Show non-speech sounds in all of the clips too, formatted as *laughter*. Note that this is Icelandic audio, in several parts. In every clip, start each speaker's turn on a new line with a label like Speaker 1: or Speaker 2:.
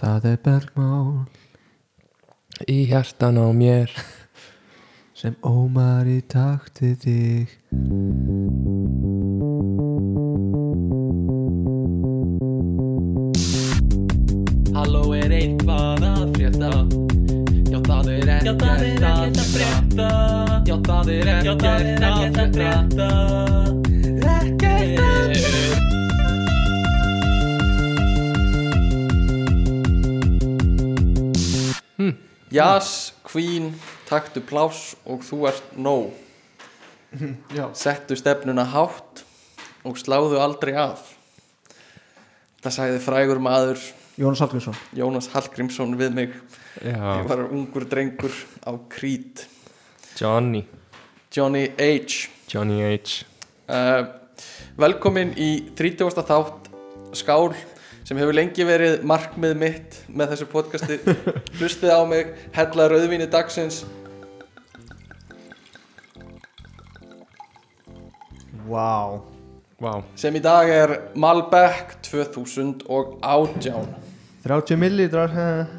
Speaker 1: Það er bergmál
Speaker 2: Í hjartan á mér
Speaker 1: sem ómar í takti þig
Speaker 3: Halló er eitthvað að frétta Já það er ekkert að frétta Já það er ekkert að frétta Ekkert að frétta
Speaker 4: Jazz, Queen, taktu pláss og þú ert nóg Settu stefnuna hátt og sláðu aldrei af Það sagði frægur maður
Speaker 5: Jónas Hallgrímsson
Speaker 4: Jónas Hallgrímsson við mig
Speaker 2: Já,
Speaker 4: Ég var ungur drengur á Krít
Speaker 2: Johnny
Speaker 4: Johnny H
Speaker 2: Johnny H
Speaker 4: uh, Velkomin í 30. þátt Skál sem hefur lengi verið markmið mitt með þessu podcasti Hlustið á mig, hella rauðvíni dagsins
Speaker 5: Vá
Speaker 2: Vá,
Speaker 4: sem í dag er Malbec 2018
Speaker 5: 30 millilitrar eh,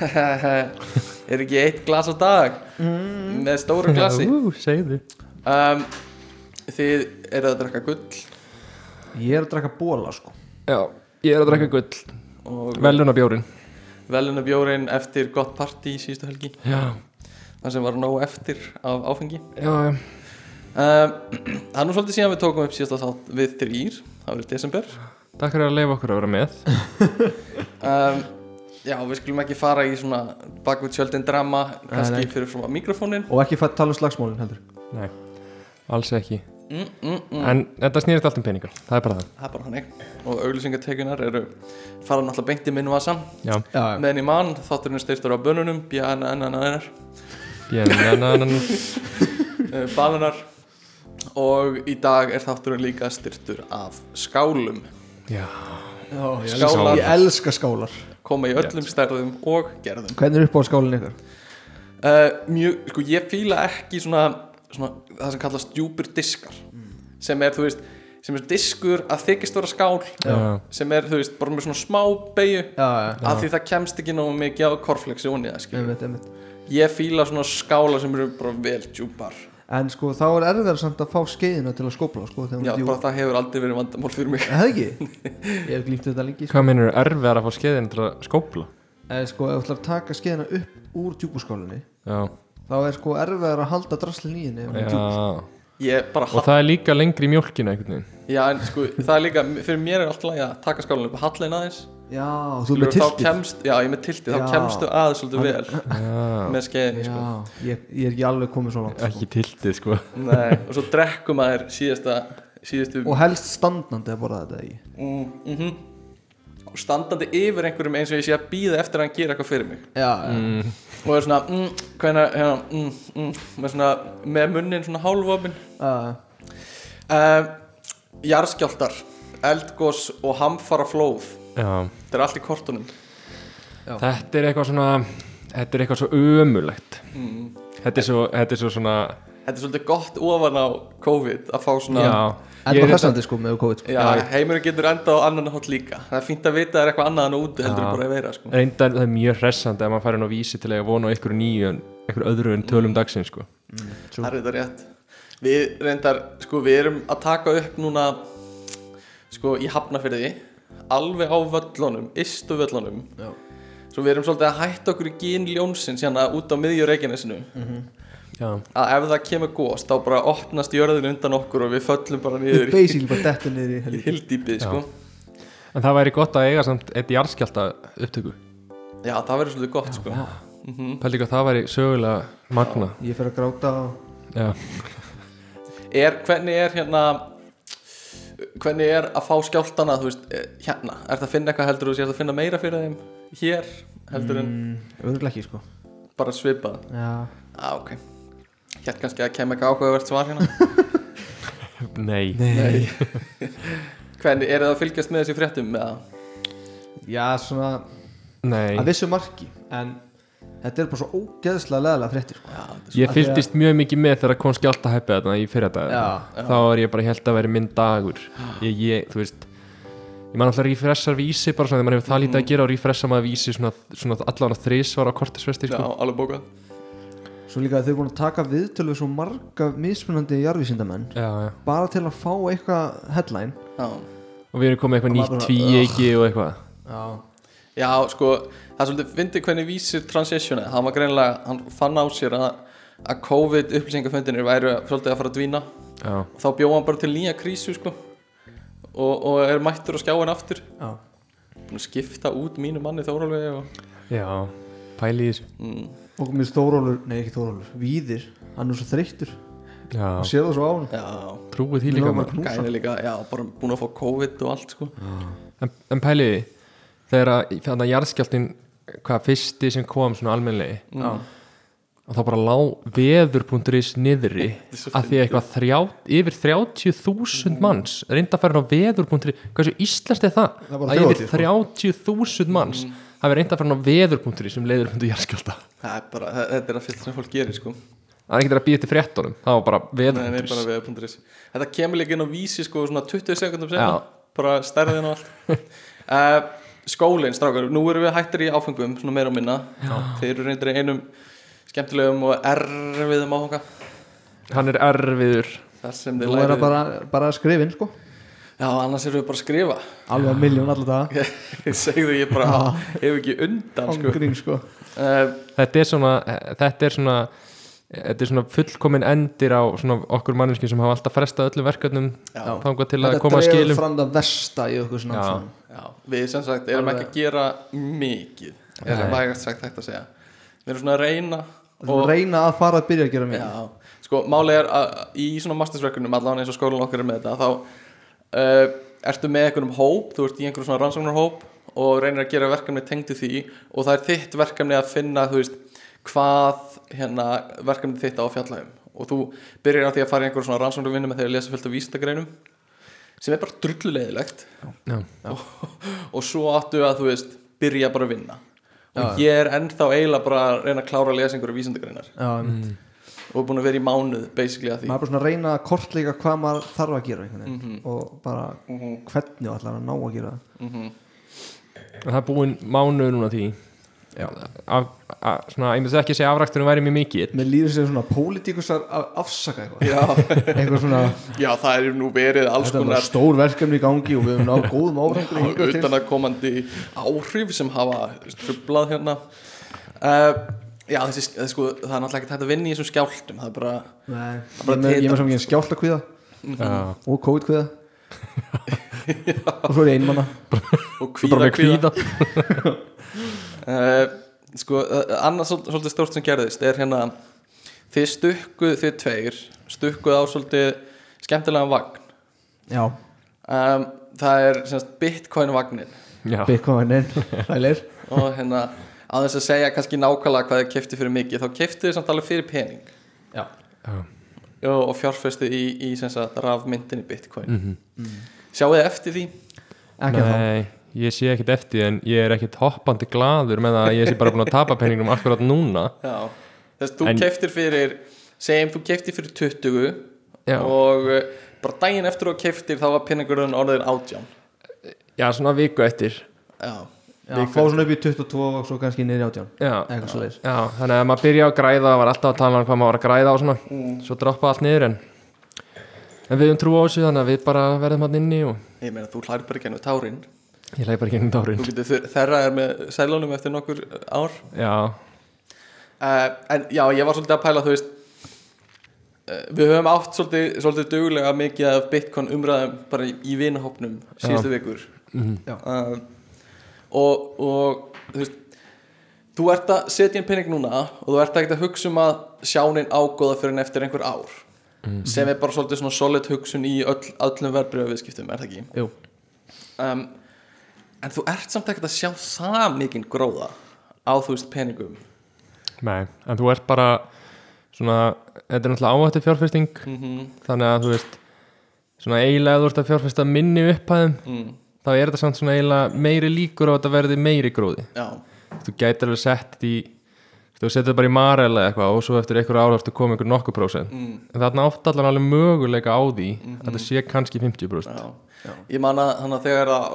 Speaker 4: *laughs* er ekki eitt glas á dag með stóru glasi
Speaker 2: Ú, segðu
Speaker 4: um, þið eru að drakka gull
Speaker 5: Ég er að draka bóla sko
Speaker 2: Já, ég er að drekka gull
Speaker 4: og
Speaker 2: Veluna bjórin
Speaker 4: veluna bjórin eftir gott partí síðustu helgi
Speaker 2: Já,
Speaker 4: þar sem var nóg eftir af áfengi
Speaker 2: já, já
Speaker 4: um, *clears throat* það er nú svolítið síðan við tókum upp síðasta þátt við þrýr, það var í desember
Speaker 2: Takk fyrir að leifa okkur að vera með
Speaker 4: um, já, við skulum ekki fara í svona bakvið tjöldin drama kannski
Speaker 5: nei.
Speaker 4: fyrir frá mikrofónin
Speaker 5: Og ekki fætt tala um slagsmólin heldur
Speaker 2: Nei, alls ekki
Speaker 4: mm, mm, mm.
Speaker 2: En þetta snýrist allt um peningar, það er bara það
Speaker 4: það er bara hannig og auglýsingatekjunar eru fara náttúrulega beint í minn vasa
Speaker 2: Já,
Speaker 5: Já,
Speaker 4: meðan í mann þátturinn styrtur á bönunum bjananananar,
Speaker 2: bjennananan
Speaker 4: bananar eh, og í dag er þátturinn líka styrtur af skálum
Speaker 2: Já,
Speaker 5: já, ég,
Speaker 4: Skálar.
Speaker 5: elska, ég elska skálar
Speaker 4: koma í öllum stærðum og gerðum
Speaker 5: Hvernig er upp á skálinn ykkar?
Speaker 4: uh, mjög, sko ég fíla ekki svona, svona það sem kallast djúpir diskar sem er þú veist sem er diskur að þykist vera skál
Speaker 2: Já.
Speaker 4: sem er þú veist bara með svona smá beigju
Speaker 5: Já, já,
Speaker 4: af því það kemst ekki nógu mikið á korflexi og niða skil
Speaker 5: einmitt, einmitt
Speaker 4: Ég fíla svona skála sem eru bara vel djúpar
Speaker 5: En sko þá er erfiðar samt að fá skeiðina til að skópla sko þegar hún
Speaker 4: Já,
Speaker 5: er djúp.
Speaker 4: bara það hefur aldrei verið vandamál fyrir mig
Speaker 5: Er Það ekki? Ég hef glýmt þetta lengi sko.
Speaker 2: Hvað meinur erfiðar að fá skeiðin til að skópla?
Speaker 5: En sko ef þú ætlar að taka skeiðina upp úr djúbuskálinni
Speaker 2: Já,
Speaker 5: Þá er sko erfiðar að halda draslin í henni ef hún er
Speaker 2: já
Speaker 5: djúp.
Speaker 4: Ég bara
Speaker 2: Og
Speaker 4: hall...
Speaker 2: það er líka lengri í mjólkinu einhvern veginn
Speaker 4: Já, en sko, það er líka Fyrir mér er alltaf að taka skálan upp Hallin aðeins
Speaker 5: Já, þú er með
Speaker 4: Þá
Speaker 5: tiltið
Speaker 4: kemst, já, ég er með tiltið
Speaker 5: Já.
Speaker 4: Þá kemstu aðeins svolítið vel
Speaker 2: Já,
Speaker 4: Með skeiðinni, sko
Speaker 5: Já, ég, ég er ekki alveg komið svo langt sko.
Speaker 2: ekki tiltið sko
Speaker 4: Nei, *laughs* og svo drekkum að þér síðasta Síðustu
Speaker 5: sko. Og helst standandi að borða þetta ekki
Speaker 4: mm, mm Og standandi yfir einhverjum eins og ég sé að býða eftir að hann gera eitthvað fyrir mig
Speaker 5: Já, mm.
Speaker 4: Og er svona, mm, hvenær, hérna, mm, mm, með svona Með munnin svona hálfopin
Speaker 5: uh,
Speaker 4: Uh, jarðskjáltar, eldgós og hamfara flóð
Speaker 2: Já,
Speaker 4: Þetta er allt í kortunum
Speaker 2: þetta er eitthvað svona Þetta er eitthvað svo ömulegt þetta, er svo, þetta er svo svona
Speaker 4: Þetta er svolítið gott ofan á COVID að fá svona
Speaker 2: Já,
Speaker 5: En
Speaker 2: ég
Speaker 5: bara
Speaker 2: er
Speaker 5: hressandi sko með COVID sko.
Speaker 4: Já, heimurinn getur enda á annan hótt líka Það er fínt að vita að það er eitthvað annað en úti heldur
Speaker 2: Já.
Speaker 4: en bara að vera sko.
Speaker 2: reyndar það er mjög hressandi að maður færi nú vísi til að eiga vona á ykkur nýju en ykkur öðru en tölum dagsins sko
Speaker 4: Það er þetta rétt Við reyndar, sko, við erum að taka upp núna sko, í hafnafyrði alveg á völlunum, ystu völlunum
Speaker 5: Já.
Speaker 4: Svo við erum svolítið að hætta okkur í gín ljónsins hérna út á miðju reikinesinu
Speaker 2: Já,
Speaker 4: að ef það kemur góst þá bara opnast jörðin undan okkur og við föllum bara
Speaker 5: Við
Speaker 4: niður í-
Speaker 5: basically bara dettu niður í
Speaker 4: í
Speaker 5: helgi
Speaker 4: hildýpið sko.
Speaker 2: En það væri gott að eiga samt eitt jarðskjálta upptöku
Speaker 4: já. það verður svolítið gott sko.
Speaker 2: Pældi ekki að það væri sögulega magna
Speaker 5: Ég fer að gráta á
Speaker 2: Já,
Speaker 4: er, hvernig er hérna hvernig er að fá skjáltana þú veist, eh, hérna, er það að finna eitthvað heldur þú sér að finna meira fyrir þeim hér heldur en
Speaker 5: mm, Örgulega ekki sko
Speaker 4: bara svipað
Speaker 5: Já,
Speaker 4: ah, ok, hér kannski að kemur eitthvað áhugavert svar hérna
Speaker 2: nei,
Speaker 5: Nei.
Speaker 4: *laughs* hvernig er það að fylgjast með þessi fréttum með það
Speaker 5: Já svona
Speaker 2: nei.
Speaker 5: að vissu marki En þetta er bara svo ógeðslega leðalega fréttir sko.
Speaker 2: Ég fylgdist mjög mikið með þegar kom skjálta hæpið þarna í fyrir
Speaker 5: Já,
Speaker 2: Þá var ég bara held að veri minn dagur ég, ég, þú veist ég man alltaf að refreshar vísi bara svona þegar maður hefur það
Speaker 5: Mm.
Speaker 2: lítið að gera og refreshar maður vísi svona, svona allan að þrísvar á kortisvesti
Speaker 4: Já,
Speaker 2: sko.
Speaker 4: alveg bókað
Speaker 5: Svo líka að þau eru búin að taka viðtölu við svo marga mismunandi jarðvísindamenn
Speaker 2: já, já.
Speaker 5: bara til að fá eitthvað headline
Speaker 4: Já,
Speaker 2: og við erum komið
Speaker 5: Og
Speaker 2: eitthvað
Speaker 5: maður
Speaker 2: nýtt
Speaker 5: bara,
Speaker 2: tvíegi og eitthvað
Speaker 5: Já
Speaker 4: já sko það er svolítið fyndið hvernig vísir transitiona hann var greinilega, hann fann á sér að að COVID upplýsingaföndinir væru svolítið að fara að dvína
Speaker 2: já,
Speaker 4: og þá bjóð hann bara til nýja krísu sko og, og er mættur á skjáin aftur
Speaker 5: Já.
Speaker 4: Búinn að skipta út mínu manni Þórólfi og
Speaker 2: já, pæli í þessu
Speaker 4: mm,
Speaker 5: Og mér Þórólur, nei ekki Þórólur, Víðir Hann er svo þreyttur,
Speaker 2: já,
Speaker 5: hann sér það svo á hann
Speaker 4: já,
Speaker 2: trúið því líka maður.
Speaker 4: gæði líka já, bara búin að fá COVID og allt sko
Speaker 2: en, en pæli í því, þegar að þannig að jarðskjáltin hvað fyrsti sem kom svona almennlegi
Speaker 4: Já.
Speaker 2: og þá bara lá veður.is niðri
Speaker 4: svo
Speaker 2: að því að eitthvað þrjá, yfir 30.000 manns reynda að fara inn á veður.is hversu íslenskt er það?
Speaker 5: Það er bara
Speaker 2: að yfir
Speaker 5: þjóðhátíð,
Speaker 2: 30.000 manns hafi reynda að fara inn á veður.is sem leiður hundu jarðskjálta
Speaker 4: það er bara, þa- þetta er að fyrst sem fólk gerir sko
Speaker 2: það er ekki að býja til fréttunum það var bara
Speaker 4: Nei, nei, bara
Speaker 2: veður.is
Speaker 4: veður.is Þetta kemur líka inn á vísi sko svona 20 sekundum
Speaker 2: Já.
Speaker 4: senna bara stærðin og allt uh, Skólinn, strákar, nú erum við hættir í áfengum svona meira og minna Já. Þeir eru reyndir í einum skemmtilegum og erfiðum áfanga
Speaker 2: hann er erfiður
Speaker 4: þar sem
Speaker 5: Nú
Speaker 4: þeir
Speaker 5: er það
Speaker 4: lærið
Speaker 5: bara, bara skrifin sko
Speaker 4: Já, annars erum við bara að skrifa *laughs*
Speaker 5: Alveg að miljón alltaf það
Speaker 4: Ég segðu ég bara, ef ekki undan sko.
Speaker 5: Ángrín sko
Speaker 4: uh,
Speaker 2: þetta er svona þetta er svona Þetta er svona fullkomin endir á svona okkur manninski sem hafa alltaf frestað öllum verkefnum
Speaker 4: Já.
Speaker 2: þangað til að
Speaker 5: Þetta
Speaker 2: koma að
Speaker 5: dregur
Speaker 2: skilum
Speaker 5: fram það versta í okkur svona
Speaker 2: Já.
Speaker 5: svona.
Speaker 4: Já, við sem sagt erum
Speaker 5: Alveg.
Speaker 4: ekki að gera mikið er
Speaker 2: Nei.
Speaker 4: vægast sagt hægt að segja Við erum svona að reyna
Speaker 5: Þú reyna að fara að byrja að gera mér
Speaker 4: Já, sko málið er að í svona mastersverkunum allan eins og skólan okkar er með þetta þá uh, ertu með einhverjum hóp þú ert í einhverjum svona rannsóknarhóp og reynir að gera verkefni tengdu því og það er þitt verkefni að finna þú veist hvað hérna verkefni þitt á að fjalla um og þú byrjar á því að fara í einhverjum svona rannsóknarvinnu með þegar að lesa fullt af vísindagreinum sem er bara drullulegilegt
Speaker 2: Já.
Speaker 4: og svo áttu að þú veist byrja bara að vinna og ég er ennþá eiginlega bara að reyna að klára að lesa einhverju vísindagreinar
Speaker 5: Já, mm.
Speaker 4: og er búin að vera í mánuð basically að því
Speaker 5: maður er bara svona að reyna að kortleika hvað maður þarf að gera mm og bara hvernig allar að ná að gera það
Speaker 2: En það er búin mánuður núna því af, af, svona, ég myndi ekki segja að afræktunum væri mjög mikið
Speaker 5: Mér líður sér svona pólitíkusar að afsaka eitthvað
Speaker 4: já,
Speaker 5: Eitthvað svona,
Speaker 4: já, það er nú verið alls
Speaker 5: þetta er bara
Speaker 4: konar
Speaker 5: stór verkefni í gangi og við höfum náð góðum áfengur
Speaker 4: utanakomandi áhrif sem hafa strublað hérna uh, já, þessi, þessi, sko, það er náttúrulega ekki hægt að vinna í þessum skjáltum það er bara,
Speaker 5: Nei, ég er með-
Speaker 4: bara
Speaker 5: ég er
Speaker 4: titrar.
Speaker 5: með svo mikið skjálta kviða Mm.
Speaker 2: Já.
Speaker 5: og COVID kviða og svo er ég einmanna
Speaker 4: og
Speaker 2: Þú bara
Speaker 4: kvíða,
Speaker 2: með kvíða
Speaker 4: Uh, sko, uh, annað svol- svolítið stórt sem gerðist er hérna þið stukkuð, þið tveir stukkuð á svolítið skemmtilegan vagn
Speaker 5: Já,
Speaker 4: um, það er semst bitcoin vagnin
Speaker 2: Já.
Speaker 5: Bitcoinin, hælir
Speaker 4: og hérna á þess að segja kannski nákvæmlega hvað þið kefti fyrir mikið þá keftið þið samt alveg fyrir pening
Speaker 2: Já.
Speaker 4: Jó, og fjárfestið í, í sem sagt rafmyndinni bitcoin
Speaker 2: Mhm.
Speaker 4: sjáu þið eftir því
Speaker 5: Ekki þá
Speaker 2: Nei, ég sé ekkit eftir því en ég er ekkit hoppandi gladur með það að ég sé bara búin að tapa peningum akkurat núna
Speaker 4: Já, þess að þú
Speaker 2: En-
Speaker 4: keftir fyrir segjum þú keftir fyrir 20
Speaker 2: Já.
Speaker 4: og uh, bara daginn eftir þú keftir þá var pinningurinn orðin átján
Speaker 2: Já, svona viku eftir
Speaker 4: Já,
Speaker 5: Já, fá svona upp í 22 og svo kannski niður í 18
Speaker 2: Já,
Speaker 5: Eitthvað svo leir
Speaker 2: Já þannig að ef maður byrja að græða það var alltaf að tala um hvað maður var að græða og svona svo droppa allt niður en en við um trú á þessu þannig að við bara verðum hann inni og
Speaker 4: ég meina þú hlæri bara ekki hennu tárin
Speaker 2: ég leið bara gennum dárin
Speaker 4: þú getur þur- þerra er með sælunum eftir nokkur ár
Speaker 2: Já,
Speaker 4: uh, en já, ég var svolítið að pæla þú veist uh, við höfum átt svolítið, svolítið duglega mikið af bitcoin umræðum bara í, í vinahopnum síðustu vikur
Speaker 5: Já.
Speaker 4: uh, og, og þú veist þú ert að setja inn pening núna og þú ert að geta hugsa um að sjánin ágóða fyrir en eftir einhver ár sem er bara svolítið svona solid hugsun í öll, öllum verðbröðaviðskiptum, er það ekki?
Speaker 5: Jú,
Speaker 4: um, en þú ert samt ekkert að sjá það mikinn gróða á þú veist peningum
Speaker 2: Nei, en þú ert bara svona, þetta er náttúrulega áhættu fjárfesting
Speaker 4: Mhm.
Speaker 2: þannig að þú veist svona eiginlega ef þú ert að fjárfesta minni upphæðum
Speaker 4: Mm.
Speaker 2: þá er þetta samt svona eiginlega meiri líkur á að þetta verði meiri gróði
Speaker 4: já,
Speaker 2: þú gætir alveg sett í þú setur þetta bara í marel eða eitthvað og svo eftir einhverja ára ertu komið einhver nokkuð prósent
Speaker 5: Mm.
Speaker 2: en þarna átt allan
Speaker 5: Mhm.
Speaker 2: alveg möguleika á því að þetta sé kannski 50 prósent
Speaker 4: já. ég man að þannig að þegar að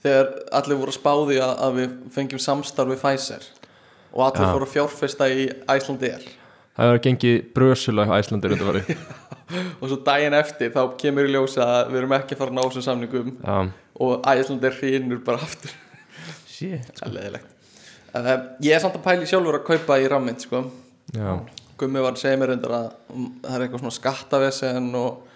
Speaker 4: þegar allir voru að spáði að, að við fengjum samstarf við Pfizer og allir
Speaker 2: Já.
Speaker 4: fóru að fjárfesta í Æslandir
Speaker 2: Það hefur gengið brösulega æslandir undir varu
Speaker 5: *laughs*
Speaker 4: og svo daginn eftir þá kemur í ljós að við erum ekki að fara að ná þessum samningum
Speaker 2: Já,
Speaker 4: og Æslandir hrýnur bara aftur *laughs*
Speaker 5: shit
Speaker 4: Það er leðilegt Ég er samt að pæli sjálfur að kaupa í rammynd sko.
Speaker 2: já,
Speaker 4: Gummi var að segja mér reyndar að mm, það er eitthvað svona skattavesen og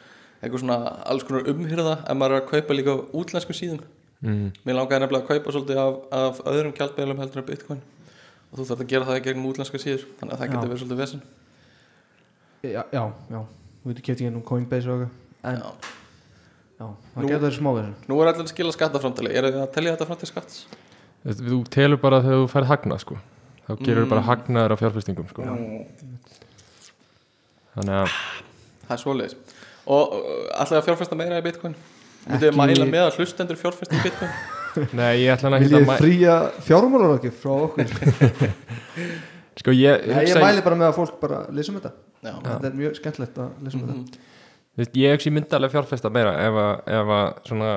Speaker 4: eitthvað svona alls konar umhyrða ef maður er að kaupa líka á útlensku síðum
Speaker 2: mm,
Speaker 4: Mér langaði nefnilega að kaupa svolítið af, af öðrum gjaldbeilum heldur en bitcoin og þú þarf að gera það í gegnum útlenska síður þannig að það
Speaker 5: Já.
Speaker 4: getur verið svolítið vesen
Speaker 5: já, já, já, þú veitur kefti ekki nú Coinbase og eitthvað en
Speaker 4: Já.
Speaker 5: já, það
Speaker 4: Nú-
Speaker 5: getur verið smá verið
Speaker 4: Nú er allir að skila skattaframtali, eru þið að telja þetta fram til skatts?
Speaker 2: Þú- þú telur bara þegar þú færð hagnað sko þá gerur
Speaker 4: Mm.
Speaker 2: bara hagnaður á fjárfestingum sko þannig að
Speaker 4: Það er svoleiðis Og allir að fjárfesta meira í bitcoin?
Speaker 5: Ekki-
Speaker 4: Myndið þið mæla með að hlustendur fjárfesta í bitcoin?
Speaker 2: nei, ég ætla hann að
Speaker 5: Vil
Speaker 2: hitta
Speaker 5: ég
Speaker 2: Hérna mæ...
Speaker 5: fría fjármálarákif frá okkur?
Speaker 2: sko ég,
Speaker 5: Nei, ég
Speaker 2: hugsa-
Speaker 5: mæli bara með að fólk bara lesum þetta
Speaker 4: Já,
Speaker 5: Þetta er mjög skemmtilegt að lesum þetta
Speaker 2: Þú veist, ég hugsi myndi alveg fjárfesta meira ef að, ef að svona,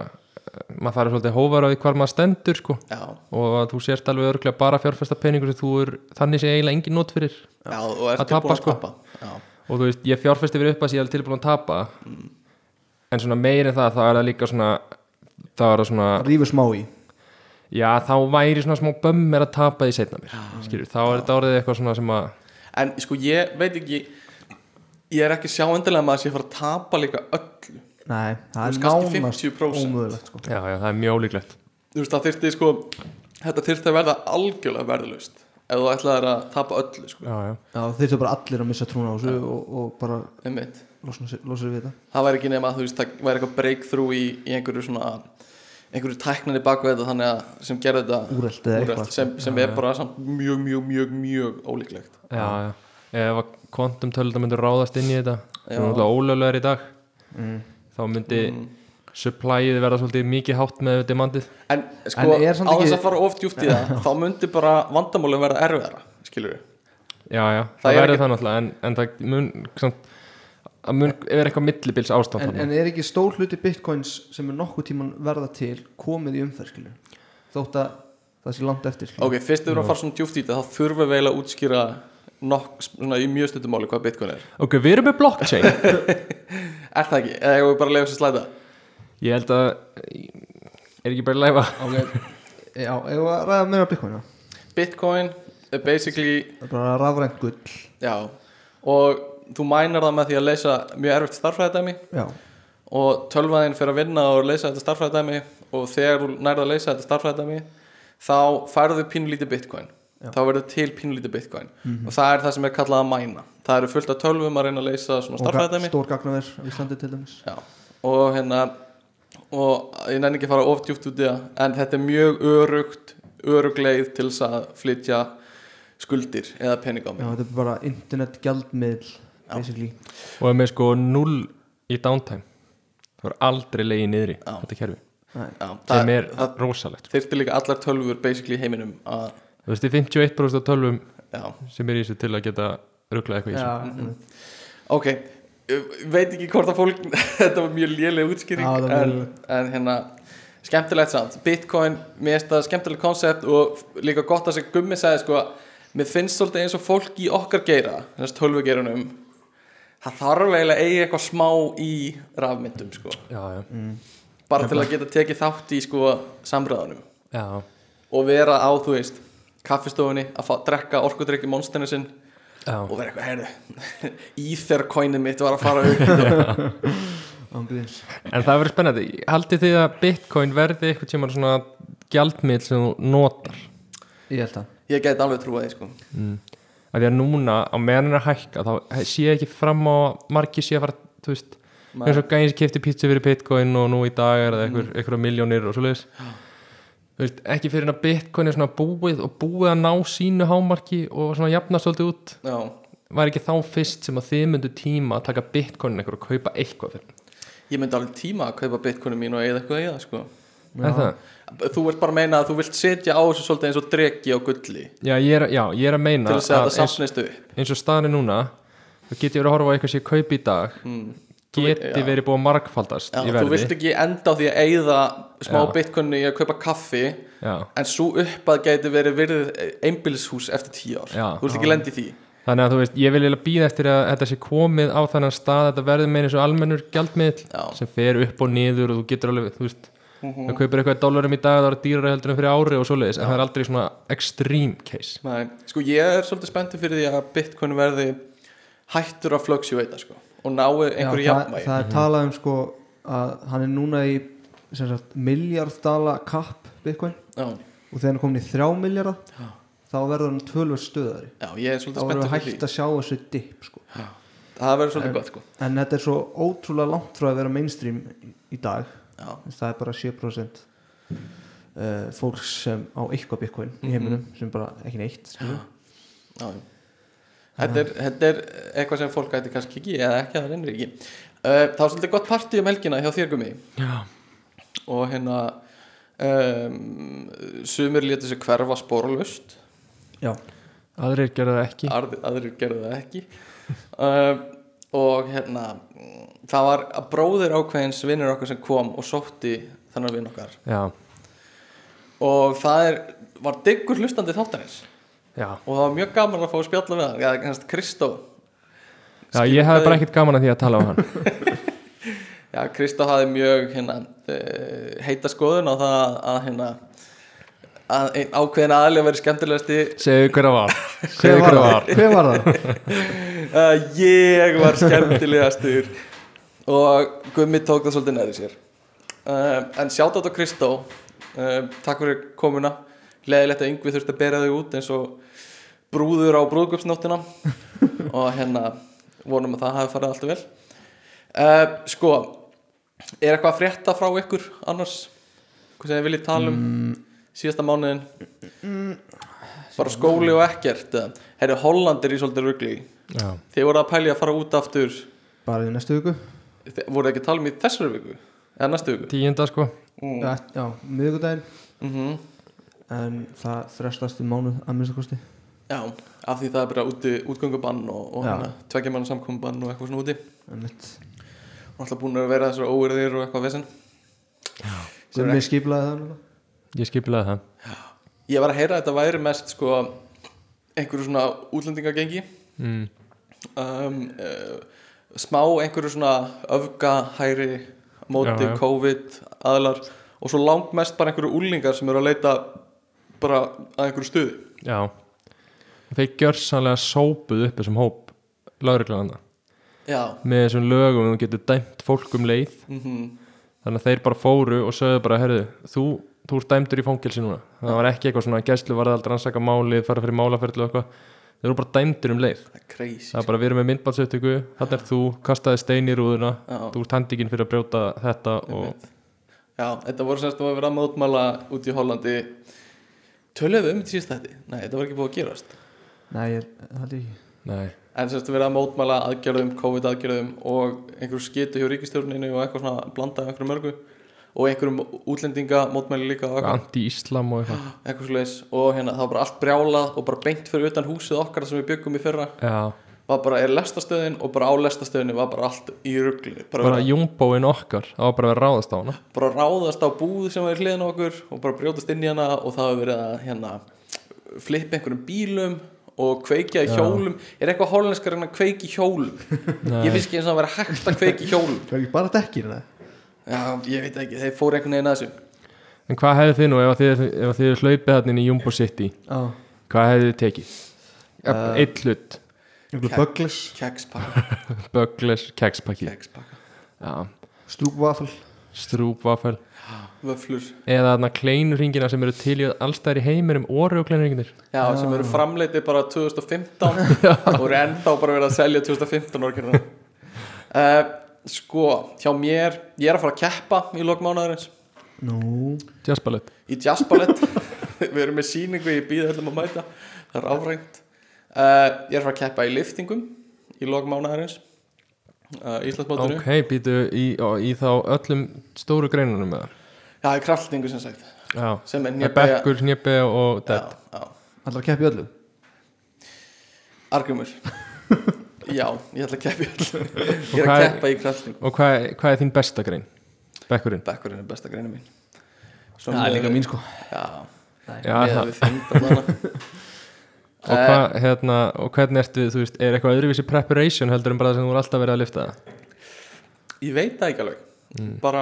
Speaker 2: eh, maður farið svolítið hóvar á því hvar maður stendur sko
Speaker 4: já,
Speaker 2: og að þú sért alveg örglega bara fjárfesta peningur sem þú er, þannig sé eiginlega engin nót fyrir
Speaker 4: já, og ertu
Speaker 2: tapa,
Speaker 4: búin að
Speaker 2: sko.
Speaker 4: tapa Já,
Speaker 2: og þú veist, ég fjárfesti fyrir upp að ég er tilbúin að tapa en svona meira en það, þá er það líka svona þá er það svona,
Speaker 5: Rífur smá í
Speaker 2: já þá væri svona smá bömmir að tapa því seinna mér skilur, þá er þetta orðið eitthvað svona sem að
Speaker 4: En sko ég veit ekki Ég er ekki sjá endilega maður að sé að fara að tapa líka öllu
Speaker 5: Nei, það er
Speaker 4: veist, kannski
Speaker 5: nánast
Speaker 4: 50%.
Speaker 5: ómöðulegt sko.
Speaker 2: já, já, það er mjög ólíklegt
Speaker 4: Þú veist það þyrfti sko Þetta þyrfti að verða algjörlega verðlust Ef þú ætlaðir að tapa öllu sko
Speaker 2: já, já.
Speaker 5: Já, þeir eru bara allir að missa trúna á þessu og, og bara
Speaker 4: Einmitt.
Speaker 5: losna sér, losna sér við þetta
Speaker 4: Það væri ekki nema að þú veist Það væri eitthvað breakthrough í, í einhverju svona einhverju tækninni baku þetta þannig að sem gerði þetta
Speaker 5: Úrelt eða
Speaker 4: úrelt,
Speaker 5: eitthvað.
Speaker 4: sem, sem er bara samt mjög, mjög, mjög, mjög ólíklegt
Speaker 2: Já, já. ef að kvantum tölvita myndi ráðast inn í þetta sem
Speaker 4: Já. Mm.
Speaker 2: er náttúrulega ólöglegar í dag þá myndi supplyið verða svolítið mikið hátt með demandið
Speaker 4: En sko,
Speaker 5: En er samt
Speaker 4: á
Speaker 5: ekki-
Speaker 4: þess að fara oft djúpt í það þá myndi bara vandamálum verða erfiðara skilur við
Speaker 2: já, já, það,
Speaker 4: er
Speaker 2: verður
Speaker 4: ekki-
Speaker 2: það náttúrulega en, en það mun, samt, það mun er eitthvað millibils ástand
Speaker 5: en,
Speaker 2: þarna.
Speaker 5: en er ekki stór hluti bitcoins sem er nokkuð tíman verða til komið í umferð skilur þótt að það sé langt eftir skilur.
Speaker 4: Ok, fyrst ef við erum að fara svona djúft í þetta þá þurfum við eiginlega að útskýra nokk, svona, í mjög stuttumáli hvað bitcoin er
Speaker 2: ok, við erum með blockchain *laughs*
Speaker 4: Er það ekki? Eða hefur við bara leiðast að slæta?
Speaker 2: ég held að er ekki bara að læfa
Speaker 5: okay. Já, ef að ræða meira bitcoina
Speaker 4: Bitcoin er basically,
Speaker 5: það er bara rafrænt gull
Speaker 4: já og þú mænar það með því að leysa mjög erfitt starfræðadæmi
Speaker 5: Já,
Speaker 4: og tölvaðin fyrir að vinna og leysa þetta starfræðadæmi og þegar þú nærðu að leysa þetta starfræðadæmi þá færðu pínlítið bitcoin
Speaker 5: Já. Mhm.
Speaker 4: þá verður til pínlítið bitcoin og það er það sem er kallað að mæna það eru fullt af tölvum að reyna að leysa svona
Speaker 5: og ga-
Speaker 4: starfræðadæmi
Speaker 5: stór gagnaver á Íslandi til dæmis
Speaker 4: Já, og hérna og ég nenni ekki að fara of djúpt út í það en þetta er mjög örugt örug leið til þess að flytja skuldir eða pening á
Speaker 5: Já,
Speaker 4: mig
Speaker 5: þetta er bara internet gjaldmiðl basically
Speaker 2: og er með sko 0 í downtime það er aldrei leiði niðri
Speaker 4: Já.
Speaker 2: þetta kerfi
Speaker 4: Já,
Speaker 2: sem
Speaker 4: það
Speaker 2: er rosalegt
Speaker 4: þyrfti líka allar tölvur basically í heiminum að,
Speaker 2: þú veist, þið 51% af tölvum
Speaker 4: já,
Speaker 2: sem er í þessu til að geta ruggla eitthvað í þessu
Speaker 5: Já, einmitt.
Speaker 4: ok Ég veit ekki hvort að fólk *laughs* þetta var mjög léleg
Speaker 5: Já, það
Speaker 4: útskýring
Speaker 5: var
Speaker 4: en,
Speaker 5: léleg.
Speaker 4: en hérna skemmtilegt samt, bitcoin, mér finnst það skemmtilegt koncept og líka gott að sem Gummi sagði sko, mér finnst svolítið eins og fólk í okkar geira, þess tölvugeirunum það þarf eiginlega eigi eitthvað smá í rafmyndum sko,
Speaker 2: já, já,
Speaker 4: bara til að geta tekið þátt í sko samræðanum
Speaker 2: já.
Speaker 4: og vera á, þú veist, kaffistofunni að fá, drekka orkudrykki monsterinu sinn
Speaker 2: Já.
Speaker 4: og vera eitthvað, heyrðu *laughs* Ethercoinið mitt var að fara
Speaker 2: *laughs*
Speaker 4: upp
Speaker 5: Án gríns.
Speaker 2: En það verður spennandi, haldið þið að bitcoin verði eitthvað tíma svona gjaldmiðl sem þú notar
Speaker 5: Ég held að
Speaker 4: ég gæti alveg trúa því sko
Speaker 2: af því að núna á meðan er að hækka þá sé ég ekki fram á að margir sé að fara þú veist,
Speaker 4: Nei. Mm.
Speaker 2: eins og gæðin sem kefti pizza fyrir bitcoin og nú í dag er það einhver, einhverja miljónir og svoleiðis þú veist, ekki fyrir en að bitcoin er svona búið og búið að ná sínu hámarki og svona jafna svolítið út
Speaker 4: Já,
Speaker 2: var ekki þá fyrst sem að þið myndu tíma að taka bitcoin einhver og kaupa eitthvað fyrir
Speaker 4: ég myndi alveg tíma að kaupa bitcoinu mín og eða eitthvað í það sko
Speaker 2: Er það?
Speaker 4: Þú ert bara að meina að þú vilt setja á þessu svolítið eins og dregi á gulli
Speaker 2: Já, ég er, já, ég er að meina
Speaker 4: til að segja þetta
Speaker 2: eins-
Speaker 4: safnistu upp
Speaker 2: eins og staðan er núna þá get ég verið að horfa á eitthvað sem ég kaupi í dag geti
Speaker 4: Mm. já.
Speaker 2: verið búið að
Speaker 4: Já,
Speaker 2: margfaldast í
Speaker 4: þú vilt
Speaker 2: verði
Speaker 4: ekki enda á því að eyða smá
Speaker 2: Já.
Speaker 4: bitcoinu í að kaupa kaffi
Speaker 2: já.
Speaker 4: en svo uppað gæti verið virðið einbýlishús eftir tíu ár
Speaker 2: Já.
Speaker 4: þú vilt ekki lendi því
Speaker 2: þannig að þú veist, ég vil eiginlega býða eftir að þetta sé komið á þannan stað þetta verður með eins og almennur gjaldmiðl
Speaker 4: Já.
Speaker 2: sem fer upp og niður og þú getur alveg þú veist, það kaupir eitthvað í dólarum í dag það er dýrara heldur en fyrir ári og svoleiðis en það er aldrei svona extreme case
Speaker 4: Nei, sko ég er svolítið spenntið fyrir því að bitcoin verði hættur að fluctuata sko, og nái
Speaker 5: Já, það,
Speaker 4: einhverju jafnvægi
Speaker 5: það
Speaker 2: Mhm.
Speaker 5: er talað um sko að hann er núna í sem sagt, miljarddala kapp bitcoin
Speaker 4: já,
Speaker 5: og þegar hann er komin í þrjá miljardar þá verður hann tölvöld stöðari
Speaker 4: já, ég er
Speaker 5: þá
Speaker 4: svolítið
Speaker 5: verður
Speaker 4: spenntið
Speaker 5: við
Speaker 4: fyrir því
Speaker 5: hægt að sjá þessu dip sko.
Speaker 4: það verður svolítið gott sko
Speaker 5: en þetta er svo ótrúlega langt frá að vera mainstream í- í dag
Speaker 4: já,
Speaker 5: það er bara 7% uh, fólks sem á eitthvað bitcoin
Speaker 4: Mhm.
Speaker 5: í heiminum sem bara ekki neitt skilur.
Speaker 4: já, já. Þetta, er, þetta er eitthvað sem fólk gæti kannski ekki eða ekki að það reynir ekki Uh, það var svolítið gott partí um helgina hjá þér gumi
Speaker 2: Já.
Speaker 4: og hérna um, sumir létu sig hverfa spóralust
Speaker 5: já,
Speaker 2: aðrir gerða það ekki
Speaker 4: Arð, aðrir gerðu það ekki um, og hérna mm, það var að bróðir ákveðins vinnur okkar sem kom og sótti þannig vinn okkar
Speaker 2: já,
Speaker 4: og það er, var diggur hlustandi þáttanins
Speaker 2: já
Speaker 4: og það var mjög gaman að fá að spjalla við hann eða kannski Kristó
Speaker 2: Já, ég hafði bara ekkert gaman að því að tala á hann *laughs*
Speaker 4: já, Kristó hafði mjög hérna, eh, heita skoðun á það að hérna að einn ákveðin aðlega verið skemmtilegasti
Speaker 2: Segðu hver að var Segðu hver að var
Speaker 5: hver var
Speaker 4: *laughs*
Speaker 5: það?
Speaker 4: uh, ég var skemmtilegastur og Gummi tók það svolítið neður sér uh, en sjátt á Kristó uh, takk fyrir komuna leðilegt að yngvi þurfti að bera þau út eins og brúður á brúðgöpsnóttina og hérna vonum að það hafi farið alltaf vel uh, sko er eitthvað að frétta frá ykkur annars hvað sem þið viljið tala
Speaker 5: Mm.
Speaker 4: um síðasta mánuðin bara skóli og ekkert herri Holland er í svolítið rugli
Speaker 2: Já,
Speaker 4: Þið voru að pælja að fara út aftur
Speaker 5: bara í næstu viku
Speaker 4: Þið voru ekki að tala um í þessari viku eða næstu viku
Speaker 2: tíunda sko
Speaker 5: já, Eh, já miðvikudaginn
Speaker 4: mm
Speaker 5: en það frestast í mánuð að minnstakosti
Speaker 4: Já, af því það er bara úti, útgöngubann og, og
Speaker 5: Já.
Speaker 4: hana, tveggja mann samkombann og eitthvað svona úti
Speaker 5: Einmitt.
Speaker 4: og alltaf búin að vera þessar óyrðir og eitthvað vesen Sem er
Speaker 5: Gummi skiplaði það núna
Speaker 2: Ég skipilaði það
Speaker 4: Ég var að heyra að þetta væri mest sko einhverju svona útlendingagengi
Speaker 2: mm.
Speaker 4: um, uh, smá einhverju svona öfga, hæri móti,
Speaker 2: Já, já.
Speaker 4: COVID, aðlar og svo langmest bara einhverju úlingar sem eru að leita bara að einhverju stuði
Speaker 2: Já Þeir gjörsanlega sópuð upp þessum hóp lauruglananda
Speaker 4: Já,
Speaker 2: með þessum lögum þú getur dæmt fólk um leið
Speaker 4: mhm
Speaker 2: þannig að þeir bara fóru og sögðu bara herðu, þú, þú ert dæmdur í fangelsi núna það var ekki eitthvað svona gæslu varðald rannsaka málið, fara fyrir málaferðlu og eitthvað þeir eru bara dæmdur um leið
Speaker 4: Það er crazy
Speaker 2: það er bara við erum með myndbandsöftöku, þannig er þú kastaði stein í rúðuna,
Speaker 4: Já.
Speaker 2: þú ert handikinn fyrir að brjóta þetta og
Speaker 4: Já, þetta voru semst að vera að mótmæla út í Hollandi Töluðu um þetta síðast þetta? Nei, þetta var ekki búið að gerast
Speaker 5: nei, ég held ekki
Speaker 2: nei,
Speaker 4: En semst að vera að mótmæla aðgerðum, COVID aðgerðum og einhverju skitu hjá ríkistjórninu og eitthvað svona blanda af einhverju mörgu og einhverjum útlendinga mótmæli líka og eitthvað,
Speaker 2: anti-íslam og eitthvað
Speaker 4: eitthvað svoleiðis og hérna það var bara allt brjálað og bara beint fyrir utan húsið okkar sem við byggum í fyrra
Speaker 2: Já,
Speaker 4: var bara er lestastöðin og bara á lestastöðinu var bara allt í ruglinu bara,
Speaker 2: bara júmbóin okkar það var bara að vera að ráðast á hana
Speaker 4: bara ráðast á búð sem var í hliðin á okkur og bara brjótast inn í hana og það hefur verið að hérna, flippa einhverjum bílum og kveikja í
Speaker 2: Já.
Speaker 4: hjólum er eitthvað hollenskar en að kveiki í hjólum ég finnst ekki eins og það væri hægt að kveiki í hjólum
Speaker 5: það er ekki bara hérna? dekkir það
Speaker 4: já, ég veit ekki, þeir fóru einhvern veginn að þessu
Speaker 2: En hvað hefði þið nú ef að þið, ef að þið hlaupið þarna inn í Jumbo City
Speaker 5: Já,
Speaker 2: hvað hefði þið tekið? Uh,
Speaker 5: Eh,
Speaker 2: Eitt hlut,
Speaker 5: einhver
Speaker 4: Kekk.
Speaker 5: bögglis,
Speaker 4: kekspakka,
Speaker 2: bögles, kekspakki
Speaker 4: kekspakka
Speaker 5: strúkvafl
Speaker 2: strúpvafel
Speaker 4: vöflur,
Speaker 2: eða þarna kleinurringina sem eru til í allstæðar í heimir um orðu og kleinurringinir
Speaker 4: já, sem eru framleiti bara 2015 og eru ennþá bara verið að selja 2015 orkjörna uh, sko, hjá mér ég er að fara að keppa í lokmánaðurins
Speaker 5: Nú,
Speaker 2: Jazzballet
Speaker 4: í jazzballett *laughs* við erum með síningu, ég býði öllum að mæta það er áfrænt uh, ég er að fara að keppa í liftingum í logmánaðarins uh, Íslandsmótinu,
Speaker 2: Ok, býtu í, á- í þá öllum stóru greinunum með
Speaker 4: já, í kraftingu sem sagt
Speaker 2: það Já,
Speaker 4: sem er
Speaker 2: Njöbe,
Speaker 4: nýja
Speaker 2: bekkur, njöbe og
Speaker 4: já,
Speaker 2: dett
Speaker 4: já,
Speaker 2: *laughs*
Speaker 5: allar keppi öllu
Speaker 4: argumur já, ég ætla að keppa í öllu
Speaker 2: Og
Speaker 4: ég er
Speaker 2: hvað
Speaker 4: að
Speaker 2: er-
Speaker 4: keppa í krafsling
Speaker 2: Og hvað, er- hvað er þín besta grein? Bekkurinn?
Speaker 4: bekkurinn er besta greina mín
Speaker 5: það er líka mín sko
Speaker 4: já,
Speaker 2: Já,
Speaker 4: meða
Speaker 2: það.
Speaker 4: við Eh. þyngd allavega.
Speaker 2: *laughs* Og, hvað, hérna, og hvernig ertu, þú veist, er eitthvað öðruvísi preparation heldur en bara það sem þú er alltaf verið að lifta það?
Speaker 4: ég veit það ekki alveg bara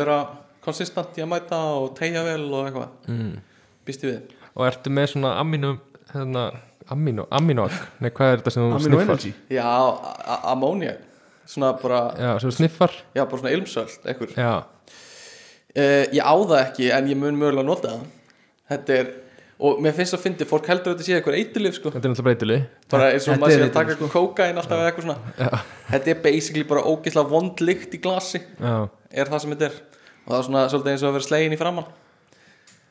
Speaker 4: vera konsistant í að mæta og tegja vel og eitthvað mm. býst ég við
Speaker 2: Og ertu með svona amino, hérna, amino, aminog? Nei, hvað er þetta sem þú
Speaker 5: Amino
Speaker 2: sniffar?
Speaker 5: Energy
Speaker 4: já, ammónia svona bara,
Speaker 2: Já, sem þú sniffar?
Speaker 4: já, bara svona ilmsöld ekkur
Speaker 2: Já,
Speaker 4: uh, ég á það ekki en ég mun mögulega nota það þetta er, og mér finnst það fyndi fólk heldur að þetta sé eitthvað eitilif sko
Speaker 2: þetta er náttúrulega breytili.
Speaker 4: bara eins og
Speaker 5: Þetta
Speaker 4: maður sé
Speaker 5: er
Speaker 4: að taka
Speaker 5: eiturlyf,
Speaker 4: eitthvað kókain alltaf eða eitthvað svona þetta er basically bara ógeðslega vond lykt í glasi
Speaker 2: Já.
Speaker 4: er það sem þetta er og það er svona svolítið eins og að vera slegin í framann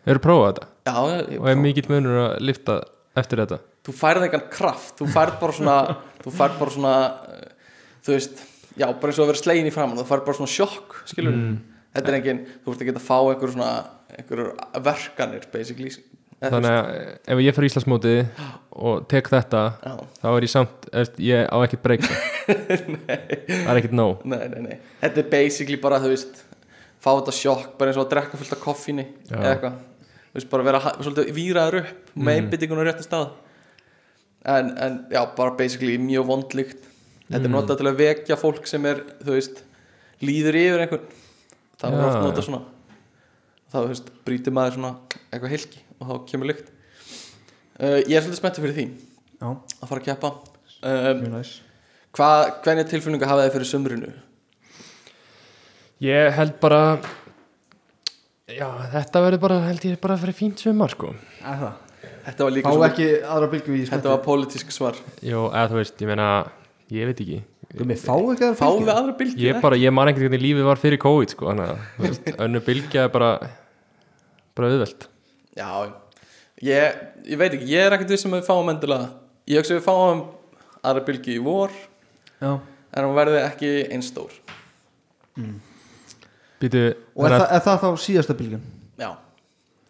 Speaker 2: Eru prófað þetta?
Speaker 4: já, ég,
Speaker 2: Og er mikill munur að lifta eftir þetta?
Speaker 4: þú færð eitthvað kraft þú færð bara svona þú færð bara svona eh, þú veist, já, bara eins og að vera slegin í framann þú færð bara svona sjokk, skilur
Speaker 2: Mm.
Speaker 5: Mm.
Speaker 4: þetta er engin, þú ert ekki að fá einhver svona einhver verkanir, basically Eh, Eða,
Speaker 2: Þannig að ef ég fer í Íslandsmóti og tek þetta
Speaker 4: Já.
Speaker 2: þá er ég samt, eðst, ég á ekkert *laughs* breyk það er ekkert nóg
Speaker 4: nei, nei, nei, þetta er basically bara, þú veist fá þetta sjokk, bara eins og að drekka fullt af koffíni
Speaker 2: Já. Mm.
Speaker 4: eða eitthvað, þú veist, bara vera ha- svolítið víraður upp með einbyttingun á réttin stað en, en já, bara basically mjög vondlíkt þetta
Speaker 2: Mm.
Speaker 4: er notað til að vekja fólk sem er, þú veist líður yfir einhvern það er
Speaker 2: Já,
Speaker 4: oft
Speaker 2: já.
Speaker 4: notað svona þá, þú veist, brýtir maður svona eitthvað helgi og þá kemur lykt uh, ég er svolítið spenntið fyrir því
Speaker 5: já,
Speaker 4: að fara að keppa um,
Speaker 5: mjög næs
Speaker 4: hvað, hvernig tilfinningu hafa þið fyrir sumrinu?
Speaker 2: Ég held bara já, þetta verður bara held ég bara fyrir fínt sumar sko
Speaker 5: Er það?
Speaker 4: Þetta var líka
Speaker 5: Fá
Speaker 4: svona-
Speaker 5: ekki aðra bylgu í
Speaker 4: Þetta var pólitísk svar
Speaker 2: Jó, eða þú veist, ég meina, ég veit ekki
Speaker 5: Gumi, fá ekki aðra
Speaker 4: Fá við
Speaker 5: bylgu?
Speaker 4: aðra bylgju
Speaker 2: Ég bara, ég man ekkert hvernig lífið var fyrir COVID sko, þannig að, þú
Speaker 5: *laughs*
Speaker 2: veist, önnu bylgja er bara bara auðvelt
Speaker 4: Já, ég, ég veit ekki Ég er ekkert vissum að við fáum endilega Ég hugsa að við fáum aðra bylgju í vor
Speaker 5: Já.
Speaker 4: En hún verði ekki eins stór
Speaker 2: Býtu,
Speaker 5: Og er,
Speaker 2: þannig
Speaker 5: það,
Speaker 2: að-
Speaker 5: er það þá síðasta bylgun?
Speaker 4: Já,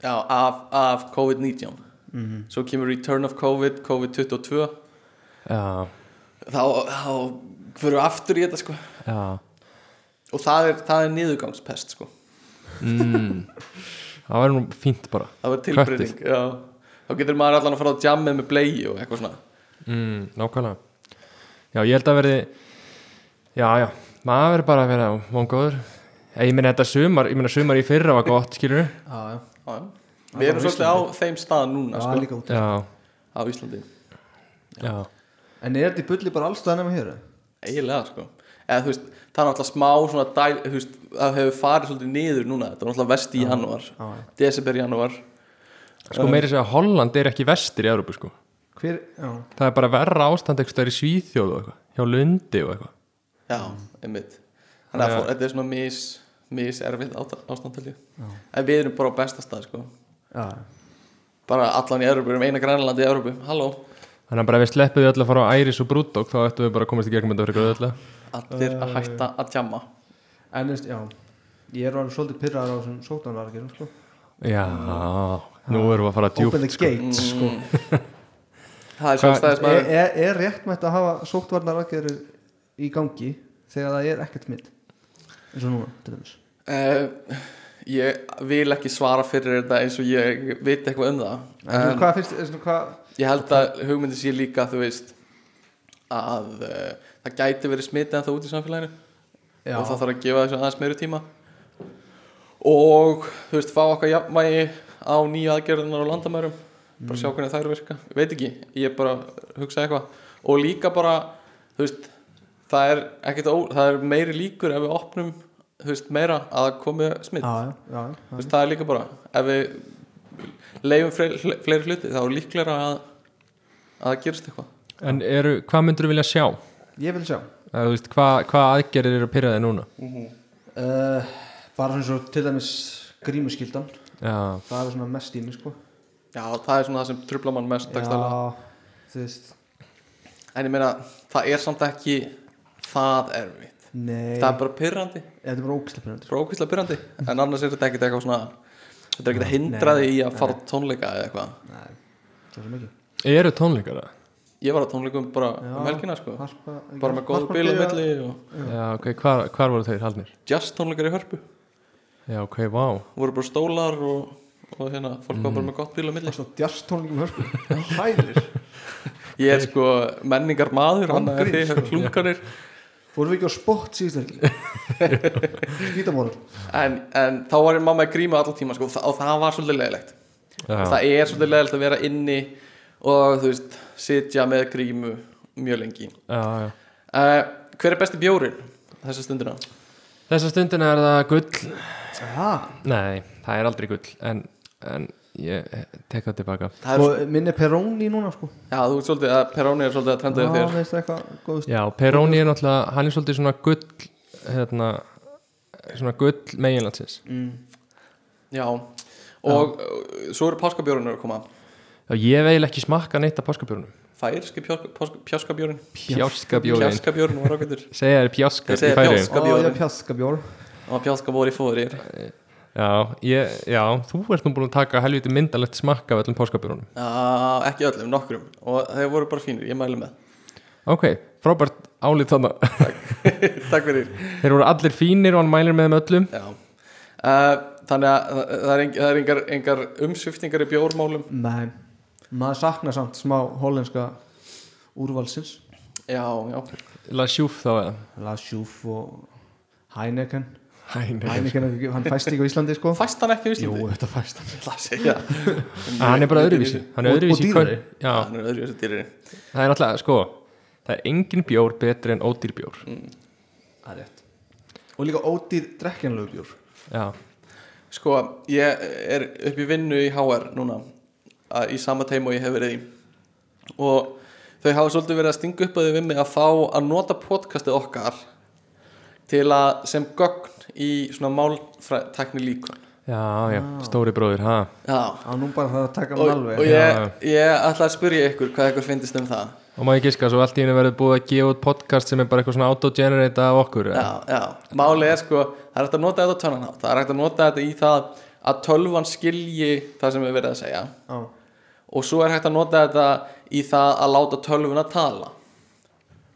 Speaker 4: Já af, af COVID-19
Speaker 5: Mhm.
Speaker 4: Svo kemur Return of COVID, COVID-22
Speaker 2: Já,
Speaker 4: Þá, þá fyrir við aftur í þetta sko
Speaker 2: já
Speaker 4: Og það er, það er niðurgangspest sko
Speaker 2: mm. Það verður nú fínt bara
Speaker 4: Það verður tilbreyting Já Þá getur maður allan að fara á jammið með bleið og eitthvað svona
Speaker 2: mm, Nákvæmlega Já, ég held að verði Já, já, maður verður bara að vera vongóður Ég, ég meina þetta sumar, ég meina sumar í fyrra var gott, skilur
Speaker 5: Já, já
Speaker 4: Já, já. Við erum svolítið á þeim stað núna
Speaker 5: Já,
Speaker 4: sko,
Speaker 5: líka út
Speaker 2: Já,
Speaker 4: á Íslandi
Speaker 2: já,
Speaker 5: En er þetta í bulli bara allstað nema hér?
Speaker 4: eiginlega sko eða þú veist, það er náttúrulega smá svona dæl, þú veist, það hefur farið svolítið niður núna þetta var náttúrulega vest í janúar
Speaker 5: Já, já
Speaker 4: desember janúar
Speaker 2: Sko meiri segja að Holland er ekki vestir í Európu, sko
Speaker 5: Hver, já
Speaker 2: Það er bara verra ástand eitthvað í Svíþjóð og eitthvað Hjá Lundi og eitthvað
Speaker 4: já, einmitt þannig að
Speaker 2: Já.
Speaker 4: fór, þetta er svona mis, mis erfið ástandalíu en við erum bara á besta stað sko
Speaker 5: Já,
Speaker 4: bara allan í Európu, erum eina grænlandi í Európu halló,
Speaker 2: Þannig að bara ef við sleppum því öll að fara á Æris og Brúdók þá ættum við bara að komast í gegnum þetta fyrir ykkur öll
Speaker 4: allir að hætta að tjamma
Speaker 5: en þú veist, já Ég er alveg svolítið pyrraðar á þessum sóttanvargerum, sko
Speaker 2: Já, nú erum við að fara
Speaker 5: Open the
Speaker 2: djúpt, sko
Speaker 5: gates, sko
Speaker 4: það er
Speaker 2: Hvað-
Speaker 5: er,
Speaker 4: sjálfstæðismæður
Speaker 5: er, er rétt mætt að hafa sóttvarnaraðgerður í gangi þegar það er ekkert mitt eins og núna til dæmis
Speaker 4: uh, ég vil ekki svara fyrir þetta eins og ég veit eitthvað um
Speaker 5: en,
Speaker 4: það
Speaker 5: en hvað finnst þér svona, hvað,
Speaker 4: Ég held að hugmyndi sé líka þú veist að uh, það gæti verið smitið en það út í samfélaginu
Speaker 5: já,
Speaker 4: og það þarf að gefa þessu aðeins meiri tíma og þú veist fá okkar jafnvægi á nýja aðgerðunar á landamærum bara sjá hvernig þær virka, ég veit ekki ég er bara að hugsa eitthvað og líka bara, þú veist það er, ekkert ó, það er meiri líkur ef við opnum, þú veist, meira að það komi smitt,
Speaker 5: já, já, já,
Speaker 4: þú
Speaker 5: já,
Speaker 4: veist, það er líka bara ef við leifum fleiri, fleiri hluti þá er líklega að að það gerist eitthvað
Speaker 2: En eru, hvað myndur vilja sjá?
Speaker 5: ég vil sjá
Speaker 2: Eða, þú veist, hvað, hvað aðgerðir eru að pyrra þig núna?
Speaker 5: uh, bara svona svo til dæmis grímuskildan,
Speaker 2: Já,
Speaker 5: það er svona mest í mig sko
Speaker 4: Já, það er svona það sem trubla mann mest dagstæðlega.
Speaker 5: þú veist
Speaker 4: En ég meina, það er samt ekki það erfitt
Speaker 5: nei,
Speaker 4: Það er bara pyrrandi,
Speaker 5: þetta er bara ógislega pyrrandi
Speaker 4: bara ókvistlega pyrrandi En annars er þetta ekkert eitthvað svona Þetta er ekkert að hindra
Speaker 5: Nei,
Speaker 4: þig í að fara á tónleika eða eitthvað
Speaker 5: nei, það er svo mikið
Speaker 2: eru tónleikara?
Speaker 4: ég var á tónleikum bara
Speaker 5: Já.
Speaker 4: um helgina sko
Speaker 5: harpa, ekki-
Speaker 4: bara með góðu
Speaker 5: Harpa
Speaker 4: bíl á
Speaker 5: byrja-
Speaker 4: milli og
Speaker 2: já, ok, hvar, hvar voru þeir haldnir?
Speaker 4: jazz tónleikar í hörpu
Speaker 2: Já, ok, vá
Speaker 4: voru bara stólar og, og hérna, fólk var bara með gott bíl á milli
Speaker 5: Það stóð djarstónleikum hörpu Hæðir
Speaker 4: ég er sko menningar maður hann
Speaker 5: Án
Speaker 4: að
Speaker 5: gríns,
Speaker 4: þið hefur klunkanir
Speaker 5: Fórum við ekki á spott síðust ekki Skítamóral
Speaker 4: en, en þá var ég mamma að gríma allan tíma sko, og, það, og það var svolítið leðilegt
Speaker 2: Já,
Speaker 4: það er svolítið leðilegt að vera inni og þú veist, sitja með grímu mjög lengi
Speaker 2: já, já
Speaker 4: uh, hver er besti bjórin þessa stundina?
Speaker 2: Þessa stundina er það gull
Speaker 5: Já
Speaker 2: Nei, það er aldrei gull En, en ég tek það tilbaka
Speaker 4: Það er, sko-
Speaker 5: Og minni Peroni núna sko
Speaker 4: já, þú ert svolítið að Peroni er svolítið að trenda
Speaker 5: Já,
Speaker 4: þér
Speaker 5: veistu eitthvað góðust
Speaker 2: Já, Peroni er náttúrulega, hann er svolítið svona gull hérna, svona gull meginlandsins
Speaker 4: já, og já. svo eru páskabjórinu að koma
Speaker 2: Já, ég veil ekki smakka neitt af páskabjörnum
Speaker 4: færski pjáskabjórin
Speaker 2: Pjáskabjórin,
Speaker 4: pjáskabjórin var ágættur
Speaker 2: segja þér pjáskar
Speaker 4: Ég segi
Speaker 2: í færiðum
Speaker 4: pjásk. Skabjórin.
Speaker 5: Já, pjaskabjór
Speaker 4: og pjáskabjóri fóðir
Speaker 2: já, ég, já, þú ert nú búin að taka helviti myndalegt smakka af öllum páskabjörnum
Speaker 4: Já, ekki öllum, nokkrum og þeir voru bara fínir, ég mælu með
Speaker 2: Ok, frábært álið þannig
Speaker 4: Takk fyrir
Speaker 2: Þeir voru allir fínir og hann mælir með þeim öllum
Speaker 4: Já uh, Þannig að það- það er, eng- það er engar, engar umsviftingar í bjórmálum
Speaker 5: Nei Maður saknar samt smá hollenska úrvalsins
Speaker 4: Já, já
Speaker 2: La sjúf þá eða
Speaker 5: Lasjúf og Heineken
Speaker 2: Hæ,
Speaker 5: Heineken, er ekki- hann fæst ekki á Íslandi sko
Speaker 4: Fæst hann ekki á
Speaker 5: Jú,
Speaker 4: Íslandi?
Speaker 5: þetta fæst hann
Speaker 4: Það segja
Speaker 2: Hann er bara öðruvísi
Speaker 5: Og-
Speaker 2: Hann er
Speaker 5: og
Speaker 2: öðruvísi í
Speaker 5: dýrari.
Speaker 2: kvöld- Já,
Speaker 4: Hann er öðruvísi dýrari
Speaker 2: það er náttúrulega, sko Það er engin bjór betri en ódýr bjór
Speaker 5: Það er rétt Og líka ódýr drekkjanlegu bjór
Speaker 2: Já,
Speaker 4: Sko, ég er upp í vinnu í HR núna að- Í sama teim og ég hef verið í Og þau hafa svolítið verið að stinga upp að þau við mig að fá að nota podcastið okkar til að sem gögn í svona máltækni líka
Speaker 2: já, já, stóri bróðir, ha
Speaker 4: Já,
Speaker 5: Á nú bara það að taka
Speaker 4: og,
Speaker 5: hann alveg
Speaker 4: og ég,
Speaker 2: Já.
Speaker 4: ég ætla að spyrja ykkur hvað ykkur finnist um það
Speaker 2: Og má ég giska, svo allt í henni verður búið að gefa út podcast sem er bara eitthvað svona autogenerate af okkur
Speaker 4: já, já. málið er sko, það er hægt að nota þetta á tönnan hátt það er hægt að nota þetta í það að tölvan skilji það sem við verið að segja
Speaker 5: Já,
Speaker 4: og svo er hægt að nota þetta í það að láta tölvuna tala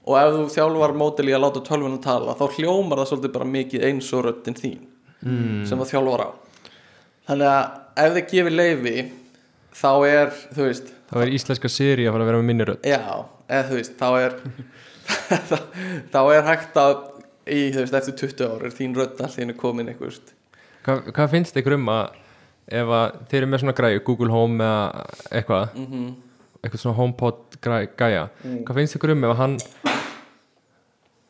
Speaker 4: og ef þú þjálfar mótil í að láta tölvuna tala þá hljómar það svolítið bara mikið eins og röddin þín mm. sem það þjálfar á þannig að ef þið gefir leifi þá er, þú veist,
Speaker 2: Þá er íslenska séri að fara að vera með minni rödd
Speaker 4: Já, eða þú veist, þá er þá- þá er *laughs* hægt að í, þú veist, eftir 20 ár er þín rödd allt í hennu komin eitthvað veist.
Speaker 2: Hva, Hvað finnst ykkur um að ef að þeir eru með svona græju, Google Home eða eitthvað eitthvað svona HomePod græ, gæja Hvað finnst ykkur um ef að hann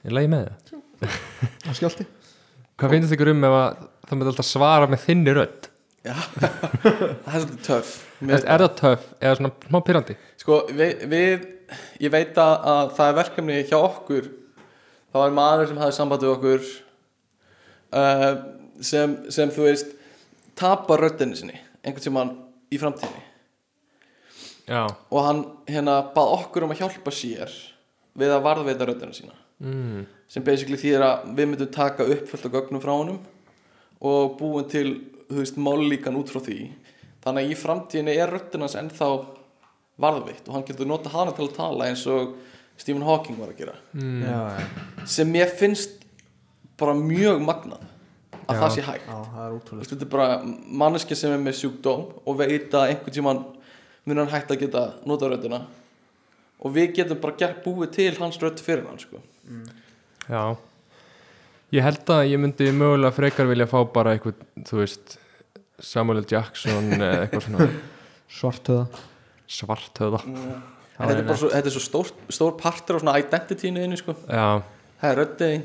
Speaker 2: Ég lægi með það
Speaker 5: hann skjálti
Speaker 2: Hvað finnst ykkur um ef að það myndi alltaf svara með þinni rödd
Speaker 4: Já, *laughs* það er svolítið töff Mér-
Speaker 2: Er það töff eða svona smá pyrrandi
Speaker 4: Sko, við, við ég veit að, að það er verkefni hjá okkur þá er maður sem hafði samband við okkur uh, sem, sem þú veist tapar röddinni sinni einhvern sem hann í framtíðinni
Speaker 2: Já,
Speaker 4: og hann hérna bað okkur um að hjálpa sér við að varðveita röddina sína
Speaker 2: mm.
Speaker 4: sem basically þýðir að við myndum taka upp fullt af gögnum frá honum og búum til, þú veist, mállíkan út frá því þannig að í framtíðinni er röddinn hans ennþá varðvitt og hann getur nota hana til að tala eins og Stephen Hawking var að gera
Speaker 5: Já, já,
Speaker 4: sem mér finnst bara mjög magnað að
Speaker 2: Já.
Speaker 4: það sé hægt
Speaker 5: já, það er
Speaker 4: Þú
Speaker 5: útrúlega
Speaker 4: veist, þetta er bara manneskja sem er með sjúkdóm og veit að einhvern tímann mun hann hægt að geta nota röddina og við getum bara gert búið til hans rödd fyrir hann sko.
Speaker 2: Já Ég held að ég myndi mögulega frekar vilja fá bara eitthvað, þú veist Samuel L. Jackson eða eitthvað svona
Speaker 5: Svartöða
Speaker 2: svartöða
Speaker 4: Mm. En þetta er bara svo, þetta er svo stór, stór partur á svona identityinu þínu sko
Speaker 2: Já,
Speaker 4: Það er röddiðin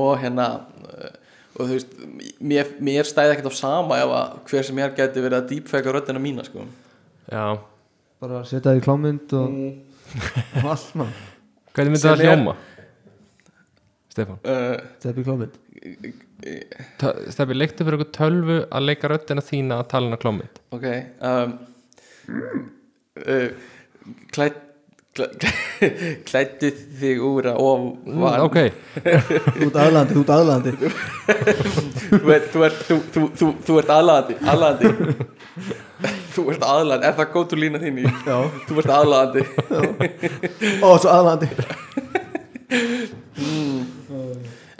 Speaker 4: og hérna eh, og þú veist, mér, mér stæði ekkert á sama ef að hver sem ég er gæti verið að deepfaka röddina mína sko
Speaker 2: já
Speaker 5: Bara setja það í klámynd og,
Speaker 4: Mm.
Speaker 5: og allt mann
Speaker 2: Hvernig myndi
Speaker 4: Sem
Speaker 2: það
Speaker 4: er-
Speaker 2: hljóma? Stefán
Speaker 4: uh,
Speaker 5: Setja í klámynd
Speaker 2: Tö- Stefán, leiktu fyrir okkur tölvu að leika röddina þína að tala inn á klómið
Speaker 4: Ok um, uh, klætt *laughs* klættu þig úr að of var,
Speaker 2: Mm, Ok,
Speaker 5: Þú ert aðlandi, þú ert
Speaker 4: *laughs*
Speaker 5: aðlandi
Speaker 4: þú, ert, þú, ert, þú, þú, þú, þú ert aðlaðandi aðlaðandi þú ert aðlaðandi, er það gótu lína þín í
Speaker 5: Já,
Speaker 4: þú ert aðlaðandi
Speaker 5: ó, svo aðlandi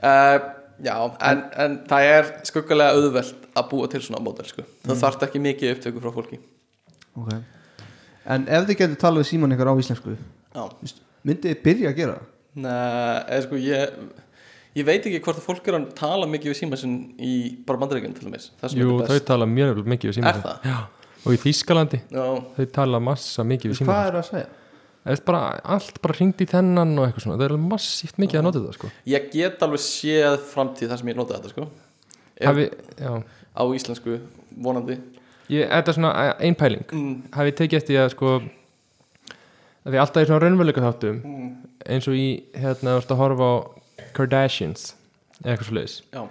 Speaker 4: uh, já, en, en það er skuggalega auðvelt að búa til svona mótel sko. það þarf ekki mikið upptöku frá fólki
Speaker 5: Ok En ef þið getur talað við síman ykkur á íslensku
Speaker 4: já,
Speaker 5: Myndið þið byrja að gera það?
Speaker 4: Nei, eða sko ég ég veit ekki hvort að fólk er að tala mikið við símasinn í bara bandaríkjum til dæmis það sem
Speaker 2: Jú,
Speaker 4: er
Speaker 2: þau
Speaker 4: best
Speaker 2: tala mjög mikið við síma
Speaker 4: Er það?
Speaker 2: Já, og í Þýskalandi
Speaker 4: já,
Speaker 2: þau tala massa mikið við síma
Speaker 5: Hvað er að segja?
Speaker 2: Eða bara, allt bara hringt í þennan og eitthvað svona, það er massíft mikið að nota þetta sko.
Speaker 4: ég get alveg séð framtíð þar sem ég nota þetta sko Ef-
Speaker 2: Hafi, já,
Speaker 4: á íslensku, vonandi
Speaker 2: ég, þetta er svona e, ein pæling
Speaker 4: mm,
Speaker 2: hafi tekið eftir því að sko að því alltaf í svona raunveruleika þáttum
Speaker 4: Mm.
Speaker 2: eins og í hérna þú ert að horfa á Kardashians eða eitthvað svo leiðis
Speaker 4: já,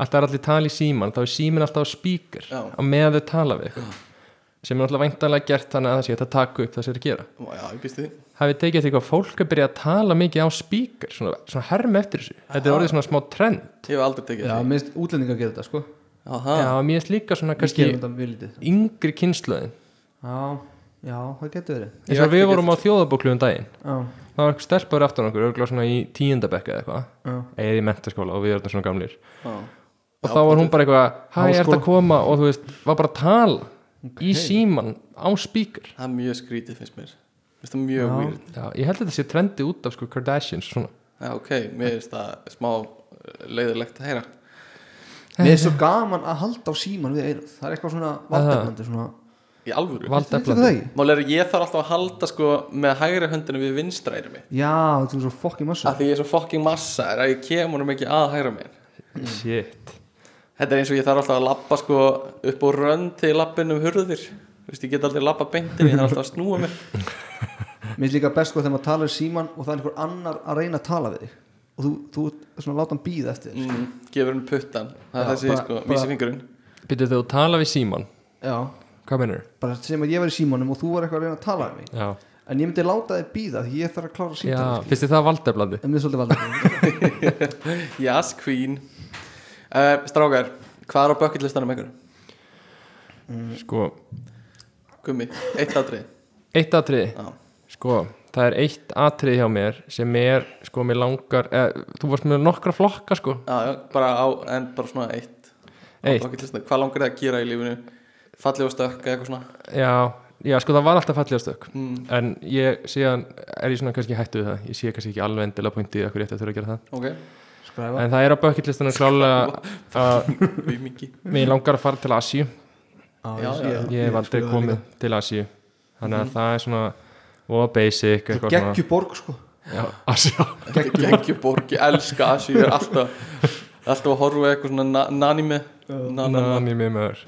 Speaker 2: alltaf er allir tala í síman þá er símin alltaf á speaker
Speaker 4: Já.
Speaker 2: á meðan þau tala við eitthvað sem er alltaf væntanlega gert þannig að það sé hægt að taka upp það sem er að gera
Speaker 4: já, ég býst við því
Speaker 2: hafi tekið eftir því hvað fólk er byrjað að tala mikið á speaker svona, svona herm eftir þessu þetta er orðið svona smá trend
Speaker 4: ég hef aldrei tekið
Speaker 5: Já, minnst útlendingar gera þetta sko
Speaker 4: því
Speaker 2: já,
Speaker 4: Aha,
Speaker 2: mér finnst líka svona
Speaker 5: Við
Speaker 2: kannski
Speaker 5: gerum þetta mjög lítið
Speaker 2: yngri kynnslöðin
Speaker 5: Já, já, það getur verið
Speaker 2: eins og við vorum á þjóðabóklu um daginn
Speaker 5: Já,
Speaker 2: það var eitthvað stelpur aftan okkur örgulega svona í tíundabekka eða eitthvað
Speaker 5: já
Speaker 2: eða í mentaskóla og við erum svona gamlir
Speaker 4: já,
Speaker 2: og þá var hún bara eitthvað, hæ,
Speaker 5: Háskóla.
Speaker 2: ert að koma og þú veist, var bara að tala í síman á speaker
Speaker 4: það er mjög skrítið finnst mér Mér finnst það mjög
Speaker 5: Já.
Speaker 4: weird
Speaker 2: Já, ég held að þetta sé trendi út af sko Kardashians svona.
Speaker 4: já, ok, mér finnst það smá eh, leiðilegt að heyra
Speaker 5: Mér er svo gaman að halda á síman við eirað Það er eitthvað svona valdefnandi svona
Speaker 4: í alvöru
Speaker 5: Þetta er það
Speaker 2: valdeflandi
Speaker 5: ekki?
Speaker 4: Mál er að ég þarf alltaf að halda sko með hægri höndinu við vinstræri mitt
Speaker 5: Já, þetta er svo fokkin massa
Speaker 4: að því ég er svo fucking massa er að ég kemur honum ekki að hægra mér
Speaker 2: shit,
Speaker 4: Þetta er eins og ég þarf alltaf að lappa sko upp og rönd til lappinu um hurðir Vist, ég get aldrei lappa beintin, ég þarf alltaf að snúa mér
Speaker 5: Mér er líka best sko þegar maður talar í síman og það er einhver annar að reyna að tala við þig og þú, þú ert svona láta hann býða eftir þér.
Speaker 4: mm, gefur henni puttan það er
Speaker 5: Já,
Speaker 4: þessi
Speaker 5: bara-
Speaker 4: sko,
Speaker 5: bara-
Speaker 4: vísifingurinn
Speaker 2: byrjuð þegar þú tala við síman
Speaker 5: Já,
Speaker 2: hvað mennur?
Speaker 5: bara sem að ég var í símanum og þú var eitthvað að reyna að tala við mig
Speaker 2: Já,
Speaker 5: En ég myndi láta þig býða því ég þarf að klára
Speaker 2: Já
Speaker 5: síman
Speaker 2: finnst þið það valdeflandi?
Speaker 5: En mér er svolítið valdefnandi
Speaker 4: Yes, queen uh, Strákar, hvað er á bucketlistanum ykkur?
Speaker 2: Sko,
Speaker 4: Gummi, eitt atrið
Speaker 2: eitt atrið
Speaker 4: Já,
Speaker 2: Sko, það er eitt atrið hjá mér sem er, sko, mér langar eða, þú varst með nokkra flokka, sko
Speaker 4: já, já, bara á, en bara svona eitt
Speaker 2: Eitt.
Speaker 4: bucketlistanum, hvað langar þið að gera í lífinu? Fallið og stökk eða eitthvað svona
Speaker 2: Já, já, sko það var alltaf fallegastök
Speaker 4: mm,
Speaker 2: en ég síðan er ég svona kannski hættu við það ég sé kannski ekki alveg endilega punktið að hverju þetta þurfa að gera það
Speaker 4: Ok,
Speaker 5: Skræfa
Speaker 2: en það er á bucketlistanum klálega að
Speaker 4: við mikið
Speaker 2: mér langar að fara til Asíu
Speaker 4: Já,
Speaker 5: ég sé
Speaker 4: já.
Speaker 5: það.
Speaker 2: ég hef
Speaker 5: Ég
Speaker 2: aldrei
Speaker 5: skoða það
Speaker 2: komið
Speaker 5: líka.
Speaker 2: til Asíu þannig að það er svona og basic
Speaker 5: Svo
Speaker 2: eitthvað svona
Speaker 5: geggju borg sko
Speaker 2: já, Asíu
Speaker 4: Gekkjuborg, ég elska Asi Ég er alltaf, alltaf að horfa á eitthvað svona na- nanime nanama,
Speaker 2: mér mér maður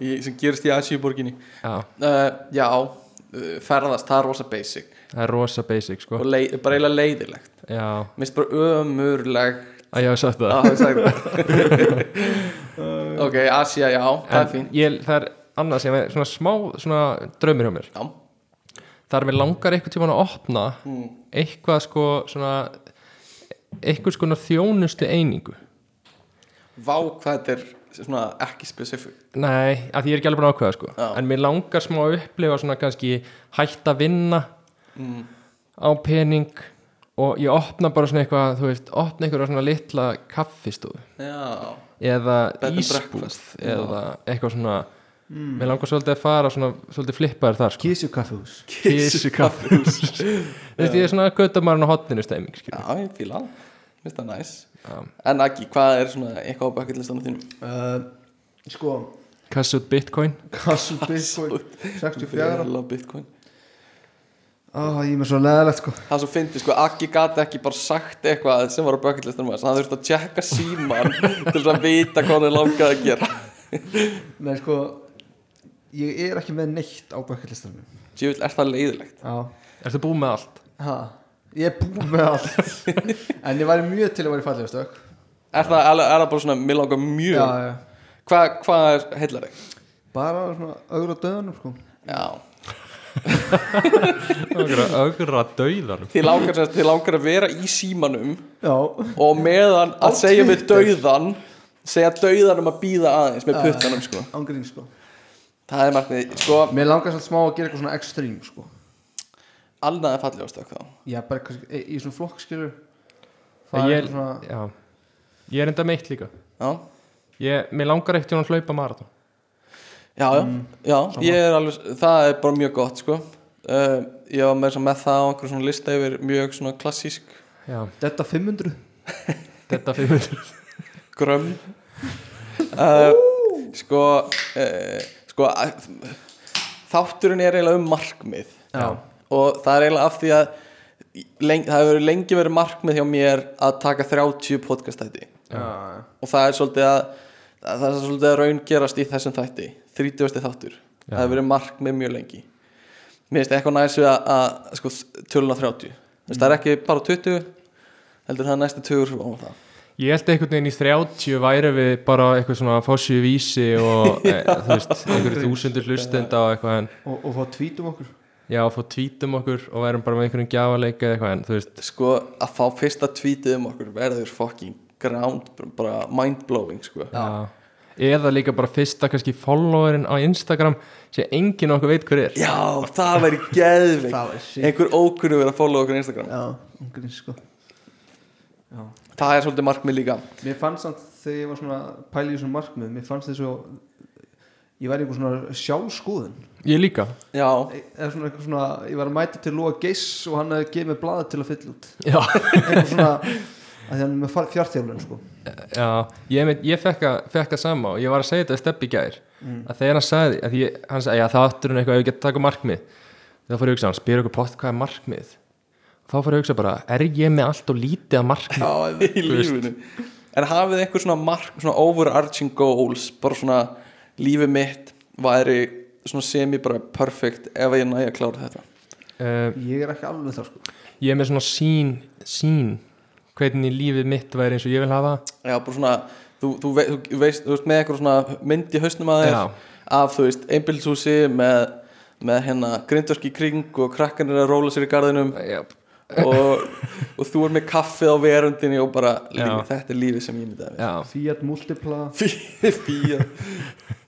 Speaker 4: í, sem gerist í Asiuborginni
Speaker 2: já,
Speaker 4: uh, Já, uh, ferðast, það er rosa basic
Speaker 2: það er rosa basic sko
Speaker 4: og leið, bara eiginlega leiðilegt
Speaker 2: já,
Speaker 4: Mér finnst bara ömurlegt
Speaker 2: að ég hef sagt það
Speaker 4: að hafa sagt það Ok, Asia, já, það er
Speaker 2: en
Speaker 4: fín
Speaker 2: ég, það er annað sem er svona smá svona draumir hjá mér
Speaker 4: Já,
Speaker 2: það er mér langar eitthvað tíma að opna
Speaker 4: mm,
Speaker 2: eitthvað sko svona eitthvað sko þjónustu einingu
Speaker 4: vá hvað þetta er svona ekki specific
Speaker 2: Nei, að ég er ekki alveg búin að ákveða sko
Speaker 4: Já.
Speaker 2: En mér langar smá að upplifa svona kannski hætt að vinna
Speaker 4: mm,
Speaker 2: á pening og ég opna bara svona eitthvað, þú veist, opna eitthvað svona litla kaffistofu
Speaker 4: Já,
Speaker 2: eða
Speaker 4: Bed and
Speaker 2: ísbúð
Speaker 4: breakfast. Mm.
Speaker 2: eða eitthvað svona Mér langar svolítið að fara svona, svolítið flippaður þar sko
Speaker 5: Kísju kaffehús
Speaker 2: Kísukaffihús Þú veist, ég er svona göttamarinn á hotninu stemming skilur.
Speaker 4: já, ég fíla það. Mér finnst það næs En Aggi, hvað er svona eitthvað á bucketlistanum þínum?
Speaker 5: uh, Sko
Speaker 2: Kassa út bitcoin
Speaker 5: Kassu Bitcoin 64
Speaker 4: Fjara Bitcoin
Speaker 5: Á, Ah, Ég er með svo leðalegt sko
Speaker 4: Það er svo fyndi, sko, Akki gati ekki bara sagt eitthvað sem var á bucketlistanum hans Hann þurfti að tjekka síman *laughs* til þess að vita hvað hann langaði að gera
Speaker 5: Nei sko Ég er ekki með neitt á bökkilistanum
Speaker 4: Sjövill, er það leiðilegt?
Speaker 5: Já
Speaker 2: Ertu búið með allt?
Speaker 5: ha, Ég er búinn með allt En ég væri mjög til að vera í fallega stök
Speaker 4: Er það, er, er það bara svona, mér langar
Speaker 5: Já,
Speaker 4: mjög
Speaker 5: já
Speaker 4: Hvað hva er heillar þig?
Speaker 5: Bara svona augur á döðunum sko
Speaker 4: Já,
Speaker 2: Ögra dauðanum
Speaker 4: þið langar, sem sagt- þið langar að vera í símanum
Speaker 5: Já
Speaker 4: og meðan
Speaker 5: Á
Speaker 4: að segja við
Speaker 5: Twitter.
Speaker 4: um dauðan segja dauðanum að býða aðeins með puttanum, sko
Speaker 5: Ángrín sko
Speaker 4: það er markmið sko,
Speaker 5: Mér langar svolítið smá að gera eitthvað svona extrím sko.
Speaker 4: alnað er fallið á stökk þá
Speaker 5: Já, bara kannski, e- í svona flokk skilur
Speaker 2: Ég-
Speaker 5: Það er eitthvað svona
Speaker 2: Já, ég er enda meitt líka
Speaker 4: já,
Speaker 2: ég, Mér langar eitt að hlaupa marathon
Speaker 4: já, já, já ég er alveg, það er bara mjög gott sko. uh, ég var með, með það á einhverjum svona lista yfir mjög svona klassísk
Speaker 2: Já,
Speaker 5: Þetta 500
Speaker 2: þetta 500
Speaker 4: grömm uh, sko uh, sko að- þátturinn er eiginlega um markmið
Speaker 5: Já.
Speaker 4: og það er eiginlega af því að leng, það hefur lengi verið markmið hjá mér að taka 30 podcastætti
Speaker 5: Já,
Speaker 4: og það er svolítið að það er svolítið að raun gerast í þessum þætti 30. þáttur, það
Speaker 2: Já.
Speaker 4: hefur verið markmið mjög lengi mér finnst eitthvað næssu að, að sko, töluna 30 mm. það er ekki bara 20 heldur það er næstu 20 og það
Speaker 2: Ég held einhvern veginn í 30 væri við bara eitthvað svona fósíu vísi
Speaker 4: *laughs*
Speaker 2: og e, þú veist, einhverju þúsundur hlustenda og eitthvað en
Speaker 5: og, og fá tvítum okkur
Speaker 2: já, fá tvítum okkur og værum bara með einhverjum gjafaleika eða eitthvað en þú veist,
Speaker 4: sko að fá fyrsta tweetið um okkur verður fucking ground bara mindblowing sko
Speaker 2: já. eða líka bara fyrsta kannski followerinn á Instagram sem enginn okkur veit hver er
Speaker 4: já það væri geðvig
Speaker 5: Það var shit
Speaker 4: einhver ókunnu verið að followa okkur á Instagram
Speaker 5: Já, umgrið sko
Speaker 4: það er svolítið markmið líka
Speaker 5: Mér fannst samt þegar ég var svona pæli í svona markmið Mér fannst þess að ég væri einhver svona sjálfskoðun
Speaker 2: Ég líka,
Speaker 4: já
Speaker 5: eða svona eitthvað svona, ég var að mæta til Lóa Geiss og hann hefði gefið mér blaðið til að fylla út
Speaker 2: já,
Speaker 5: eitthvað svona að því hann er með fjartjálun sko.
Speaker 2: já ég, með, ég fekk, að, fekk að sama og ég var að segja þetta við Steppi í gær að þegar hann sagði, að ég, hann sagði, já það áttur hann eitthvað ef við getum taka markmið þá fór ég að hugsa, hann spyr okkur pott hvað er markmið þá fór ég að hugsa bara, er ég með allt og lítið að markmið
Speaker 4: *laughs* í lífinu en hafið þið einhver svona mark svona overarching goals bara svona lífið mitt væri svona semi bara perfect ef ég næja að klára þetta
Speaker 2: uh,
Speaker 5: ég er ekki alveg það sko.
Speaker 2: ég er með svona sín sín hvernig lífið mitt væri eins og ég vil hafa
Speaker 4: já bara svona þú, þú, vei, þú veist þú veist með einhver svona mynd í hausnum að þér
Speaker 2: Já.
Speaker 4: af þú veist einbildshúsi með, með hérna grindverk í kring og krakkanir að róla sér í garðinum
Speaker 2: Jáp.
Speaker 4: og,
Speaker 2: *laughs*
Speaker 4: og þú er með kaffið á verundinni og bara lífi,
Speaker 2: Já.
Speaker 4: þetta er lífið sem ég myndaði mér.
Speaker 2: já,
Speaker 5: Fiat Multipla
Speaker 4: Fí- *laughs* fía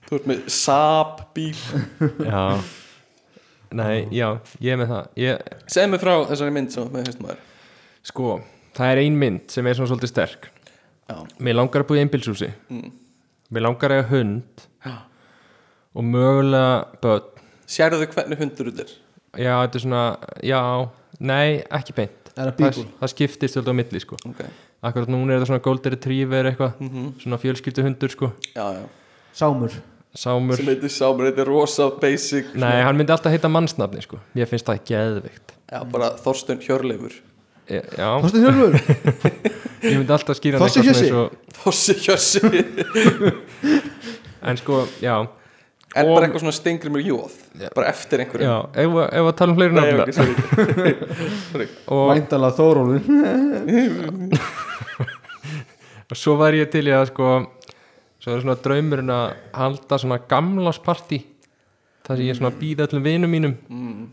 Speaker 4: þú ert með Saab bíl
Speaker 2: já nei, já, ég er með það ég,
Speaker 4: segð mér frá þessari mynd sem þú ert með hausnum að þér
Speaker 2: sko, það er ein mynd sem er svona svolítið sterk
Speaker 4: já,
Speaker 2: mér langar að búið í einbilshúsi
Speaker 4: Mm.
Speaker 2: mér langar að eiga hund
Speaker 4: Já.
Speaker 2: og mögulega börn,
Speaker 4: sérðu hvernig hundur þetta er
Speaker 2: já, þetta er svona já, nei, ekki beint
Speaker 5: er það
Speaker 2: það,
Speaker 5: bíkul
Speaker 2: það skiptist alltaf á milli, sko
Speaker 4: ok,
Speaker 2: akkurat núna er þetta svona golden retriever eitthvað
Speaker 4: mhm,
Speaker 2: svona fjölskylduhundur, sko,
Speaker 4: já, já
Speaker 5: Sámur
Speaker 2: sámur
Speaker 4: sem heitir Saab, þetta er rosa basic
Speaker 2: Nei, hann myndi alltaf heita mannsnafni sko. Ég finnst það geðvikt
Speaker 4: já, bara Þorsten Hjörleifur
Speaker 2: E- Já,
Speaker 5: Þorsten Hjörfur
Speaker 2: ég myndi alltaf skýra hann
Speaker 5: Þorsteinn Hjössi?
Speaker 2: eitthvað svona eins og
Speaker 4: Þorsten Hjörsi *laughs*
Speaker 2: En sko, já,
Speaker 4: En
Speaker 2: Og-
Speaker 4: bara eitthvað svona stingri mjög jóð Bara eftir einhverju
Speaker 2: já Ef að- ef að tala um fleiri
Speaker 4: Nei, ok,
Speaker 2: nafna
Speaker 4: sorry.
Speaker 2: og,
Speaker 5: Vændala Þórólfur
Speaker 2: og svo var ég til í að sko Svo er svona draumurinn að halda svona gamlásparti Það sem ég er svona að býða öllum vinum mínum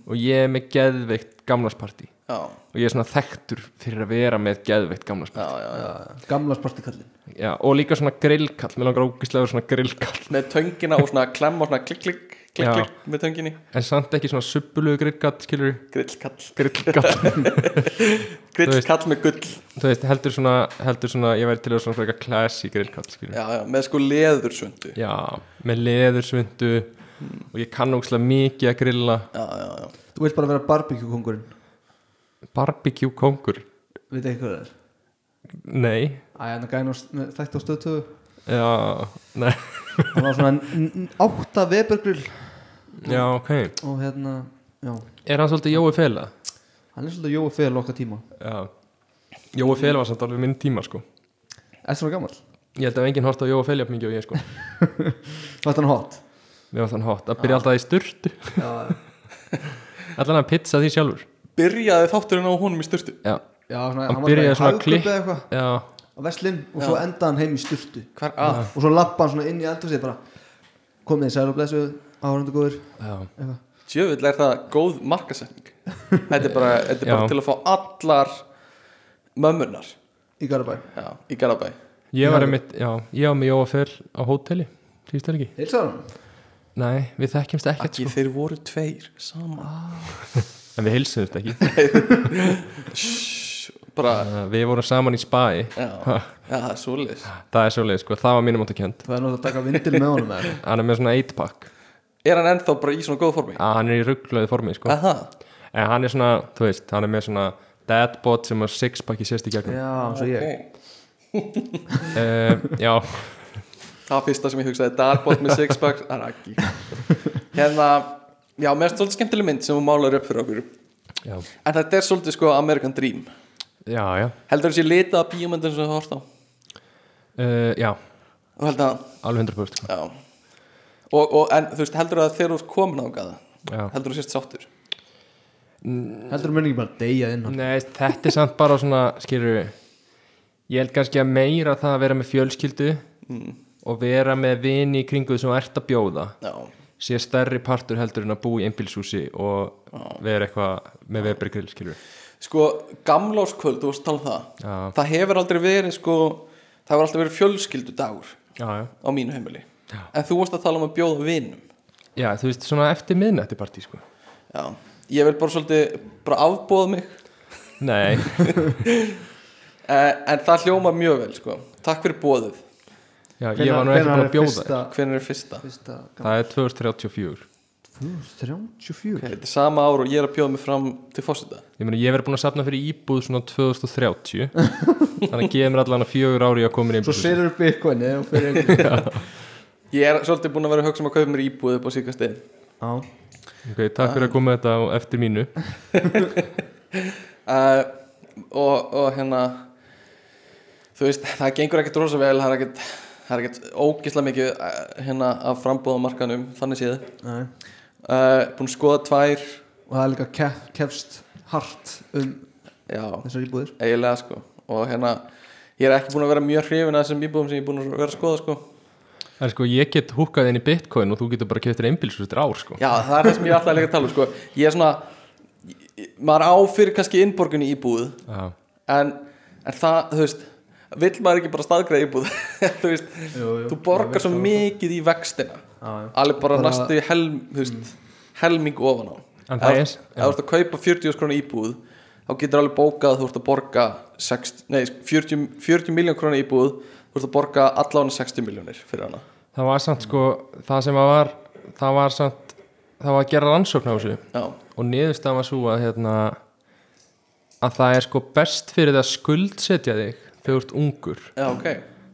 Speaker 2: Og ég er með geðveikt gamlásparti
Speaker 4: Já,
Speaker 2: Og ég er svona þekktur fyrir að vera með geðveikt
Speaker 4: já,
Speaker 2: gamlásparti
Speaker 4: já, já
Speaker 5: Gamla spartikallin
Speaker 2: já, Og líka svona grillkall, mér langar ógislega svona grillkall
Speaker 4: Með töngina og svona klemma og svona klikk, klikk, klikk,
Speaker 2: Já.
Speaker 4: klikk Með tönginni,
Speaker 2: En samt ekki svona subbulugu grillkall, skilur
Speaker 4: grillkall
Speaker 2: Grillkall Þú
Speaker 4: *laughs*
Speaker 2: veist.
Speaker 4: Grillkall með gull
Speaker 2: þú veist, heldur svona, heldur svona ég væri til að svona frekar classy grillkall skilur.
Speaker 4: Já, já, með sko leðursvöndu Já,
Speaker 2: já, með leðursvindu og ég kann ógslag mikið að grilla
Speaker 4: já, já
Speaker 5: Þú veist bara að vera barbecue-kongurinn
Speaker 2: barbecue kongur,
Speaker 5: Veit ekki hvað það er
Speaker 2: nei
Speaker 5: Æ, hann gæði nú þætti á stöðtöðu
Speaker 2: já, nei,
Speaker 5: Hann var svona n- n- átta Webergrill
Speaker 2: já, ok
Speaker 5: Og hérna, já
Speaker 2: er hann svolítið Jói Fela?
Speaker 5: Hann er svolítið jóið fyrir lokka tíma
Speaker 2: já, Jói Fela var samt alveg minn tíma sko
Speaker 5: Er það gammal?
Speaker 2: ég held að enginn hort á Jói Fela jafn mikið og ég sko
Speaker 5: Þetta er hann hot
Speaker 2: *laughs* mér var þann hot, að byrja alltaf í sturtu
Speaker 5: Já,
Speaker 2: allan að pizza því sjálfur
Speaker 4: Byrjaði þátturinn á honum í sturtu
Speaker 2: já,
Speaker 5: já svona,
Speaker 2: Hann
Speaker 5: var bara í
Speaker 2: byrjaði svona
Speaker 5: hagkaupi
Speaker 2: klikk.
Speaker 5: eða eitthvað
Speaker 2: já,
Speaker 5: á Vestlinn og svo endaði hann heim í sturtu
Speaker 4: Hvar að?
Speaker 5: og svo lappa hann svona inn í eldhúsið bara komið þið særu og blessu áhörundu góður
Speaker 2: já,
Speaker 4: Djöfull er það góð markasetning Þetta er bara, þetta er bara
Speaker 2: Já.
Speaker 4: til að fá allar mömmunar
Speaker 5: í Garabæ
Speaker 4: Já, í Garabæ
Speaker 2: ég var einmitt já, ég var með Jói Fela á hóteli síðustu helgi
Speaker 5: heilsaður hann
Speaker 2: Nei, við þekkjumst ekkert
Speaker 4: Akki,
Speaker 2: sko
Speaker 4: þeir voru tveir saman
Speaker 5: Ah.
Speaker 2: En við heilsumst ekki
Speaker 4: bara,
Speaker 2: Uh, Við vorum saman í spæi
Speaker 4: já, já, það er svoleiðis
Speaker 2: Það er svolítið sko, það var mínum áttu kjönd
Speaker 5: Það er náttúrulega að taka vindil með honum eða?
Speaker 2: Hann er með svona 8-pack
Speaker 4: er hann ennþá bara í svona góð formi
Speaker 2: að Hann er í rugglöðu formi sko
Speaker 4: aha,
Speaker 2: En hann er svona, þú veist, hann er með svona Deadbot sem að 6-packi sést í gegnum
Speaker 5: Já, eins og ég
Speaker 4: ok
Speaker 2: uh, Já,
Speaker 4: það fyrsta sem ég hugsaði, Darbot með
Speaker 5: *laughs*
Speaker 4: sixpack það er Akki hérna, já, mér er svolítið skemmtileg mynd sem hún málar upp fyrir okkur
Speaker 2: já,
Speaker 4: en þetta er svolítið sko American Dream
Speaker 2: já, já,
Speaker 4: heldur þessi litaða bíómyndin sem þú horft á
Speaker 2: uh, já
Speaker 4: og heldur að
Speaker 2: Alveg 100% sko.
Speaker 4: Já og, og, En þú veist, heldur að þegar þú ert komin ángað
Speaker 2: Já.
Speaker 4: Heldur þú sért sáttur
Speaker 5: Heldur mun ekki bara deyja inn
Speaker 2: Nei, þetta er samt bara svona, skilur Ég held kannski að meira það að vera með fjölskyldu og vera með vini í kringuð sem þú ert að bjóða
Speaker 4: Já,
Speaker 2: sé stærri partur heldur en að búa í einbílshúsi og vera eitthvað með vebergrill, skilur
Speaker 4: sko, gamláskvöld, þú varst að tala um það
Speaker 2: Já.
Speaker 4: Það hefur aldrei verið, sko Það hefur alltaf verið fjölskyldu dagur
Speaker 2: Já, já
Speaker 4: Á mínu heimili En þú varst að tala um að bjóða vinum
Speaker 2: Já, þú veist, svona eftir miðnætti partí, sko
Speaker 4: Já, ég vil bara svolítið Bara afbóða mig
Speaker 2: Nei,
Speaker 4: eh, En það hljóma mjög vel, sko Takk fyrir bóðið
Speaker 2: já, ég var nú ekki búin að bjóða
Speaker 5: fyrsta,
Speaker 4: Hvenær er fyrsta?
Speaker 5: fyrsta gamla-
Speaker 2: Það er 2034
Speaker 4: Ok,
Speaker 5: 34
Speaker 4: Þetta er sama ár og ég er að bjóða mig fram til fósita
Speaker 2: Ég meni, ég verið búin að safna fyrir íbúð svona 2030 Þannig að gefa mér allan að fjögur ári að koma í
Speaker 5: Svo
Speaker 2: einbílshúsi
Speaker 5: selur upp bitcoin eða hún fer
Speaker 2: *laughs*
Speaker 5: einhvern-
Speaker 4: Ég er svolítið búin að vera að hugsa um að kaupa mér íbúð upp á síkast
Speaker 5: Já.
Speaker 2: Ok, takk fyrir að koma með þetta á eftir mínu
Speaker 4: uh, og, og hérna þú veist, það gengur ekkert rosa vel það er ekkert, það er ekkert ógislega mikið uh, hérna af frambóðamarkanum þannig séð
Speaker 5: Nei.
Speaker 4: uh, búin að skoða tvær
Speaker 5: Og það er líka kef, kefst hart um
Speaker 4: já,
Speaker 5: þessar íbúðir
Speaker 4: eiginlega sko og hérna, ég er ekki búin að vera mjög hrifin að þessum íbúðum sem ég er búin að vera að skoða sko
Speaker 2: Það er sko, ég get húkkað inn í bitcoin og þú getur bara keftir einbílshúsi þetta ár, sko
Speaker 4: já, það er það sem ég er alltaf líka að tala um sko ég er svona, ég- maður á fyrir kannski innborgun í íbúð
Speaker 2: Já,
Speaker 4: en, en það, þú veist vill maður ekki bara staðgreða íbúð *laughs* þú veist,
Speaker 5: jú,
Speaker 4: þú borgar svo mikið í vextina
Speaker 5: Já, já.
Speaker 4: alveg bara Mm.
Speaker 5: Bara-
Speaker 4: næstu í helm, þú veist, helming ofan á
Speaker 2: En það er-
Speaker 4: ef ef þú ert að kaupa 40 krona íbúð þá getur alveg bókað að þú ert að borga 60, nei, 40, 40 miljón krona íbúð þú ert að borga allan 60 miljónir fyrir hana
Speaker 2: það var samt, sko, það sem að var það var samt, það var að gera rannsókn á þessu
Speaker 4: já,
Speaker 2: og niðurstaðan var svo að hérna, að það er sko best fyrir það að skuldsetja þig þegar þú ert ungur
Speaker 4: já, ok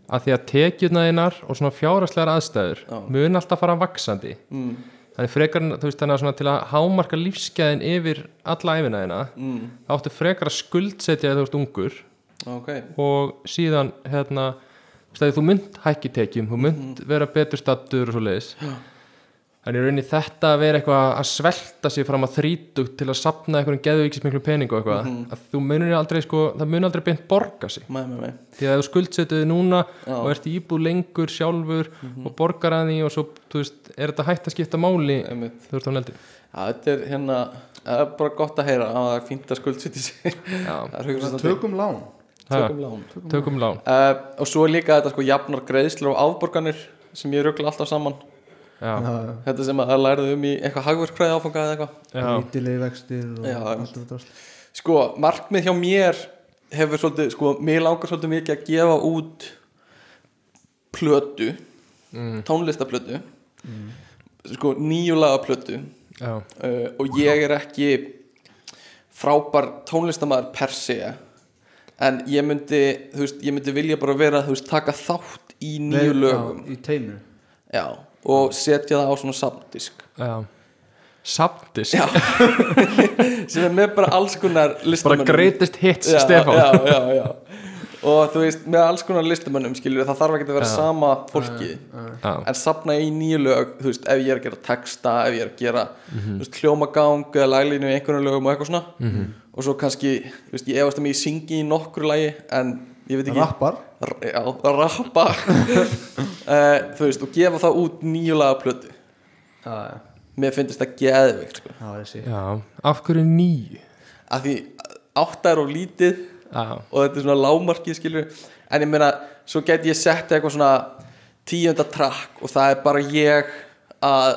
Speaker 2: að því að tekjurnaðinar og svona fjáraslegar aðstæður
Speaker 4: Já.
Speaker 2: mun alltaf fara vaksandi mm. þannig frekar, en- þú veist þannig að svona til að hámarka lífskeiðin yfir alla æfinaðina mm. þá áttu frekar að skuldsetja þegar þú ert ungur
Speaker 4: ok,
Speaker 2: og síðan hérna, þú veist, að þú mynd hækki tekjum, þú mynd vera betur stattur og svo leiðis en í rauninni þetta að vera eitthvað að svelta sig fram að þrítugt til að sapna einhverjum geðvíkis miklu pening og eitthvað að þú munir aldrei sko, það mun aldrei beint borga sig
Speaker 4: mæ, mæ, mæ
Speaker 2: því að ef þú skuldsetu þig núna og ert í íbúð lengur sjálfur
Speaker 4: Mhm.
Speaker 2: og borgar að því og svo, þú veist, er þetta hægt að skipta máli
Speaker 4: Einmitt.
Speaker 2: þú ert á neldi
Speaker 4: já, þetta er hérna, það er bara gott að heyra að það er fínt að skuldsetja sig *laughs* það er hugsa svolítið.
Speaker 5: Tökum lán
Speaker 4: tökum lán
Speaker 2: tökum lán
Speaker 4: uh, og svo er líka þetta sko jafnar greiðslur og afborganir sem ég ruggla alltaf saman
Speaker 2: já,
Speaker 4: þetta sem að lærðu um í eitthvað hagverkfræði áfanga eða eitthvað
Speaker 2: já,
Speaker 5: Lítilegi vextir og
Speaker 4: Já,
Speaker 5: allt þetta drasl.
Speaker 4: sko markmið hjá mér hefur svolítið sko mér langar svolítið mikið að gefa út plötu
Speaker 5: Mm.
Speaker 4: tónlistaplötu sko nýjulaga plötu
Speaker 2: já,
Speaker 4: uh, og ég er ekki frábær tónlistamæður per se en ég myndi þú veist, ég myndi vilja bara vera þú veist taka þátt í nýju
Speaker 5: Nei,
Speaker 4: lögum
Speaker 5: já, Í teiminu
Speaker 4: Já, og setja það á svona samdisk
Speaker 2: já. samtis
Speaker 4: Já. *laughs* sem er með bara alls konar
Speaker 2: bara
Speaker 4: listamönnum
Speaker 2: greatest hits
Speaker 4: já,
Speaker 2: Stefán
Speaker 4: já, já, já. og þú veist, með alls konar listamönnum skilur það þarf ekki að vera sama fólki
Speaker 2: Já.
Speaker 4: en safna í nýju lög þú veist, ef ég er að gera texta, ef ég er að gera þú
Speaker 2: Mhm.
Speaker 4: veist, hljómagang eða laglínu í einhvern lögum og eitthvað svona -hmm. og svo kannski, þú veist, ég efast um að mér syngi í nokkru lagi en ég veit ekki
Speaker 5: Rappar
Speaker 4: R- já, rappa *laughs* uh, þú veist, og gefa það út nýju laga plötu
Speaker 5: Já, já
Speaker 4: mér finnst það geðveikt sko.
Speaker 5: Það er þessi
Speaker 2: Já, af hverju nýju?
Speaker 4: af því átta er of lítið
Speaker 2: Já,
Speaker 4: og þetta er svona lámarkið skilur en ég meina, svo geti ég sett eitthvað svona tíunda trakk og það er bara ég að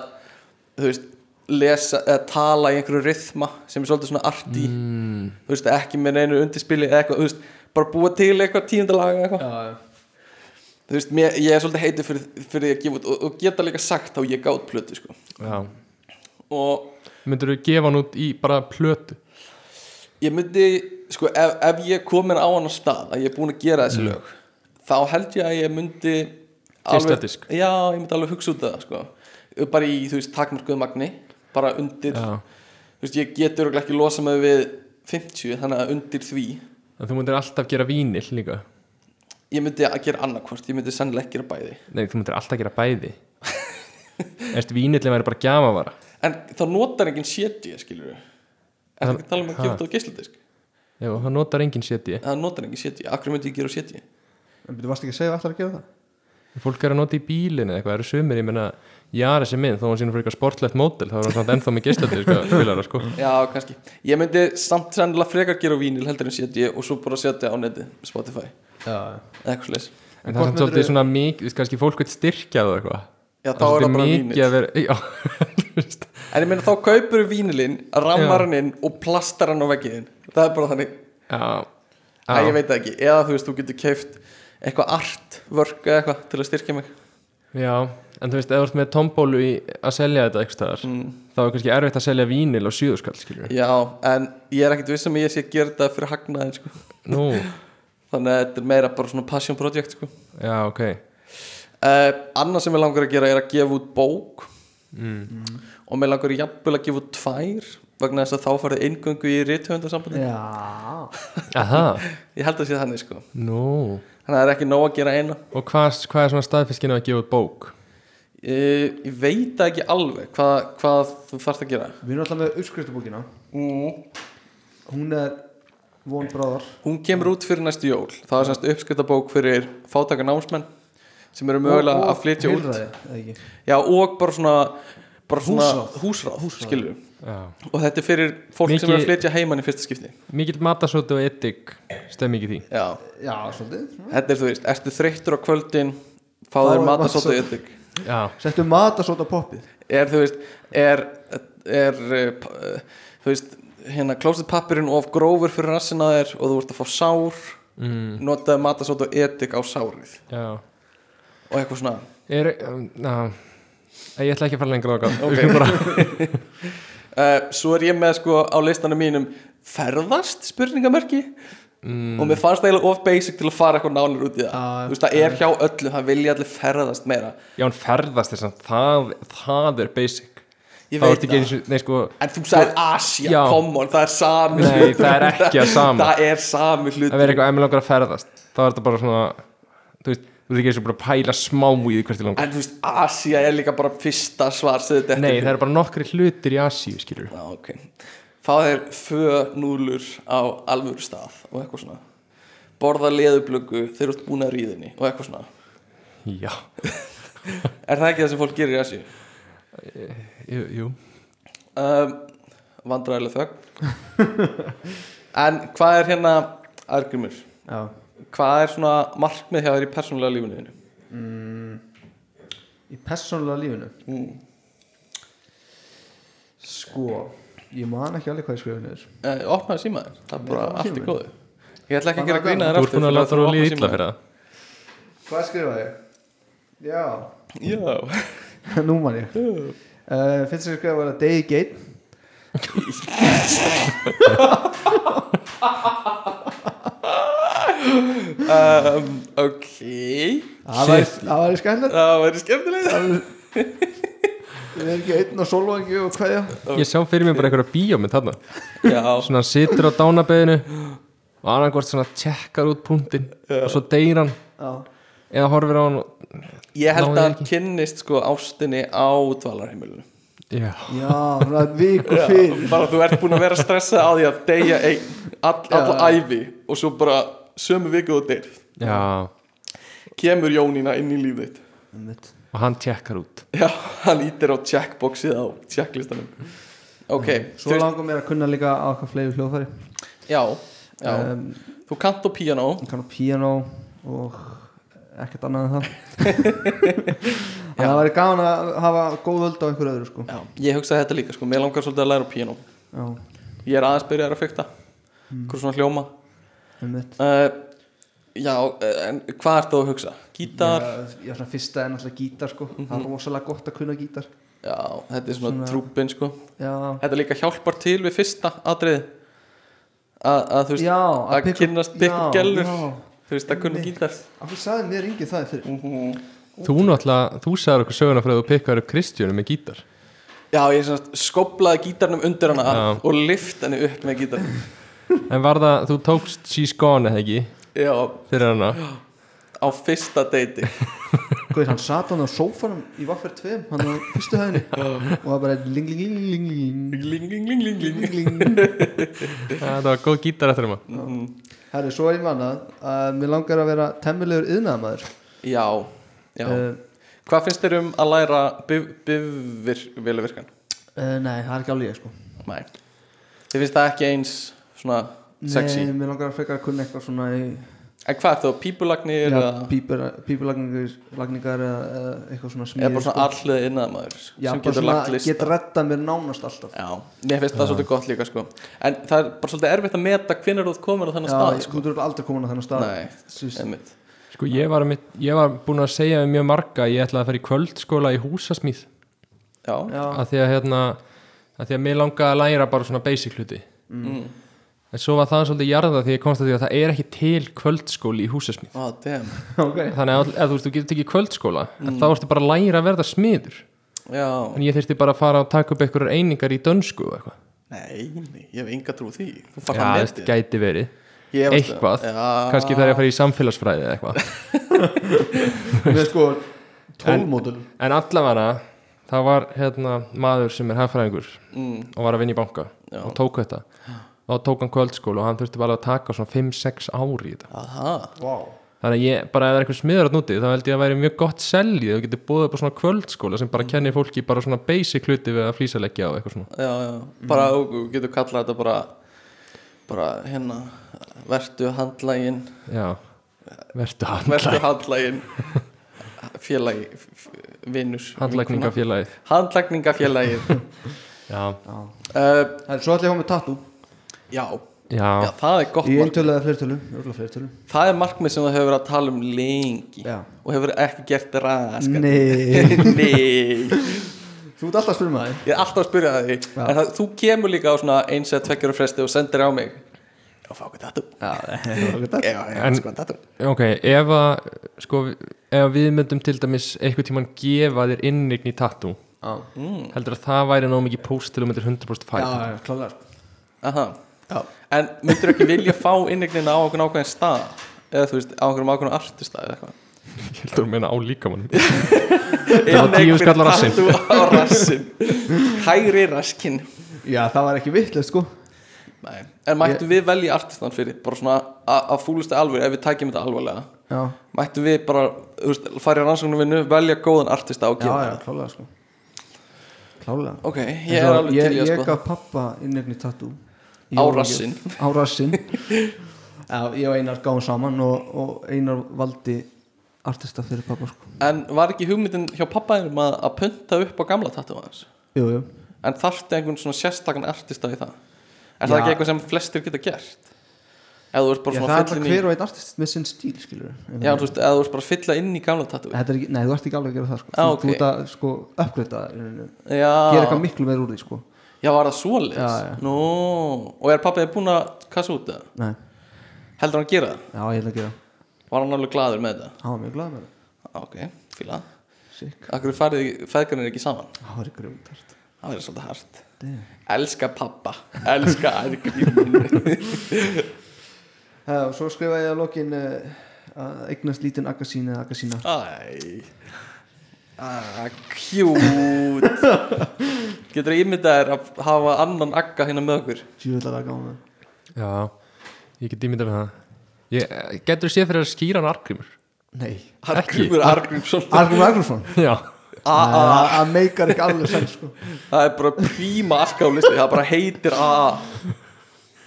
Speaker 4: þú veist, lesa eða tala í einhverju rithma sem er svolítið svona arti
Speaker 2: mm.
Speaker 4: þú veist, ekki með neinu undirspili eða eitthvað, þú veist, bara búa til eitthvað tíundalaga eða eitthvað þú veist, mér, ég er svolítið heitur fyrir, fyrir því að gefa út og, og geta líka sagt þá ég gátt plötu sko.
Speaker 2: Já
Speaker 4: og
Speaker 2: Myndirðu gefa hann út í bara plötu
Speaker 4: ég myndi, sko, ef, ef ég komin á hann á stað að ég er búin að gera þessi lög þá held ég að ég myndi
Speaker 2: Mm. Fyrsta disk.
Speaker 4: já, ég myndi alveg hugsa út af það, sko bara í, þú veist, takmarkuðu magni bara undir,
Speaker 2: Já
Speaker 4: þú veist, ég getur örugglega ekki losa mig við 50, þannig að undir því
Speaker 2: En þú myndir alltaf gera vínil líka
Speaker 4: ég myndi að gera annarkvort, ég myndi sennilega ekki gera bæði
Speaker 2: Nei, þú myndir alltaf gera
Speaker 4: *laughs*
Speaker 2: bæði Erst vínillin væri bara gjafavara
Speaker 4: en þá notar enginn 70, skilur við Er það
Speaker 2: Það-
Speaker 4: ekki að tala um að
Speaker 2: ha.
Speaker 4: gefa þetta á geisladisk?
Speaker 2: Jú, það notar enginn seti
Speaker 4: Það notar enginn 70, akkur myndi ég gera 70?
Speaker 5: En byrju, varst ekki að segja allar að gera það?
Speaker 2: Fólk er að nota í bílinu eða eitthvað, eru sumir, ég meina Jara sem minn, þó hann sínur fyrir eitthvað sportlegt mótel þá er hann samt ennþá með geisladisk
Speaker 4: *laughs*
Speaker 2: að spilara sko
Speaker 4: Já, kannski. Ég myndi samt sennilega frekar gera á vínil heldur en setja og svo bara setja á netið, Spotify,
Speaker 5: Já,
Speaker 4: eða eitthvað sliðis.
Speaker 2: En það er
Speaker 5: Hvort
Speaker 2: samt svolítið
Speaker 5: myndirðu-
Speaker 2: svona mikið, kannski fólk vil styrkja það eitthvað
Speaker 4: Já, þá er það bara
Speaker 2: svolítið
Speaker 4: vínil.
Speaker 2: að vera, *laughs* já, þú veist,
Speaker 4: En ég meina þá kaupur vínilinn, rammar hann inn og plastar hann á veggiðin. Það er bara þannig,
Speaker 2: já,
Speaker 4: Æ, ég
Speaker 2: já,
Speaker 4: veit það ekki. Eða þú veist, þú getur keift eitthvað artvörk eða eitthvað til að styrkja mig.
Speaker 2: já, en þú veist, ef þú ert með tombólu í að selja þetta eitthvað staðar, þá er kannski erfitt að selja vínil á síðuskall, skilur við.
Speaker 4: Mm, Já, en ég er ekkit viss um að ég sé að gera þetta fyrir hagnaðin, sko.
Speaker 2: Nú,
Speaker 4: Þannig að þetta er meira bara svona passion project, sko.
Speaker 2: já, ok,
Speaker 4: Uh, annað sem ég langar að gera er að gefa út bók
Speaker 5: Mm.
Speaker 4: og mér langar jafnvel að gefa út tvær vegna þess að þá farið eingöngu í rithöfundarsambandi
Speaker 5: já.
Speaker 2: aha,
Speaker 4: ég held að sé þannig sko
Speaker 2: nú,
Speaker 4: þannig að það er ekki nóg að gera eina
Speaker 2: og hvað, hvað er svona staðfiskinn að gefa út bók?
Speaker 4: uh, ég veit það ekki alveg hvað, hvað þú þarft að gera
Speaker 5: Við erum alltaf með uppskriftabókina Hún er von bráðar
Speaker 4: hún kemur út fyrir næstu jól það er semst uppskiptabók fyrir fátaka námsmenn sem eru
Speaker 5: Og-
Speaker 4: mögulega
Speaker 5: og
Speaker 4: að flytja út
Speaker 5: heilræði, eða ekki?
Speaker 4: já og bara svona bara svona
Speaker 5: Húsráð.
Speaker 4: húsráð,
Speaker 5: Húsráð.
Speaker 4: skilurðu.
Speaker 2: Já.
Speaker 4: og þetta er fyrir fólk sem
Speaker 2: Mikið-
Speaker 4: er að flytja heimann í fyrsta skipti
Speaker 2: Mikill matasóti og etik, stemming í því.
Speaker 4: já
Speaker 5: Já, svolítið
Speaker 4: Þetta er þú veist, ertu þreyttur á kvöldin fá
Speaker 5: Fá
Speaker 4: þér
Speaker 5: þér
Speaker 4: matasóta
Speaker 5: matasóda.
Speaker 4: ytting
Speaker 2: Já,
Speaker 5: Settu matasóta poppið
Speaker 4: er þú veist, er er, eh, p- eh, þú veist hérna, klósetpappirinn of grófur fyrir rassina þér og þú ert að fá sár
Speaker 2: mm,
Speaker 4: notaði matasóta ytting á sárið
Speaker 2: já.
Speaker 4: og eitthvað svona
Speaker 2: Er, um, já, ég ætla ekki að fara lengra á það.
Speaker 4: okay. *laughs* uh, Svo er ég með sko á listanum mínum ferðast spurningamerki
Speaker 2: Mm.
Speaker 4: og mér fannst það eiginlega of basic til að fara eitthvað nálar út í það
Speaker 5: Já,
Speaker 4: þú veist, það er hjá öllu, það vilja allir ferðast meira
Speaker 2: Já, hann ferðast þess að það, það er basic.
Speaker 4: Ég
Speaker 2: Það
Speaker 4: veit
Speaker 2: er ekki
Speaker 4: það.
Speaker 2: eins og, nei sko,
Speaker 4: En þú sagðir Asia,
Speaker 2: Já.
Speaker 4: come on, það er sami
Speaker 2: Nei,
Speaker 4: hlutur.
Speaker 2: það er ekki að sama.
Speaker 4: Það er sami hlut
Speaker 2: það verður eitthvað ef mér langar að ferðast. Þá er þetta bara svona, þú veist, þú veist ekki eins og bara að pæla smá í því hvert þið langar.
Speaker 4: En þú veist, Asia er líka bara fyrsta svar sem þetta
Speaker 2: Nei, það eru bara nokkri hlutir í Asíu, skilur.
Speaker 4: Já, ok Fá þér fönúlur á alvöru stað og eitthvað svona Borða leðublöku þegar þú ert búin að ríðinni og eitthvað svona
Speaker 2: Já,
Speaker 4: Er það ekki það sem fólk gerir í Asia?
Speaker 2: jú, jú.
Speaker 4: Um, Vandræðileg þögn
Speaker 2: *laughs*
Speaker 4: En hvað er hérna, Argrymur?
Speaker 5: Já
Speaker 4: Hvað er svona markmið hjá þér í persónulega lífinu? þínu?
Speaker 5: Í persónulega lífinu
Speaker 4: Mm.
Speaker 5: Sko Ég man ekki alveg hvað ég skrifin er
Speaker 4: Eh, opnaði símaður, það er bara
Speaker 5: opnaði
Speaker 4: allt í
Speaker 5: símann.
Speaker 4: góðu ég ætla ekki
Speaker 5: Bara
Speaker 4: að gera grína þér
Speaker 2: Þú ert búin að láta þú líða illa fyrir það.
Speaker 5: Hvað skrifaði ég? Já
Speaker 4: það
Speaker 5: *laughs*
Speaker 4: já,
Speaker 5: Nú man ég uh, Finnst þér skrifaði að Day Gate
Speaker 4: um, ok
Speaker 5: Það væri- það væri skænlega
Speaker 4: það væri skemmtilega
Speaker 5: Við erum ekki einn og sólvangi og hvaðja
Speaker 2: Ég sjá fyrir mér bara einhverja bíómynd þarna.
Speaker 4: já,
Speaker 2: Svona situr á dánabeðinu og annarkvort svona tjekkar út punktinn og svo deyr hann
Speaker 5: Já
Speaker 2: eða horfir á hann og...
Speaker 4: ég held
Speaker 2: Náði
Speaker 4: að hann
Speaker 2: ekki.
Speaker 4: kynnist sko ástinni á dvalarheimilinu
Speaker 2: Já.
Speaker 5: Já, það er viku fyrir
Speaker 4: bara þú ert búin að vera stressað á því að deyja einn all, alla ævi og svo bara sömu viku og deyr
Speaker 2: Já,
Speaker 4: kemur Jónína inn í lífið þitt.
Speaker 5: Einmitt.
Speaker 2: og hann tjekkar út.
Speaker 4: já, hann ítir á checkboxið á checklistanum ok,
Speaker 2: Mm.
Speaker 5: Svo
Speaker 4: þú veist-
Speaker 5: langar mér að kunna líka á hvað fleiri hljóðfæri
Speaker 4: já, já
Speaker 5: um,
Speaker 2: Eh.
Speaker 4: þú kant á piano *laughs*
Speaker 5: Ég kann á piano og ekkert annað en það þannig að það væri gaman að hafa góð öld á einhverju öðru sko.
Speaker 4: Já, ég hugsaði þetta líka sko, mér langar svolítið að læra á píanó
Speaker 5: já,
Speaker 4: Ég er aðeins byrjaður að fykta
Speaker 5: Mm.
Speaker 4: Hvað svona hljóma
Speaker 5: einmitt.
Speaker 4: uh, Já, eh, en hvað ert þú að hugsa? Gítar?
Speaker 5: Já, já, svona fyrsta er náttúrulega gítar sko. það er
Speaker 4: Mhm.
Speaker 5: rosalega gott að kunna gítar
Speaker 4: Já, þetta er svona,
Speaker 5: Svona-
Speaker 4: svona trúbin sko
Speaker 5: já,
Speaker 4: Þetta líka hjálpar til við fyrsta atrið að, að þú veist
Speaker 5: já
Speaker 4: að
Speaker 5: pick up-
Speaker 4: kynnast pick
Speaker 5: já,
Speaker 4: gælur.
Speaker 5: já.
Speaker 4: Þú veist að kunna
Speaker 5: Einmitt.
Speaker 4: gítar
Speaker 5: af hverju sagði mér enginn það fyrir
Speaker 2: Þú náttúrulega, þú sagðir okkur söguna fyrir að þú pikkaður upp Kristjánu með gítar
Speaker 4: Já, ég sem sagt skoplaði gítarnum undir hana
Speaker 2: Já.
Speaker 4: og lift henni upp með gítarnum
Speaker 2: En var það, þú tókst She's Gone eða ekki
Speaker 4: Já,
Speaker 2: fyrir hana
Speaker 4: á fyrsta
Speaker 5: *laughs*
Speaker 4: deiti
Speaker 5: Hvað er hann sat hann á sófanum í Vaffer 2 hann á fyrstu hæðinni og það bara ling ling ling ling ling
Speaker 4: Ling, ling, ling, ling, ling
Speaker 5: ling ling
Speaker 2: Það var góð gítar eftir hana
Speaker 5: Herri, svo er ég mannað að mér langar að vera temmilegur yðnaðamæður
Speaker 4: Já, já
Speaker 5: uh,
Speaker 4: Hvað finnst þér um að læra bifvirkan?
Speaker 5: uh, Nei, það er ekki alveg ég sko
Speaker 4: Nei Þið finnst það ekki eins svona sexy
Speaker 5: Nei, mér langar að frekar að kunna eitthvað svona í
Speaker 4: En hvað er það, pípulagnir
Speaker 5: ja,
Speaker 4: eða
Speaker 5: pípulagningar eða eða eitthvað svona smíð
Speaker 4: eða bara svona allið innað maður
Speaker 5: sko. Já,
Speaker 4: sem
Speaker 5: bara
Speaker 4: getur
Speaker 5: svona
Speaker 4: lagt list
Speaker 5: get retta mér nánast alltaf
Speaker 4: Já, mér finnst það svolítið gott líka sko En það er bara svolítið erfitt að meta hvenær þú ert komin á þennan
Speaker 5: Já,
Speaker 4: stað
Speaker 5: sko,
Speaker 4: sko
Speaker 5: þú eru aldrei komin á þennan stað
Speaker 4: Nei,
Speaker 5: Þú veist,
Speaker 4: einmitt
Speaker 2: Sko ég var, mitt, ég var búin að segja við mjög marga að ég ætlaði að fara í kvöldskóla í húsasmíð
Speaker 4: Já,
Speaker 5: Já,
Speaker 2: að því að hérna að því að mér langaði að læra bara svona basic hluti
Speaker 4: mm.
Speaker 2: en svo var það svolítið jarða því að ég komst að því að það er ekki til kvöldskóli í húsasmíð
Speaker 4: oh damn
Speaker 5: *laughs* ok
Speaker 2: þannig að að þú veist, þú getur tekið kvöldskóla
Speaker 4: Mm.
Speaker 2: en þá ertu bara að læra að verða smiður
Speaker 4: Já,
Speaker 2: en ég þyrfti bara að fara að taka upp einhverjar einingar í dönsku og eitthvað
Speaker 4: nei, nei, ég hef enga trú á því Þú
Speaker 2: Já,
Speaker 4: fara að
Speaker 2: veist,
Speaker 4: metið
Speaker 2: gæti verið
Speaker 4: Ég efast um-
Speaker 2: eitthvað,
Speaker 4: Já.
Speaker 2: kannski þegar ég að
Speaker 4: Ah.
Speaker 2: fara í samfélagsfræði eða eitthvað
Speaker 5: Með sko, tólmódul
Speaker 2: En allavega það var hérna maður sem er hagfræðingur
Speaker 4: mm,
Speaker 2: og var að vinna í banka
Speaker 4: Já.
Speaker 2: og tók þetta og þá tók hann kvöldskóla og hann þurfti bara að taka svona 5-6 ári í þetta
Speaker 4: Aha,
Speaker 5: Vá
Speaker 2: þannig að ég, bara ef það er einhver smiður að núti þá held ég að væri mjög gott seljið og getur búið upp á svona kvöldskóla sem
Speaker 4: Mm.
Speaker 2: bara kennir fólki bara svona basic hluti við að flýsaleggja og eitthvað svona
Speaker 4: já, já Bara, þú getur kallað þetta bara bara hérna vertu handlægin
Speaker 2: Já, verðstu
Speaker 4: vertu
Speaker 2: handlæg
Speaker 4: handlægin félagi, vinnur
Speaker 2: handlækningafélagið
Speaker 4: handlækningafélagi
Speaker 2: Já,
Speaker 4: uh,
Speaker 5: Herri, svo ætla ég að fá með tattoo
Speaker 4: já, já,
Speaker 2: já,
Speaker 4: það er gott
Speaker 5: Í
Speaker 4: markmið
Speaker 5: eintölu eða fleirtölu, örgulega fleirtölu
Speaker 4: það er markmið sem þú hefur verið að tala um lengi
Speaker 5: Já.
Speaker 4: og hefur ekki gert raskat
Speaker 5: Nei
Speaker 4: *laughs*
Speaker 5: *laughs*
Speaker 4: Nei,
Speaker 5: Þú ert alltaf að spyrja um eh? maður
Speaker 4: ég er alltaf að spyrja það því
Speaker 5: Já.
Speaker 4: En það, þú kemur líka á svona eins eða tveggjara fresti og sendir á mig Já, fá okkur tattu
Speaker 5: Já,
Speaker 4: Já, já,
Speaker 2: En-
Speaker 4: sko tattu
Speaker 2: ok, ef að sko, ef við myndum til dæmis einhvern tímann gefa þér innign í tattoo heldur að það væri nóg mikið post til þú myndir 100%
Speaker 5: já,
Speaker 2: færi
Speaker 5: já, klálega sko.
Speaker 4: Aha En myndir ekki vilja fá innignina á okkur ákveðin stað eða þú veist, á okkur ákveðin artista eða eitthvað
Speaker 2: ég heldur að meina á líkamannum
Speaker 4: Það
Speaker 2: var tíu skall á rassinn.
Speaker 4: á rassin Hægri raskin
Speaker 5: Já, það var ekki vitlega sko
Speaker 4: Nei. En mættum við velja artistan fyrir bara svona að að fúlustu alveg ef við tækjum þetta alvarlega
Speaker 5: Já,
Speaker 4: mættum við bara, þú veist, fara í rannsóknarvinnu velja góðan artista og
Speaker 5: já,
Speaker 4: gefa
Speaker 5: já,
Speaker 4: það
Speaker 5: klálega sko Klálega
Speaker 4: Ok, ég er alveg til í
Speaker 5: Ég,
Speaker 4: að
Speaker 5: ég
Speaker 4: sko
Speaker 5: gaf pappa innegni tattoo Í
Speaker 4: Á
Speaker 5: jólagjöf.
Speaker 4: rassinn.
Speaker 5: Á rassinn Já, ég og Einar gáum saman og, og Einar valdi artista fyrir pappa sko
Speaker 4: En var ekki hugmyndin hjá pappaðinum að, að punta upp á gamla tattoo hans
Speaker 5: Jú, jú
Speaker 4: En þarfti einhvern svona sérstakann artista í það Er það
Speaker 5: Já.
Speaker 4: ekki eitthvað sem flestir geta gert? Ef þú
Speaker 5: Ég,
Speaker 4: ert bara
Speaker 5: það
Speaker 4: svona
Speaker 5: er bara
Speaker 4: fyllin í
Speaker 5: hver og einn artist með sinn stíl, skilur
Speaker 4: Já, þú veist, ef þú ert bara að fylla inn í gamla tattoo
Speaker 5: Þetta er ekki, nei, þú ert ekki alveg að gera það sko. Þú-
Speaker 4: Já, Ah, ok. Ah.
Speaker 5: Þú ert að sko, uppgreita það í rauninni. Gera eitthvað
Speaker 4: Já,
Speaker 5: miklu meir úr því sko.
Speaker 4: já, var það svoleiðis?
Speaker 5: Já, já.
Speaker 4: Nú, og er pappaði búin að kassa út það?
Speaker 5: Nei,
Speaker 4: Heldur hann að gera það?
Speaker 5: já, ég ætla að gera það.
Speaker 4: Var hann alveg glaður með þetta?
Speaker 5: Hann var mjög glad með það
Speaker 4: Ok, fíla
Speaker 5: Sick,
Speaker 4: Akkur færið feðgarnir ekki saman
Speaker 5: það var ykkur um tært
Speaker 4: Það verður svolítið hart
Speaker 5: Damn.
Speaker 4: Elska pappa, elska
Speaker 5: *laughs*
Speaker 4: ærgrímin
Speaker 5: Það, og svo skrifaði ég að lokin uh, að eignast lítinn Agassín eða Agassína
Speaker 4: Æ Ah, cute Getur að ímynda þér að hafa annan agga hérna með okkur
Speaker 5: Sjöfullar að gána
Speaker 2: já, ég get ímyndað með það ég, getur séð fyrir að skýra hann argrimur
Speaker 5: Nei,
Speaker 4: Argrímur Argrímsson
Speaker 5: Arnur Agnarsson
Speaker 2: já,
Speaker 4: A.A.
Speaker 5: Það meikar ekki alveg sem sko
Speaker 4: Það er bara príma aska á listi Það bara heitir A.A.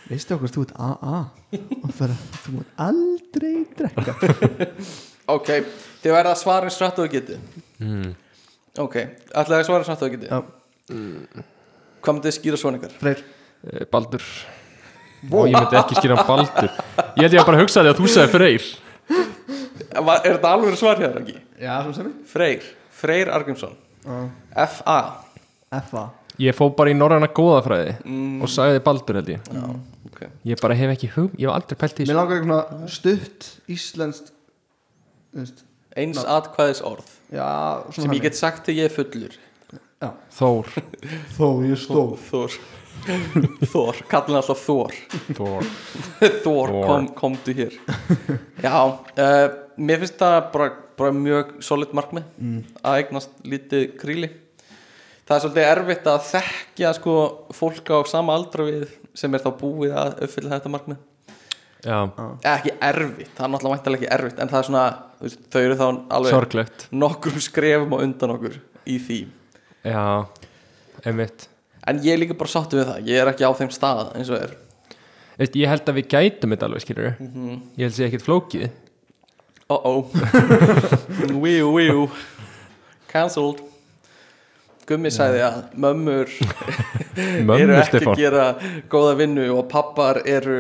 Speaker 5: Veistu okkur, þú ert AA og bara, þú mátt aldrei drekka
Speaker 4: Ok, þið verða að svara eins rætt og þið getið ok, ætlaði að svara samt að það geti
Speaker 5: Já.
Speaker 4: hvað myndið þið skýra svona ykkar?
Speaker 5: Freyr
Speaker 2: Eh, Baldur Vó, ég myndi ekki skýra hann Baldur Ég held ég að bara hugsa því að þú sagði Freyr
Speaker 4: Var- er þetta alveg svar hér ekki?
Speaker 5: Já, svona sem
Speaker 4: Freyr, Freyr Argrímsson
Speaker 5: ég
Speaker 4: F.A.
Speaker 5: F.A.
Speaker 2: Ég fó bara í norræna góðafræði og sagði Baldur held ég
Speaker 4: Já, ok
Speaker 2: Ég bara hef ekki hug, ég hef aldrei pælt í
Speaker 5: Mér
Speaker 2: þessu
Speaker 5: langar eitthvað svona stutt íslenskt þú veist,
Speaker 4: eins atkvæðis orð
Speaker 5: Já, svona
Speaker 4: sem ég get sagt til ég er fullur
Speaker 2: Þór,
Speaker 5: Þó, ég stóð
Speaker 4: Þór Þór, kallin alltaf Þór *laughs*
Speaker 2: Þór.
Speaker 4: Þór, kom, komdu hér Já, uh, mér finnst það bara, bara mjög solid markmið að eignast lítið kríli Það er svolítið erfitt að þekkja sko, fólk á sama aldra við sem er þá búið að uppfylla þetta markmið
Speaker 2: Já,
Speaker 4: Eða ekki erfitt, það er náttúrulega væntalega ekki erfitt en það er svona, þú veist, þau eru þá alveg
Speaker 2: sorglegt
Speaker 4: nokkrum skrefum á undan okkur í því
Speaker 2: Já, einmitt
Speaker 4: En ég er líka bara sáttu við það, ég er ekki á þeim stað eins og er Mhm.
Speaker 2: Veist, Ég held að við gætum þetta alveg skilur Ég held að sé ekkert flókið
Speaker 4: Uh-oh *laughs* Wíu, wíu Cancelled Gummi sagði að mömmur eru
Speaker 2: Mömmu
Speaker 4: ekki að
Speaker 2: Stefán
Speaker 4: gera góða vinnu og pappar eru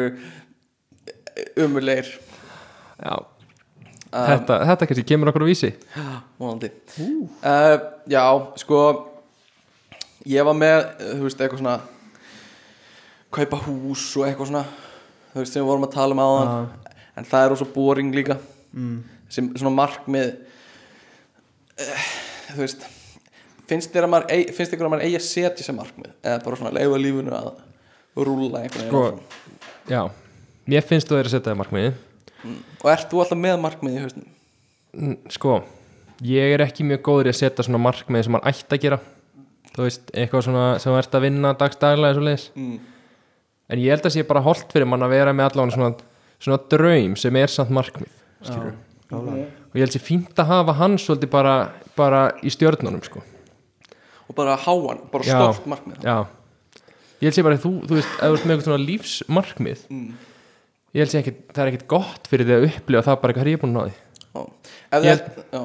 Speaker 4: umuleir
Speaker 2: Já,
Speaker 4: um,
Speaker 2: þetta, þetta kannski kemur okkur á vísi
Speaker 4: vonandi uh, Já, sko ég var með, þú veist, eitthvað svona kaupa hús og eitthvað svona þú veist, sem við vorum að tala um áðan en það er ósa boring líka
Speaker 5: mm.
Speaker 4: sem svona markmið eh, þú veist finnst þér að maður eigi, finnst þér að maður eigi að setja sem markmið eða bara svona leifa lífinu að rúla einhvern
Speaker 2: Sko-
Speaker 4: veginn áfram?
Speaker 2: Já, mér finnst þú þeir að setja það markmiðið
Speaker 4: Mm. og ert þú alltaf með markmið í hausnum
Speaker 2: Mm, sko, ég er ekki mjög góður í að setja svona markmið sem maður ætti að gera þú veist, eitthvað svona sem maður ert að vinna dagstaglega svo leiðis
Speaker 4: Mm.
Speaker 2: en ég held að sé bara holdt fyrir mann að vera með allan svona, svona draum sem er samt markmið
Speaker 5: Já, klálega.
Speaker 2: og ég held sé fínt að hafa hann svolítið bara, bara í stjörnunum sko.
Speaker 4: og bara háan, bara
Speaker 2: Já.
Speaker 4: stórt markmið
Speaker 2: já, ég held sé bara að þú, þú veist, ef þú ert með eitthvað svona lífsmarkmið
Speaker 4: mm.
Speaker 2: ég held sé ekki, það er ekkit gott fyrir því að upplifa það bara hvað ég er búin að ná því
Speaker 4: Já. ef
Speaker 2: Ég-
Speaker 4: þið ætt- já,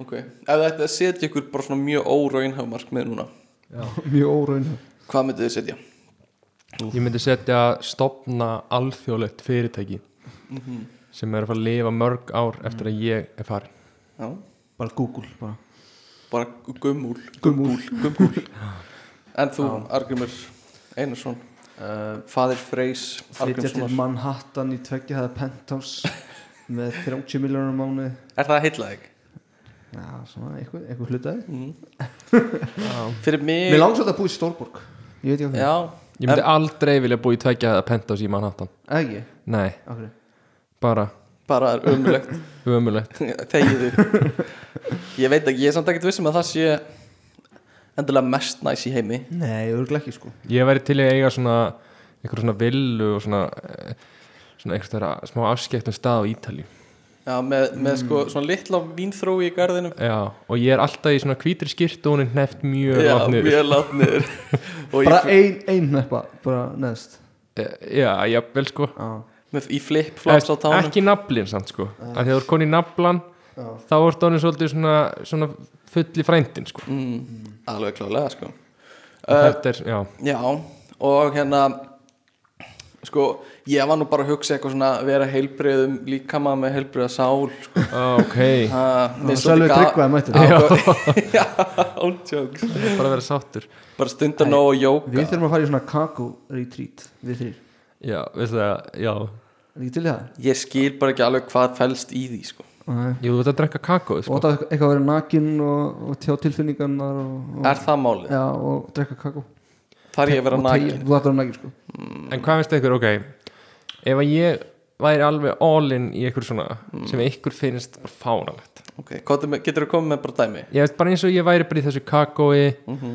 Speaker 4: ok. Ef þið ætti að setja ykkur bara svona mjög óraunhaf markmið núna
Speaker 5: *laughs* Mjög óraun
Speaker 4: hvað myndið þið setja?
Speaker 2: Ég myndi setja stopna alþjóðlegt fyrirtæki Mhm. sem er að fara að lifa mörg ár eftir
Speaker 4: Mm.
Speaker 2: að ég er farin.
Speaker 4: Já.
Speaker 5: Bara Google bara.
Speaker 4: bara gummúl
Speaker 5: Gummúl
Speaker 4: gummúl en þú, Argrimur Einarsson uh, Fadir Freys
Speaker 5: Flytja til Manhattan í tveggja hæða *laughs* penthouse með 30 miljónum mánu
Speaker 4: er það heitlað ekki?
Speaker 5: Já, svona eitthvað, eitthvað hlutaði
Speaker 4: Mm. fyrir mig
Speaker 5: Mér langt svolítið að búa í Stórborg Ég veit ekki
Speaker 4: já,
Speaker 2: Ég myndi
Speaker 4: En-
Speaker 2: aldrei vilja búa í tveggja að penta á síman hattan.
Speaker 5: hvað Ekki,
Speaker 2: Nei,
Speaker 5: af hverju
Speaker 2: bara
Speaker 4: bara er ömulegt *laughs*
Speaker 2: ömulegt.
Speaker 4: þegiðu ég veit ekki, ég er samt ekkert vissum að það sé endilega mest næs í heimi
Speaker 5: Nei, örglega ekki sko
Speaker 2: Ég væri til í að eiga svona eitthvað svona villu og svona eh, svona eitthvað smá afskektum stað á Ítalíu.
Speaker 4: já, með, með sko svona litla vínþrói í garðinum
Speaker 2: Já, og ég er alltaf í svona hvítri skýrt og hún er hneft mjög
Speaker 4: já,
Speaker 2: langt niður.
Speaker 4: mjög látt niður og
Speaker 5: Bara
Speaker 4: í,
Speaker 5: ein, ein neppa, bara neðst
Speaker 2: Eh, Já, jafnvel sko.
Speaker 5: Já,
Speaker 4: með, í flip-flops á
Speaker 2: Eða,
Speaker 4: tánum
Speaker 2: Ekki naflin samt sko að því að þú er koni í naflan þá ertu honum svolítið svona, svona fulli frændin sko
Speaker 4: mm, alveg klálega sko
Speaker 2: Og
Speaker 4: uh,
Speaker 2: þetta er, já,
Speaker 4: já, og hérna sko, ég var nú bara að hugsa eitthvað svona að vera heilbrigðum líkama með heilbrigða sál sko
Speaker 2: ok
Speaker 4: *laughs* Það
Speaker 5: Sölvi Tryggvaði mættur.
Speaker 4: *laughs* Já, all jokes
Speaker 2: bara að vera sáttur
Speaker 4: Bara stunda nóg og
Speaker 5: Við
Speaker 4: jóka
Speaker 5: þurfum að fara í svona kakó retreat Við þrýr,
Speaker 2: já, veistu það, já
Speaker 5: er ekki til í það?
Speaker 4: Ég skil bara ekki alveg hvað fælst í því sko.
Speaker 5: Nei.
Speaker 2: jú, þú ert að drekka kakó
Speaker 5: Og
Speaker 2: sko.
Speaker 5: það eitthvað að vera nakin og, og tjá tilfinningarnar og, og,
Speaker 4: Er það málið?
Speaker 5: Já, og drekka kakó
Speaker 4: Þar ég að
Speaker 5: Mm.
Speaker 4: vera
Speaker 5: Og teygja-
Speaker 4: nakin
Speaker 5: Þú þarf að vera nakin sko
Speaker 2: en hvað finnst ykkur, ok ef að ég væri alveg all in í ykkur svona sem ykkur finnst bara fáralegt
Speaker 4: okay. hvað er með- Getur þú komið með bara dæmi?
Speaker 2: ég veist bara eins og ég væri bara í þessu kakói
Speaker 4: Mhm.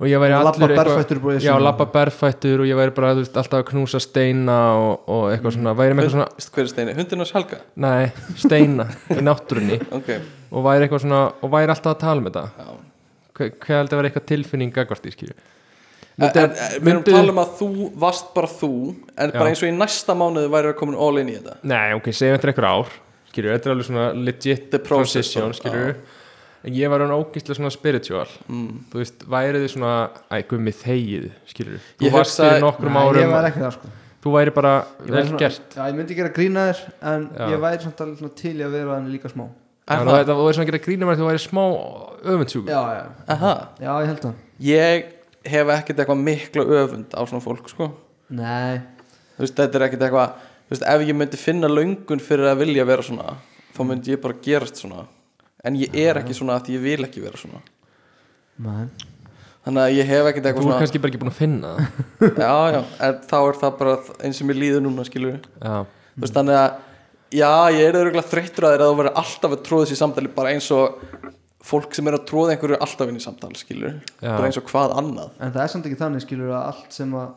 Speaker 2: og ég væri
Speaker 5: Og labba
Speaker 2: allur eitthvað-
Speaker 5: berfættur bara í
Speaker 2: já,
Speaker 5: sumar.
Speaker 2: labba berfættur og ég væri bara þú veist, alltaf að knúsa steina og, og eitthvað svona, væri með eitthvað svona
Speaker 4: Mhm. Veistu Hver er steini? Hundin hans Helga?
Speaker 2: Nei, steina í náttúrunni
Speaker 4: Ok,
Speaker 2: og væri eitthvað svona og væri alltaf að tala um þetta
Speaker 4: já
Speaker 2: Hve- hvað heldur að vera eitthvað tilfinning gagvart í skilju
Speaker 4: En,
Speaker 2: Myndi-
Speaker 4: en, en við erum
Speaker 2: myndi-
Speaker 4: að tala um að þú varst bara þú en bara
Speaker 2: Já.
Speaker 4: eins og í næsta mánuði væri að komin all in í þetta
Speaker 2: Nei, ok, segjum þetta er eitthvað ár skilju, þetta er alveg svona legit
Speaker 4: The process,
Speaker 2: transition
Speaker 4: bara,
Speaker 2: skilju en ég var hann ógistlega svona spiritual
Speaker 4: mm.
Speaker 2: þú veist, værið þið svona æ, gummi þegið, skilur þú
Speaker 4: Ég
Speaker 2: varst
Speaker 4: hugsaði-
Speaker 2: fyrir nokkrum
Speaker 5: Nei, ég
Speaker 2: árum
Speaker 5: var ekki það sko
Speaker 2: þú væri bara
Speaker 5: Ég væri
Speaker 2: vel
Speaker 5: svona-
Speaker 2: gert
Speaker 5: Já, ég myndi gera grína þér en
Speaker 2: Já.
Speaker 5: ég væri samt alveg svona til í að vera þannig líka smá
Speaker 2: Já,
Speaker 4: Er
Speaker 2: þú
Speaker 4: það?
Speaker 2: væri- þú væri svona að gera grínum að þú væri smá öfundsjúk
Speaker 5: Já, já,
Speaker 4: Aha.
Speaker 5: já, ég held það
Speaker 4: Ég hef ekkert eitthvað mikla öfund á svona fólk sko
Speaker 5: Nei,
Speaker 4: Þú veist, þetta er ekkert eitthvað Þú veist, ef ég myndi finna löngun fyrir að vilja vera svona þá myndi ég bara gerast svona en ég er ekki svona að ég vil ekki vera svona
Speaker 5: nei
Speaker 4: þannig að ég hef ekkert
Speaker 2: þú
Speaker 4: eitthvað
Speaker 2: er kannski bara ekki búin að finna
Speaker 4: *laughs*
Speaker 2: það
Speaker 4: svona já, já, en þá er það bara eins sem ég líður núna skilur
Speaker 2: já,
Speaker 4: þú veist, þannig að já, ég er auðvitað þreyttur að þér að þú verður alltaf að tróða þessi samtali bara eins og fólk sem er að tróða einhverju er alltaf inn í samtali skilur,
Speaker 2: Já.
Speaker 4: bara eins og hvað annað
Speaker 5: En það er samt ekki þannig skilur að allt sem að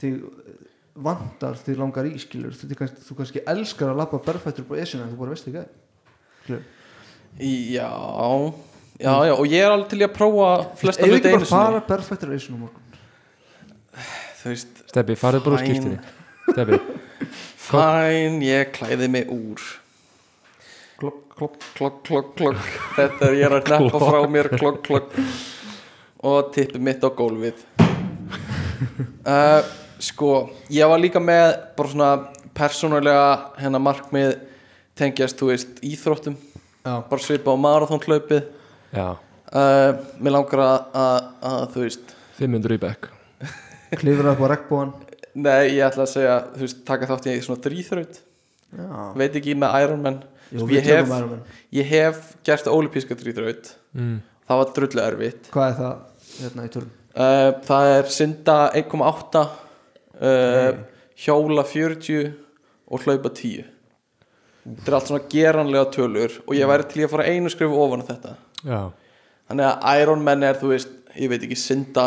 Speaker 5: þig eh, vantar þig langar í skilur þú, þig kannski, þú kannski elskar að lappa berfættur upp á esjuna en þú bara veist ekki að
Speaker 4: já, já, já, og ég er alveg til í að prófa flesta
Speaker 5: Eða
Speaker 4: hluti
Speaker 5: ekki
Speaker 4: einu
Speaker 5: bara
Speaker 4: sinni
Speaker 5: fara berfættur á esjuna á morgun
Speaker 4: þú veist,
Speaker 2: Steppi, farðu bara úr
Speaker 4: Fine.
Speaker 2: skýrtinni Steppi,
Speaker 4: fæn, ég klæði mig úr klokk, klokk, klokk, klokk, klokk þetta er ég er að neppa frá mér klokk, klokk og tippi mitt á gólfið uh, sko ég var líka með bara svona persónulega hennar markmið tengjast, þú veist, íþróttum
Speaker 5: Já.
Speaker 4: bara svipa á marathónhlaupið
Speaker 2: já,
Speaker 4: uh, mér langar að, að, að þú veist
Speaker 2: 500 í bekk
Speaker 5: Klifra upp á regnbóan
Speaker 4: nei, ég ætla að segja, þú veist, taka þátt í svona dríþraut,
Speaker 5: Já,
Speaker 4: veit ekki með Ironman
Speaker 5: Jú,
Speaker 4: Sko, Ég
Speaker 5: við
Speaker 4: hef-
Speaker 5: tökum Ironman.
Speaker 4: ég hef gert ólipíska dríþraut
Speaker 2: mm.
Speaker 4: það var drullu erfitt
Speaker 5: Hvað er það hérna í törn?
Speaker 4: uh, það er synda 1,8 uh, hjóla 40 og hlaupa 10 þetta er allt svona geranlega tölur og
Speaker 5: Mm.
Speaker 4: ég væri til í að fara einu skrifu ofan á þetta
Speaker 2: já,
Speaker 4: þannig að Ironman er þú veist ég veit ekki synda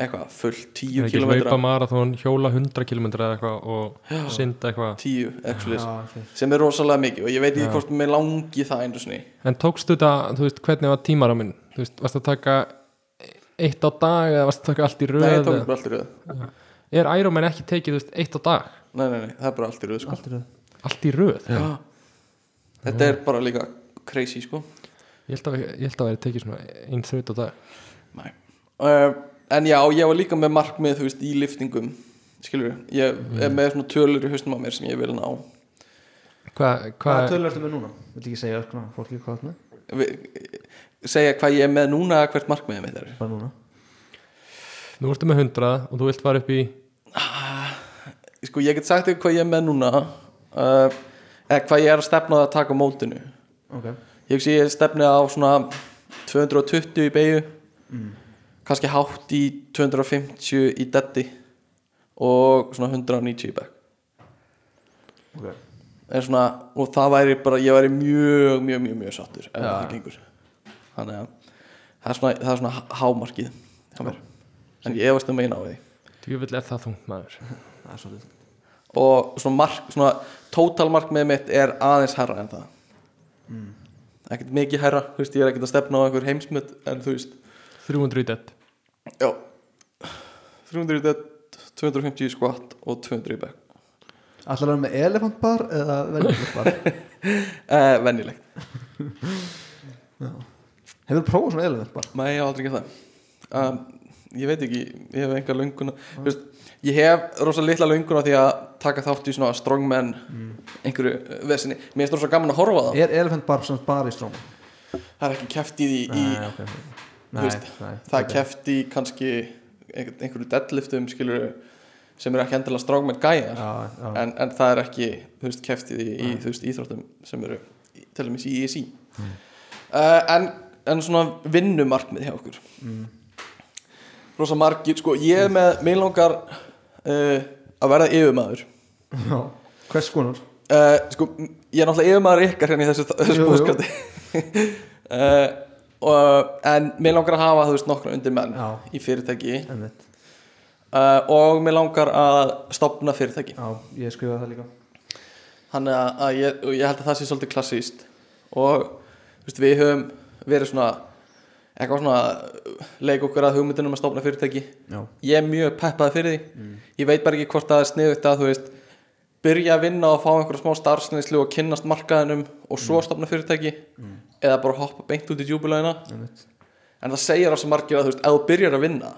Speaker 4: eitthvað full 10
Speaker 2: er ekki
Speaker 4: km
Speaker 2: hlaupa marathón hjóla 100 km eða eitthvað og synda eitthvað
Speaker 4: 10 eitthvað
Speaker 5: Já,
Speaker 4: sem er rosalega mikið og ég veit ekki hvort mér langi það einu sinni
Speaker 2: En tókstu þetta, þú veist, hvernig var tímaráminn? Þú veist, varst að taka eitt á dag eða varst að taka allt í röð?
Speaker 4: nei, ég tók
Speaker 2: eða-
Speaker 4: bara allt í röð
Speaker 2: Er Ironman ekki tekið, þú veist, eitt á dag?
Speaker 4: nei, nei, nei, það er bara allt í röð sko.
Speaker 5: allt er það
Speaker 2: Allt í röð?
Speaker 4: Já. þetta er bara líka crazy sko
Speaker 2: Ég held að, ég held að vera tekið svona einn þraut á dag.
Speaker 4: Nei. Uh, en já, ég var líka með markmið þú veist, í liftingum skilur ég er með svona tölur í haustum á mér sem ég vil ná
Speaker 2: Hvað,
Speaker 5: Hvað
Speaker 2: hvað,
Speaker 5: tölur ertu með núna? Vilt ekki segja sko, öskuna fólki hvað það með?
Speaker 4: Vi, segja hvað ég er með núna eða hvert markmiðið mitt er
Speaker 5: Bara núna
Speaker 2: nú ertu með 100 og þú vilt fara upp í,
Speaker 4: sko, ég get sagt ykkur hvað ég er með núna uh, eða hvað ég er að stefna að taka á mótinu
Speaker 5: Ok
Speaker 4: ég hugsi ég stefni á svona 220 í beigju
Speaker 5: Mm,
Speaker 4: kannski hátt í 250 í detti og svona 190 í back
Speaker 5: Ok
Speaker 4: er svona, og það væri bara ég væri mjög, mjög, mjög, mjög sattur ef það gengur þannig að það er svona, það er svona hámarkið hjá mér. en ég efast um eina á því
Speaker 2: þú vill er það þungt maður.
Speaker 5: Það er svolítið
Speaker 4: og svona mark, svona tótalmarkmið mitt er aðeins herra en það ekkert mikið herra þú veist, ég er ekkert að stefna á einhver heimsmynd en þú veist,
Speaker 2: 300 í dett.
Speaker 4: já 300 í dead, 250 í skvatt og 200 í back
Speaker 5: Ætlar að vera með elefant bar eða venjulegt bar?
Speaker 4: *laughs* eh, venjulegt,
Speaker 5: Hefur prófað svona elefant bar?
Speaker 4: Nei, ég hef aldrei gert það um, Ég veit ekki, ég hef enga lönguna Þú veist, Ég hef rosa litla lönguna því að taka þátt í svona strongman einhverju uh, vesinni Mér finnst rosa gaman að horfa á það
Speaker 5: Er elefant bar samt bar í stróma?
Speaker 4: Það er ekki keft í því í,
Speaker 5: Nei, ok
Speaker 4: Þú
Speaker 5: Nei,
Speaker 4: veist,
Speaker 5: nei
Speaker 4: Það
Speaker 5: ok.
Speaker 4: er keft í kannski einhver- einhverju deadliftum skilur sem eru ekki endilega strongman gæjar
Speaker 5: Já, já.
Speaker 4: en, en það er ekki þú veist, keft í, því í þú veist, íþróttum sem eru í- til dæmis í ESI
Speaker 5: Mm.
Speaker 4: uh, en, en svona vinnumarkmið hjá okkur
Speaker 5: Mm.
Speaker 4: rosa margir sko, ég er með, mig langar uh, að verða yfirmaður
Speaker 5: Já, hvers konar
Speaker 4: uh, sko, m- ég er náttúrulega yfirmaður ykkar hérna í þessu, þessu
Speaker 5: Jú, jú.
Speaker 4: bóðskapti *laughs* uh, og, en mig langar að hafa þú veist nokkra undir menn
Speaker 5: Já.
Speaker 4: í fyrirtæki
Speaker 5: Einmitt.
Speaker 4: uh, og mig langar að stopna fyrirtæki
Speaker 5: Já, ég skrifaði það líka
Speaker 4: þannig að- að ég, og ég held að það sé svolítið klassíst og þú veist, við höfum verið svona eitthvað svona leik okkur að hugmyndunum að stofna fyrirtæki
Speaker 5: Já,
Speaker 4: ég er mjög peppaði fyrir því ég veit bara ekki hvort það er sniðugt að þú veist
Speaker 5: Mm.
Speaker 4: byrja að vinna og fá einhverja smá starfsnýslu og kynnast markaðinum og svo stofna fyrirtæki eða bara hoppa beint út í djúbulæðina
Speaker 5: einmitt.
Speaker 4: en það segir á svo margir að þú veist, ef þú byrjar að vinna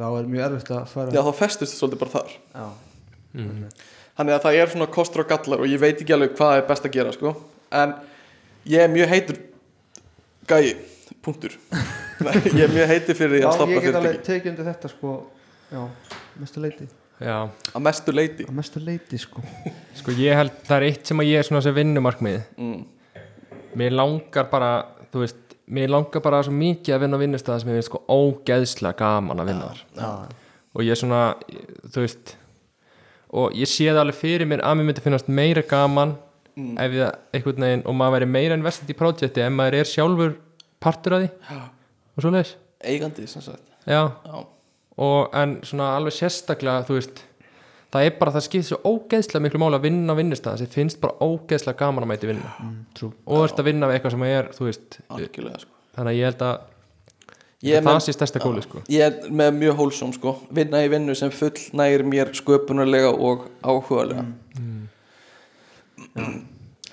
Speaker 5: þá er mjög erfitt að fara
Speaker 4: já, þá festist þú svolítið bara þar
Speaker 5: Já.
Speaker 4: þannig að það er svona kostur og gallar og ég veit ekki alveg hvað er best að gera sko. en ég er mjög heitur gæi,
Speaker 5: *laughs*
Speaker 4: punktur Nei, ég er mjög heitur fyrir því
Speaker 5: Já,
Speaker 4: að stoppa
Speaker 5: ég get
Speaker 4: fyrirtæki
Speaker 5: alveg tekið undir þetta sko já, mestu leiti
Speaker 2: Já,
Speaker 4: að mestu leiti
Speaker 5: að mestu leiti sko
Speaker 2: sko ég held það er eitt sem að ég er svona sem vinnumarkmið
Speaker 4: mm.
Speaker 2: Mér langar bara, þú veist Mér langar bara svo mikið að vinna á vinnustæða sem ég veist sko ógeðslega gaman að vinna þar
Speaker 5: já,
Speaker 2: og ég er svona, ég- þú veist og ég sé það alveg fyrir mér að mér myndi finnast meira gaman
Speaker 5: Mm.
Speaker 2: ef ég það einhvern veginn og maður væri meira investið í projekti en maður er sjálfur partur af því og svo leis
Speaker 4: eigandi sem sagt
Speaker 2: já,
Speaker 4: já.
Speaker 2: og en svona alveg sérstaklega þú veist, það er bara það skipt svo ógeðslega miklu máli að vinna á vinnustæða sem finnst bara ógeðslega gaman að mæti vinna mm, og ert að vinna við eitthvað sem er þú veist,
Speaker 4: algjörlega sko
Speaker 2: þannig að ég held að
Speaker 4: Ég er
Speaker 2: það
Speaker 4: með-
Speaker 2: sé stærsta góli sko
Speaker 4: ég er með mjög hólsum sko vinna í vinnu sem full nægir mér sköpunarlega og áhugalega
Speaker 5: Mm.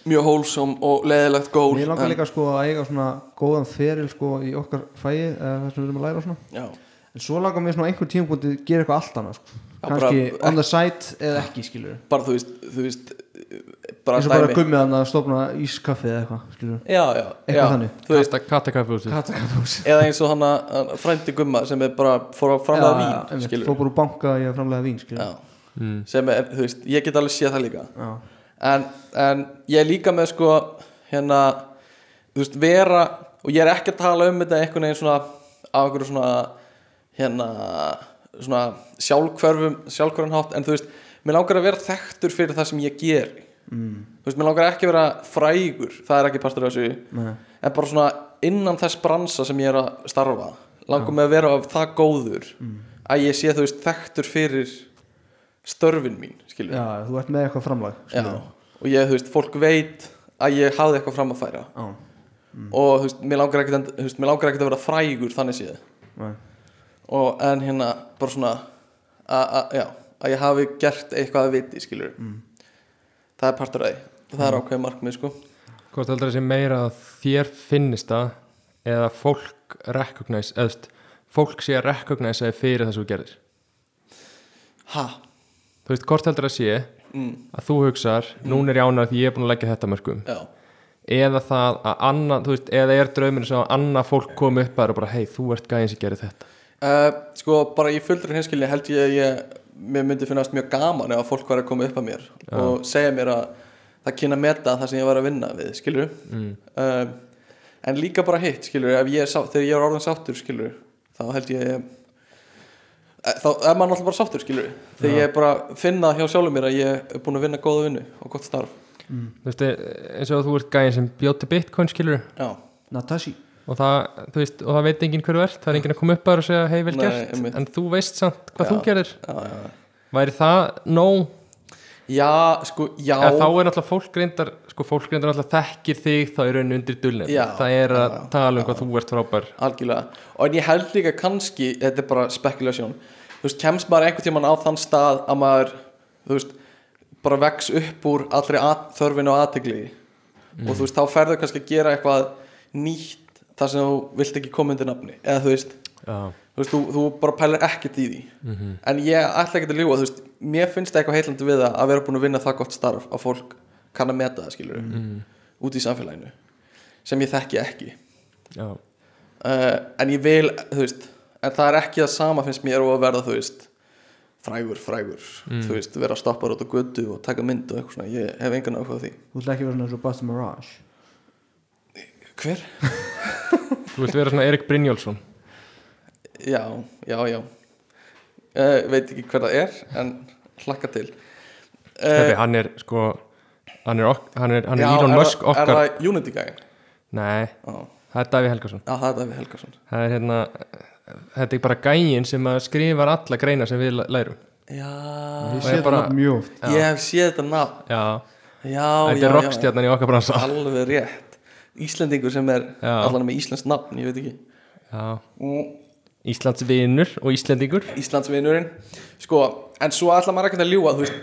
Speaker 4: mjög hólsum og leðilegt gól
Speaker 5: Mér langar
Speaker 4: en-
Speaker 5: líka sko að eiga svona góðan feril sko í okkar fæi eða það sem við erum að læra og svona
Speaker 4: já,
Speaker 5: en svo langar mér svona á einhver tímapunkti að gera eitthvað allt annað sko
Speaker 4: Já,
Speaker 5: kannski
Speaker 4: bara-
Speaker 5: on the side eða ekki skilur
Speaker 4: bara þú veist, þú veist bara
Speaker 5: eins og bara gummið hann að stofna ískaffi eða eitthvað skilur
Speaker 4: já, já,
Speaker 5: Eitthvað
Speaker 4: já,
Speaker 5: þannig.
Speaker 4: þú veist,
Speaker 2: kasta katakafjúsi
Speaker 5: kata kata hús
Speaker 4: eða eins og hann að frændi gumma sem er bara fór að framlega vín
Speaker 5: fó
Speaker 4: skilur
Speaker 5: bara úr banka í að framlega vín skilur
Speaker 4: já, sem er, þú veist, ég get alveg séð það líka
Speaker 5: Já.
Speaker 4: en, en ég er líka með sko hérna þú veist, vera og ég er ekki að tala um þetta einhvern veginn svona á einhverju svona hérna svona sjálfhverfum sjálfhverfum hátt en þú veist, mér langar að vera þekktur fyrir það sem ég geri mm. þú veist, mér langar ekki að vera frægur það er ekki partur af þessu
Speaker 5: Nei.
Speaker 4: en bara svona innan þess bransa sem ég er að starfa langar mig að vera af það góður að ég sé þú veist þekktur fyrir störfin mín, skilur
Speaker 5: já, þú ert með eitthvað framlag skilur
Speaker 4: Já, og ég, þú veist, fólk veit að ég hafði eitthvað fram að færa
Speaker 5: Já.
Speaker 4: og, þú veist, mér langar ekkert þú veist, mér langar ekkert að vera frægur þannig séð
Speaker 5: Nei.
Speaker 4: og en hérna, bara svona að, að, já, að ég hafi gert eitthvað að viti, skilur mm. það er partur að því það er ákveðið markmið, sko
Speaker 2: Hvort heldur þessi meira að þér finnist það eða fólk recognize, eða þú veist, fólk sé að recognize þig fyrir það sem þú gerðir
Speaker 4: ha,
Speaker 2: Þú veist, hvort heldur það sé
Speaker 4: mm,
Speaker 2: að þú hugsar, núna er ég ánægð því ég er búin að leggja þetta mörgum
Speaker 4: já,
Speaker 2: eða það að annað, þú veist, eða er drauminu sem að annað fólk kom upp að það og bara hei, þú ert gæðin sem gerir þetta
Speaker 4: uh, sko bara í fullur hinskilni held ég að ég mér myndi finnast mjög gaman ef að fólk var að koma upp að mér og segja mér að það kynna að meta það sem ég var að vinna við, skilur
Speaker 2: mm.
Speaker 4: um, en líka bara hitt skilur, ef ég er sátt, þegar ég er orðin sáttur skilur, þá held ég eh, þá er maður náttúrulega bara sáttur skilur, þegar ég er bara finna hjá sjálfum mér að ég er búin að vinna góða vinnu og gott starf,
Speaker 5: Mm.
Speaker 2: Þú veist, eins og þú ert gæðin sem bjóti bitcoin skilur
Speaker 4: já,
Speaker 5: Natashi
Speaker 2: og það, þú veist, og það veit enginn hverju ert það er enginn að koma upp að það og segja hei, vel
Speaker 4: Nei,
Speaker 2: gert
Speaker 4: einmitt.
Speaker 2: en þú veist samt hvað
Speaker 4: Já.
Speaker 2: þú gerir
Speaker 4: já, já, já.
Speaker 2: væri það nóg
Speaker 4: já sko, já
Speaker 2: Já, þá er náttúrulega fólk reyndar sko, fólk reyndar náttúrulega þekkir þig þá er raun undir dulnum
Speaker 4: Já,
Speaker 2: það er að
Speaker 4: já,
Speaker 2: tala um hvað þú ert frábær
Speaker 4: algjörlega, og en ég held líka kannski, þetta er bara spekulasjón þú veist, kemst maður einhvern tímann á þann stað að maður, þú veist bara vex upp úr allri at- þörfinu og aðtegli og þú veist, þá ferðu kannski að gera eitthvað nýtt þar sem þú vilt ekki koma undir nafni eða þú veist,
Speaker 2: Já,
Speaker 4: þú, veist, þú, þú bara pælir ekkert í því en ég ætla ekki að ljúga, þú veist mér finnst eitthvað heillandi við það að vera búin að vinna það gott starf að fólk kann að meta það skilur út í samfélaginu sem ég þekki ekki
Speaker 2: já,
Speaker 4: uh, en ég vil, þú veist en það er ekki það sama finnst mér og að verða, þú veist frægur, frægur,
Speaker 2: Mm.
Speaker 4: þú veist vera að stoppa út á götu og taka mynd og eitthvað svona, ég hef engan áhuga á því
Speaker 5: Þú ætla ekki að vera svona eins og Buster Mirage
Speaker 4: hver?
Speaker 2: þú vilt vera svona Erik Brynjólfsson
Speaker 4: Já, já, já uh, Veit ekki hver það er En hlakka til
Speaker 2: Steppi,
Speaker 4: uh,
Speaker 2: hann er sko hann er, ok, hann er, hann
Speaker 4: já,
Speaker 2: er Elon
Speaker 4: er
Speaker 2: Musk
Speaker 4: það-
Speaker 2: okkar
Speaker 4: Er það Unity gæðin?
Speaker 2: Nei,
Speaker 4: Já,
Speaker 2: það er Daví Helgason
Speaker 4: já, það er Davi Helgason
Speaker 2: það er hérna þetta er bara gægin sem að skrifar alla greina sem við la- lærum
Speaker 4: Já,
Speaker 5: Ég
Speaker 2: Og ég
Speaker 5: sé
Speaker 2: bara-
Speaker 5: þetta nafn mjög oft
Speaker 4: ég hef séð þetta nafn
Speaker 2: Já,
Speaker 4: Já, já,
Speaker 2: Mm, þetta
Speaker 4: já
Speaker 2: er rockstjarnan í okkar bransa
Speaker 4: Alveg rétt Íslendingur sem er
Speaker 2: Já.
Speaker 4: allan með íslensk nafn, ég veit ekki
Speaker 2: Já,
Speaker 4: Mm,
Speaker 2: Íslands vinur og Íslendingur
Speaker 4: Íslandsvinurinn Sko, en svo ætla maður ekkert að ljúga, þú veist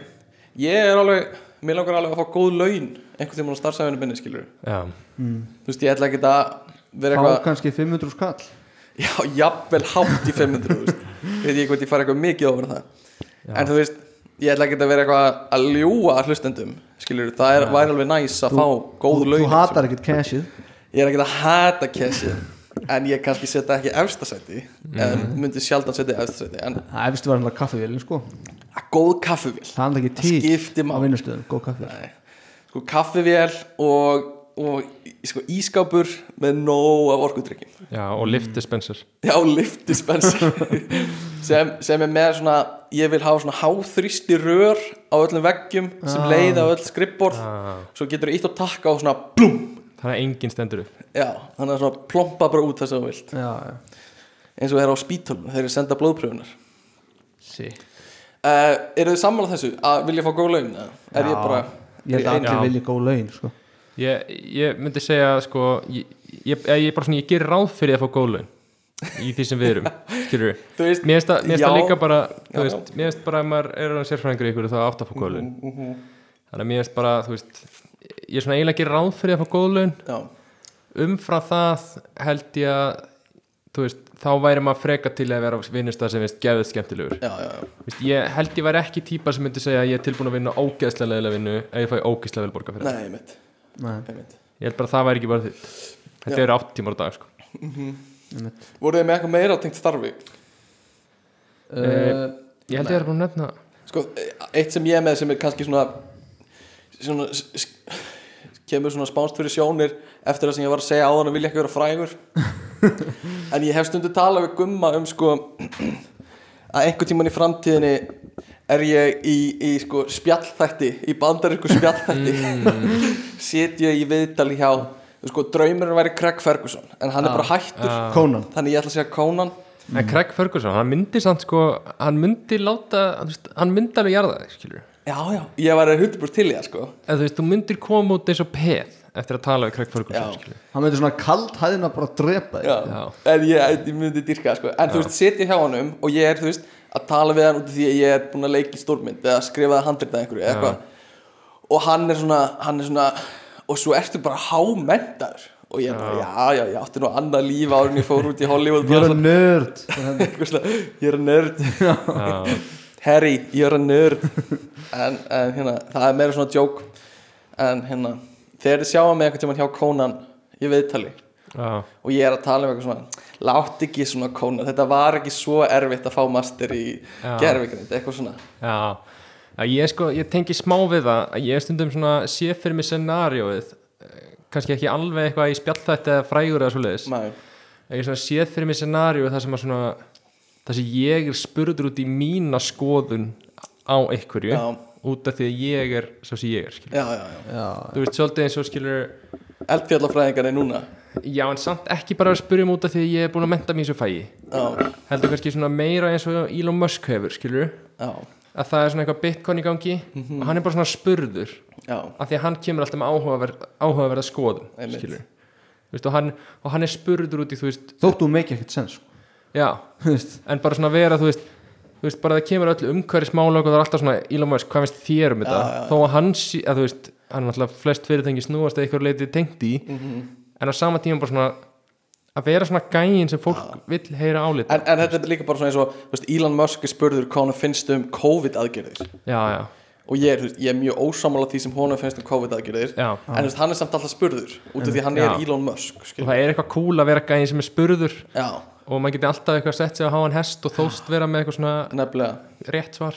Speaker 4: Ég er alveg mér langar alveg að fá góð laun einhvern tímann á starfsæfinu minni skilur
Speaker 2: já,
Speaker 4: þú veist ég ætla ekki að vera
Speaker 5: fá
Speaker 4: eitthvað
Speaker 5: kannski 500 skall
Speaker 4: já, jafnvel hátt í 500 þú veist. veit ég hvort ég fara eitthvað mikið ofan það
Speaker 2: Já.
Speaker 4: en þú veist, ég ætla ekki að vera eitthvað að ljúa að hlustendum skilur, það er, væri alveg næs að fá góð
Speaker 5: þú
Speaker 4: laun sko.
Speaker 5: hatar ekkert cashið
Speaker 4: ég er ekki að hata kessið en ég kannski setja ekki efstasæti mm. en
Speaker 5: Mhm.
Speaker 4: myndi sjaldan setja í efsta sæti en
Speaker 5: það efstu var hann kaffivélin sko
Speaker 4: að góð kaffivél
Speaker 5: það er ekki
Speaker 4: Það skiptir
Speaker 5: til á
Speaker 4: máli.
Speaker 5: vinnustöðum góð kaffivél
Speaker 4: Nei. sko kaffivél og, og í- sko, ískápur með nóg af orkudrykki
Speaker 2: já og
Speaker 4: Mm.
Speaker 2: liftispenser
Speaker 4: já, liftispenser sem, sem er með svona ég vil hafa svona háþrýsti rör á öllum veggjum sem leiða á öll skrippborð
Speaker 2: ah.
Speaker 4: svo getur þú ítt og takka og svona blúm
Speaker 2: það er engin stendur upp
Speaker 4: já, þannig að svona plompa bara út það sem þú vilt
Speaker 5: já, já.
Speaker 4: eins og það er á spítölum þegar þeir senda blóðpröfunar
Speaker 5: Sí.
Speaker 4: Uh, eru þið sammála þessu að vilja fá góð laun eða? er ég
Speaker 5: Já.
Speaker 4: bara
Speaker 5: ég held að
Speaker 2: Já.
Speaker 5: allir vilja góð laun sko.
Speaker 2: ég, ég myndi segja sko ég, ég, ég, bara svona, ég ger ráð fyrir að fá góðlaun í því sem við erum skilur við
Speaker 4: þú veist,
Speaker 2: mér finnst það mér finnst
Speaker 4: Já.
Speaker 2: það líka bara þú
Speaker 4: Já. Mhm.
Speaker 2: veist, mér finnst bara að maður er að sérfræðingur í ykkur þá átt að fá góðlaun þannig að mér finnst bara þú veist ég er svona eiginlega ekki ráð fyrir að fá góðlaun
Speaker 4: já,
Speaker 2: umfram það held ég að þú veist þá væri maður freka til að vera á vinnustæð sem finnst gefið skemmtilegur
Speaker 4: já, já, já,
Speaker 2: Vist, ég held ég væri ekki típa sem myndi segja að ég er tilbúin að vinna ógeðslega leðilega vinnu ef ég fæ ógeðslega vel borga fyrir
Speaker 4: nei, einmitt,
Speaker 5: Nei,
Speaker 4: einmitt.
Speaker 2: það. ég held bara að það væri ekki bara þitt þetta
Speaker 4: Já.
Speaker 2: eru 8 tímar á dag sko.
Speaker 5: einmitt.
Speaker 4: voruð þið með eitthvað meira tengt starfi
Speaker 5: uh,
Speaker 2: ég held ég er bara að nefna
Speaker 4: sko, eitt sem ég er með sem er kannski svona svona s- s- kemur svona spánst fyrir sjónir eftir það sem ég var að segja áðan að vilja ekki vera frægur en ég hef stundu talað við gumma um sko að einhvern tíman í framtíðinni er ég í, í sko spjallþætti í bandarísku spjallþætti *laughs* set ég í viðtal hjá sko draumurinn væri Craig Ferguson en hann er bara hættur
Speaker 2: Ah.
Speaker 5: Eh, Conan
Speaker 4: þannig ég ætla að segja Conan Mhm.
Speaker 2: en Craig Ferguson, hann myndi samt sko hann myndi láta, þú veist, hann myndi alveg jarða þig, skilur
Speaker 4: já já ég var hundbúrst til í það sko
Speaker 2: en þú veist, þú myndir koma út eins og peð eftir að tala við Craig Ferguson,
Speaker 4: Já.
Speaker 2: skilur
Speaker 5: hann veitur svona kald hæðina bara að drepa þig
Speaker 4: já. en ég, ég myndi dyrka það, sko. en þú veist, setja hjá honum og ég er, þú veist, að tala við hann út af því að ég er búin að leika í stórmynd eða skrifaði handrita einhverju eða eitthvað og hann er svona, hann er svona og svo ertu bara hámenntar og ég er bara, já, já, ég átti nú annað líf árið en ég fór út í Hollywood
Speaker 5: ég er
Speaker 4: bara
Speaker 5: að nörd
Speaker 4: svona- eitthvað svona, ég er að nörd Harry, ég er að nörd en, en hérna, það er meira svona joke en hérna, þegar þið sjáum mig einhvern tímann hjá Conan í viðtali
Speaker 2: Já.
Speaker 4: og ég er að tala um eitthvað svona látt ekki svona kóna, þetta var ekki svo erfitt að fá master í
Speaker 2: Já.
Speaker 4: gerfigrind, eitthvað svona
Speaker 2: Já, að ég sko, ég tengi smá við það að ég stundum svona sé fyrir mig scenarióið eh, kannski ekki alveg eitthvað í spjallþætti eða frægur eða svoleiðis
Speaker 4: Mæ,
Speaker 2: að ég svona sé fyrir mig scenarióið þar sem að svona þar sem ég er spurður út í mína skoðun á einhverju
Speaker 4: Já.
Speaker 2: út af því að ég er svo sem ég er, skilur
Speaker 4: já, já, já.
Speaker 2: þú veist, svolítið eins og skilur
Speaker 4: eldfjallafræðingar er núna
Speaker 2: Já, en samt ekki bara að spyrja mig út af því að ég er búin að menta mér svo fægi
Speaker 4: já,
Speaker 2: heldur kannski svona meira eins og Elon Musk hefur, skilur
Speaker 4: já,
Speaker 2: að það er svona eitthvað bitcoin í gangi
Speaker 4: Mhm.
Speaker 2: og hann er bara svona spurður
Speaker 4: já,
Speaker 2: af því að hann kemur alltaf með áhugaverð, áhugaverða skoðum
Speaker 4: Einmitt.
Speaker 2: skilur veist, og, hann, og hann er spurður út í þú veist
Speaker 5: þóttu hún meikið ekkert sens sko.
Speaker 2: já,
Speaker 5: Þú veist,
Speaker 2: en bara svona vera þú veist, þú veist bara það kemur öll umhverfis og það er alltaf svona Elon Musk, hvað finnst þér um þetta
Speaker 4: já, já.
Speaker 2: þó að hann, sí, að þú veist hann er alltaf flest fyrirtengi snúast eða eitthvað leitið tengt í
Speaker 4: Mhm.
Speaker 2: en á sama tíma bara svona að vera svona gæin sem fólk vill heyra álita
Speaker 4: en, en þetta er líka bara svona eins og þú veist, Elon Musk er spurður hvað hann finnst um COVID-aðgerðir
Speaker 2: já, já,
Speaker 4: og ég er, þú veist, ég er mjög ósamála því sem honum finnst um COVID-aðgerðir
Speaker 2: já
Speaker 4: en þú veist, hann er samt alltaf spurður út af því að hann er
Speaker 2: Já.
Speaker 4: Elon Musk
Speaker 2: og
Speaker 4: skilur.
Speaker 2: það er eitthvað cool að vera gæin sem er spurður
Speaker 4: já,
Speaker 2: og maður geti alltaf eitthvað sett sig á háan hest og þóst vera með eitthvað svona
Speaker 4: nefnilega
Speaker 2: rétt svar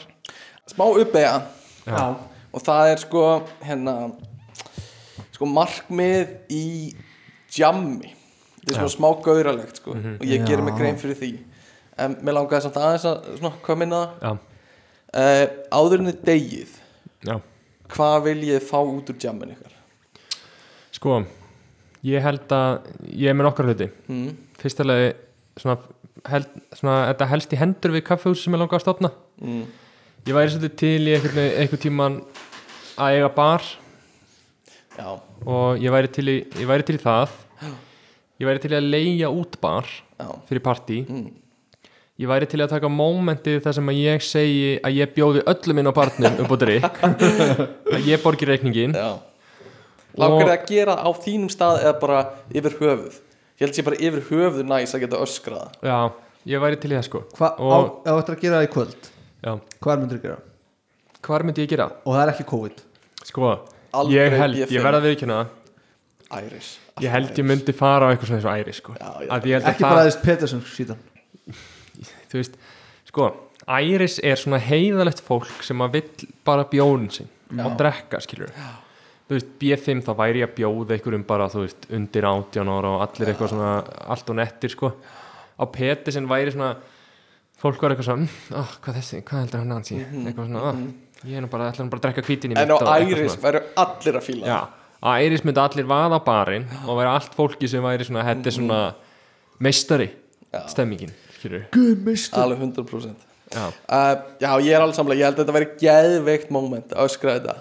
Speaker 4: smá uppeyja
Speaker 5: já.
Speaker 4: og það er sko hérna sko markmið í jammi þetta er svona smá gauralegt sko
Speaker 2: Mhm.
Speaker 4: og ég gerir mig grein fyrir því en mér langaði samt aðeins að svona, hvað minna það
Speaker 2: já,
Speaker 4: uh, áður en þið degið
Speaker 2: já
Speaker 4: hvað viljið þið fá út úr jammin ykkar
Speaker 2: Sko, ég held að ég er með nokkar hluti
Speaker 4: mm.
Speaker 2: Fyrst alveg svona, held, svona, þetta helst í hendur við kaffehús sem ég langa að stofna
Speaker 4: Mm.
Speaker 2: Ég væri svolítið til í einhvern, einhvern tíman að eiga bar
Speaker 4: já,
Speaker 2: og ég væri til í, ég væri til í það Ég væri til í að leigja út bar
Speaker 4: já,
Speaker 2: fyrir partí
Speaker 4: Mm.
Speaker 2: ég væri til að taka mómentið þar sem að ég segi að ég bjóði öllum inn á barnum upp á
Speaker 4: *laughs*
Speaker 2: drikk að ég borgi reikningin
Speaker 4: Já Langar þið að gera á þínum stað eða bara yfir höfuð Ég held sé bara yfir höfuð næs að geta öskraða
Speaker 2: já, ég væri til í það sko
Speaker 5: Hvað á,
Speaker 2: Og-
Speaker 5: á eftir að gera það í kvöld
Speaker 2: já.
Speaker 5: Hvað myndir að gera?
Speaker 2: hvar myndi ég gera?
Speaker 5: Og það er ekki COVID
Speaker 2: sko,
Speaker 4: Aldrei
Speaker 2: ég held,
Speaker 4: B5.
Speaker 2: ég verða að viðkynna það
Speaker 4: Æris
Speaker 2: ég held ég myndi fara á eitthvað svona eins og æri sko.
Speaker 4: Já, já.
Speaker 2: Að ég held
Speaker 5: Ekki
Speaker 2: að
Speaker 5: bara
Speaker 2: það,
Speaker 5: aðeins Peterson síðan
Speaker 2: þú veist sko, æris er svona heiðalegt fólk sem að vill bara bjóðin sinn og drekka, skilur þú veist, B5 þá væri ég að bjóða einhverjum bara, þú veist, undir 18 ára og allir eitthvað svona, allt og nettir sko, á peti sem væri svona fólk var eitthvað svona oh, hvað þessi, hvað heldur hann hans í eitthvað svona, oh, ég er nú bara, ætla hann bara að drekka hvítin í
Speaker 4: Mhm, En á
Speaker 2: mitt og eitthvað
Speaker 4: Æris
Speaker 2: svona.
Speaker 4: væru allir að fíla
Speaker 2: Já, að Eiris myndi allir vaða á barinn og væri allt fólki sem væri svona þetta er
Speaker 4: Mhm.
Speaker 2: svona meistari stemmingin, skilur
Speaker 4: það Alveg 100%
Speaker 2: já,
Speaker 4: uh, Já, ég er alveg samlega Ég held að þetta væri geðveikt moment að öskra þetta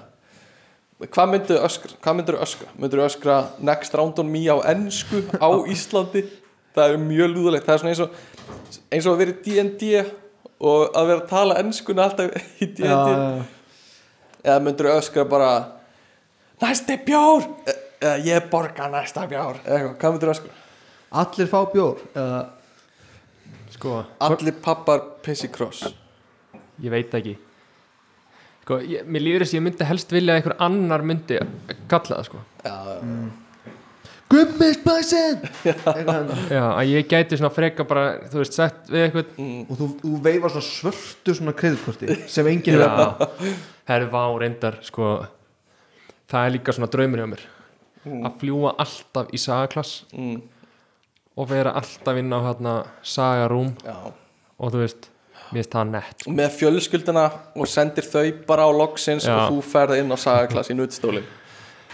Speaker 4: Hvað myndu öskra? Hvað myndu öskra? Myndu öskra next round on me á ennsku á Íslandi? Það er mjög lúðulegt Það er svona eins og eins og að vera í D&D og að vera að tala ennskuna alltaf í D&D eða myndur öskra bara næsti bjór E- eða ég borga næsta bjór eða eitthvað, hvað myndur öskra?
Speaker 5: Allir fá bjór eða,
Speaker 2: sko,
Speaker 4: Allir pappar pissi kross
Speaker 2: ég veit það ekki sko, ég, mér líður þess að ég myndi helst vilja að einhver annar myndi kalla það, sko
Speaker 4: já,
Speaker 5: Gummisblæsin Eitthvað hérna. hennar.
Speaker 2: já, að ég gæti svona freka bara, þú veist, sett við eitthvað
Speaker 4: Mm.
Speaker 5: Og þú, þú veifar svona svörtu svona kreditkorti Sem enginn er að
Speaker 2: já, herri vá, reyndar, sko það er líka svona draumur hjá mér að fljúa alltaf í sagaklass
Speaker 4: mm,
Speaker 2: og vera alltaf inn á hérna sagarúm
Speaker 4: já.
Speaker 2: og þú veist, mér finnst það nett
Speaker 4: og með fjölskylduna og sendir þau bara á loksins
Speaker 2: Já.
Speaker 4: og þú ferð inn á sagaklass í nuttstólin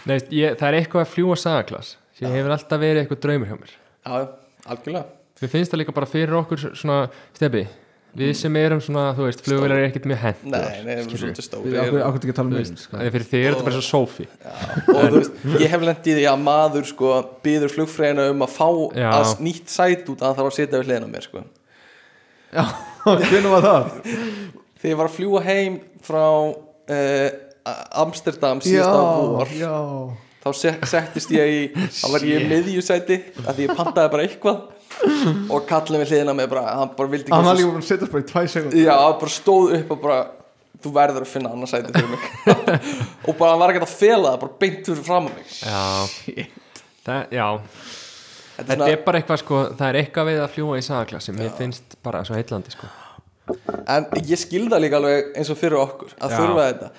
Speaker 2: Nei, veist, ég, það er eitthvað að fljúa sagaklass sem hefur alltaf verið eitthvað draumur hjá mér
Speaker 4: já, já, algjörlega
Speaker 2: Mér finnst það líka bara fyrir okkur svona stefi, við sem erum svona þú veist, flugvilar er ekkert mjög hent
Speaker 4: Mm. nei, nei, við erum
Speaker 2: skilur.
Speaker 4: svolítið
Speaker 5: Við
Speaker 4: stóri
Speaker 5: erum ákveð ekki að tala um minn sko. *laughs*
Speaker 2: fyrir þig er þetta bara svo sófi
Speaker 4: og þú veist, ég hef lendið í því að maður sko býður flugfræðina um að fá
Speaker 2: Já.
Speaker 4: að nýtt sæt út að það þarf að setja við hliðina á mér sko
Speaker 5: Hvernig var það?
Speaker 4: þegar ég var að fljúa heim frá uh, Amsterdam síðasta vor
Speaker 5: já
Speaker 4: þá se- settist ég í þá var ég í miðjusæti af því ég pantaði bara eitthvað og kallið við hliðina með bara hann bara vildi
Speaker 5: Hann var
Speaker 4: ekki
Speaker 5: líka búin að setja bara í tvæ sekund
Speaker 4: já, hann bara stóð upp og bara þú verður að finna annað sæti fyrir mig
Speaker 2: *laughs*
Speaker 4: og bara hann var ekki að fela það bara beint fyrir fram að mig
Speaker 2: já. Það, já,
Speaker 4: þetta
Speaker 2: þetta
Speaker 4: er
Speaker 2: er bara eitthvað sko, það er eitthvað við að fljúa í sagaklass sem mér finnst bara svo heitlandi sko.
Speaker 4: svona, en ég skilda líka alveg eins og fyrir okkur að
Speaker 2: Já.
Speaker 4: þurfa þetta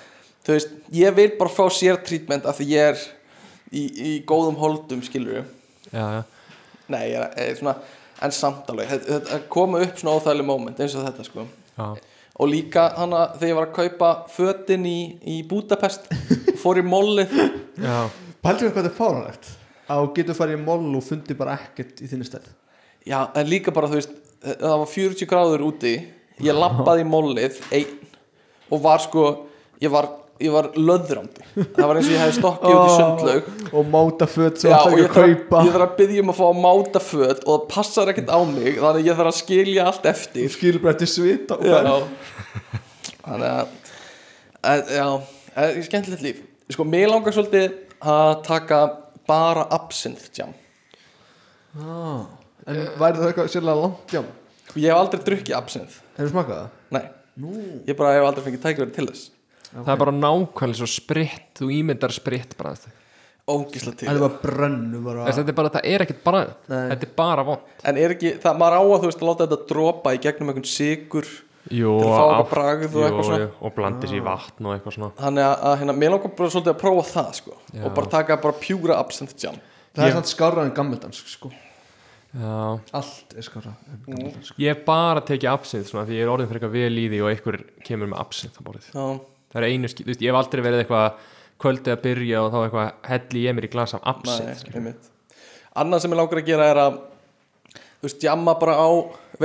Speaker 4: þú veist, ég vil bara fá sér treatment af því ég er í, í góðum holdum skilur
Speaker 2: já, já.
Speaker 4: Nei, ég er, ég er svona En samt alveg, þetta- þetta að koma upp svona óþægileg moment eins og þetta sko
Speaker 2: Já.
Speaker 4: Og líka hana þegar ég var að kaupa fötin í, í
Speaker 2: *laughs*
Speaker 4: Budapest Fór í mollið
Speaker 2: Já.
Speaker 5: Pældur hvað þetta er fáránlegt Að þú getur farið í moll og fundi bara ekkert í þinni stæð
Speaker 4: Já, en líka bara þú veist eh, Það var 40 gráður úti Ég lappaði í mollið einn Og var sko, ég var, ég var löðrandi Það var eins og ég hefði stokkið út í sundlaug
Speaker 5: Og móta föt sem
Speaker 4: Já,
Speaker 5: alltaf
Speaker 4: og
Speaker 5: ekki
Speaker 4: ég
Speaker 5: að
Speaker 4: þarf,
Speaker 5: kaupa
Speaker 4: ég þarf að byggja um að fá að máta föt og það passar ekkert á mig þannig að ég þarf að skilja allt eftir
Speaker 5: Þú skilur bara eftir svita og
Speaker 4: já
Speaker 5: færð.
Speaker 4: þannig að, að já, að, skemmtilegt líf sko, mér langar svolítið að taka bara absinthe jam
Speaker 5: Ah, En væri það eitthvað sérlega langt jám
Speaker 4: ég hef aldrei drukkið absinthe
Speaker 5: Hefur smakað það?
Speaker 4: nei, ég bara hef aldrei fengið tækverði til þess
Speaker 2: það er bara nákvæmlega svo spritt, þú ímyndar spritt bara þetta
Speaker 4: ógislega til
Speaker 5: Það er bara brennu bara
Speaker 2: er bara, það er ekkert bara
Speaker 5: Nei.
Speaker 2: þetta er bara von
Speaker 4: en er ekki, það maður á að þú veist að láta þetta dropa í gegnum einhvern sigur
Speaker 2: Jú,
Speaker 4: Til að fá eitthvað
Speaker 2: átt-
Speaker 4: bragð og eitthvað svona. Ah.
Speaker 2: og blandi sér í vatn og eitthvað svona
Speaker 4: þannig að, að hérna, mér langar bara svolítið að prófa það sko,
Speaker 2: Já.
Speaker 4: og bara taka bara pjúra absinthe jam
Speaker 5: Það er samt skárra en gammeldansk sko
Speaker 2: Já.
Speaker 5: Allt er skárra en gammeldansk
Speaker 2: Ég hef bara tekið absint svona því ég er orðin fyrir eitthvað vel í því og einhver kemur með absint á borðið.
Speaker 4: já,
Speaker 2: Það er einu skil, þú veist, ég hef aldrei verið eitthvað kvöldið að byrja og þá eitthvað helli ég mér í glas af
Speaker 4: nei,
Speaker 2: absint.
Speaker 4: einmitt annað sem ég langar að gera er að þú veist, jamma bara á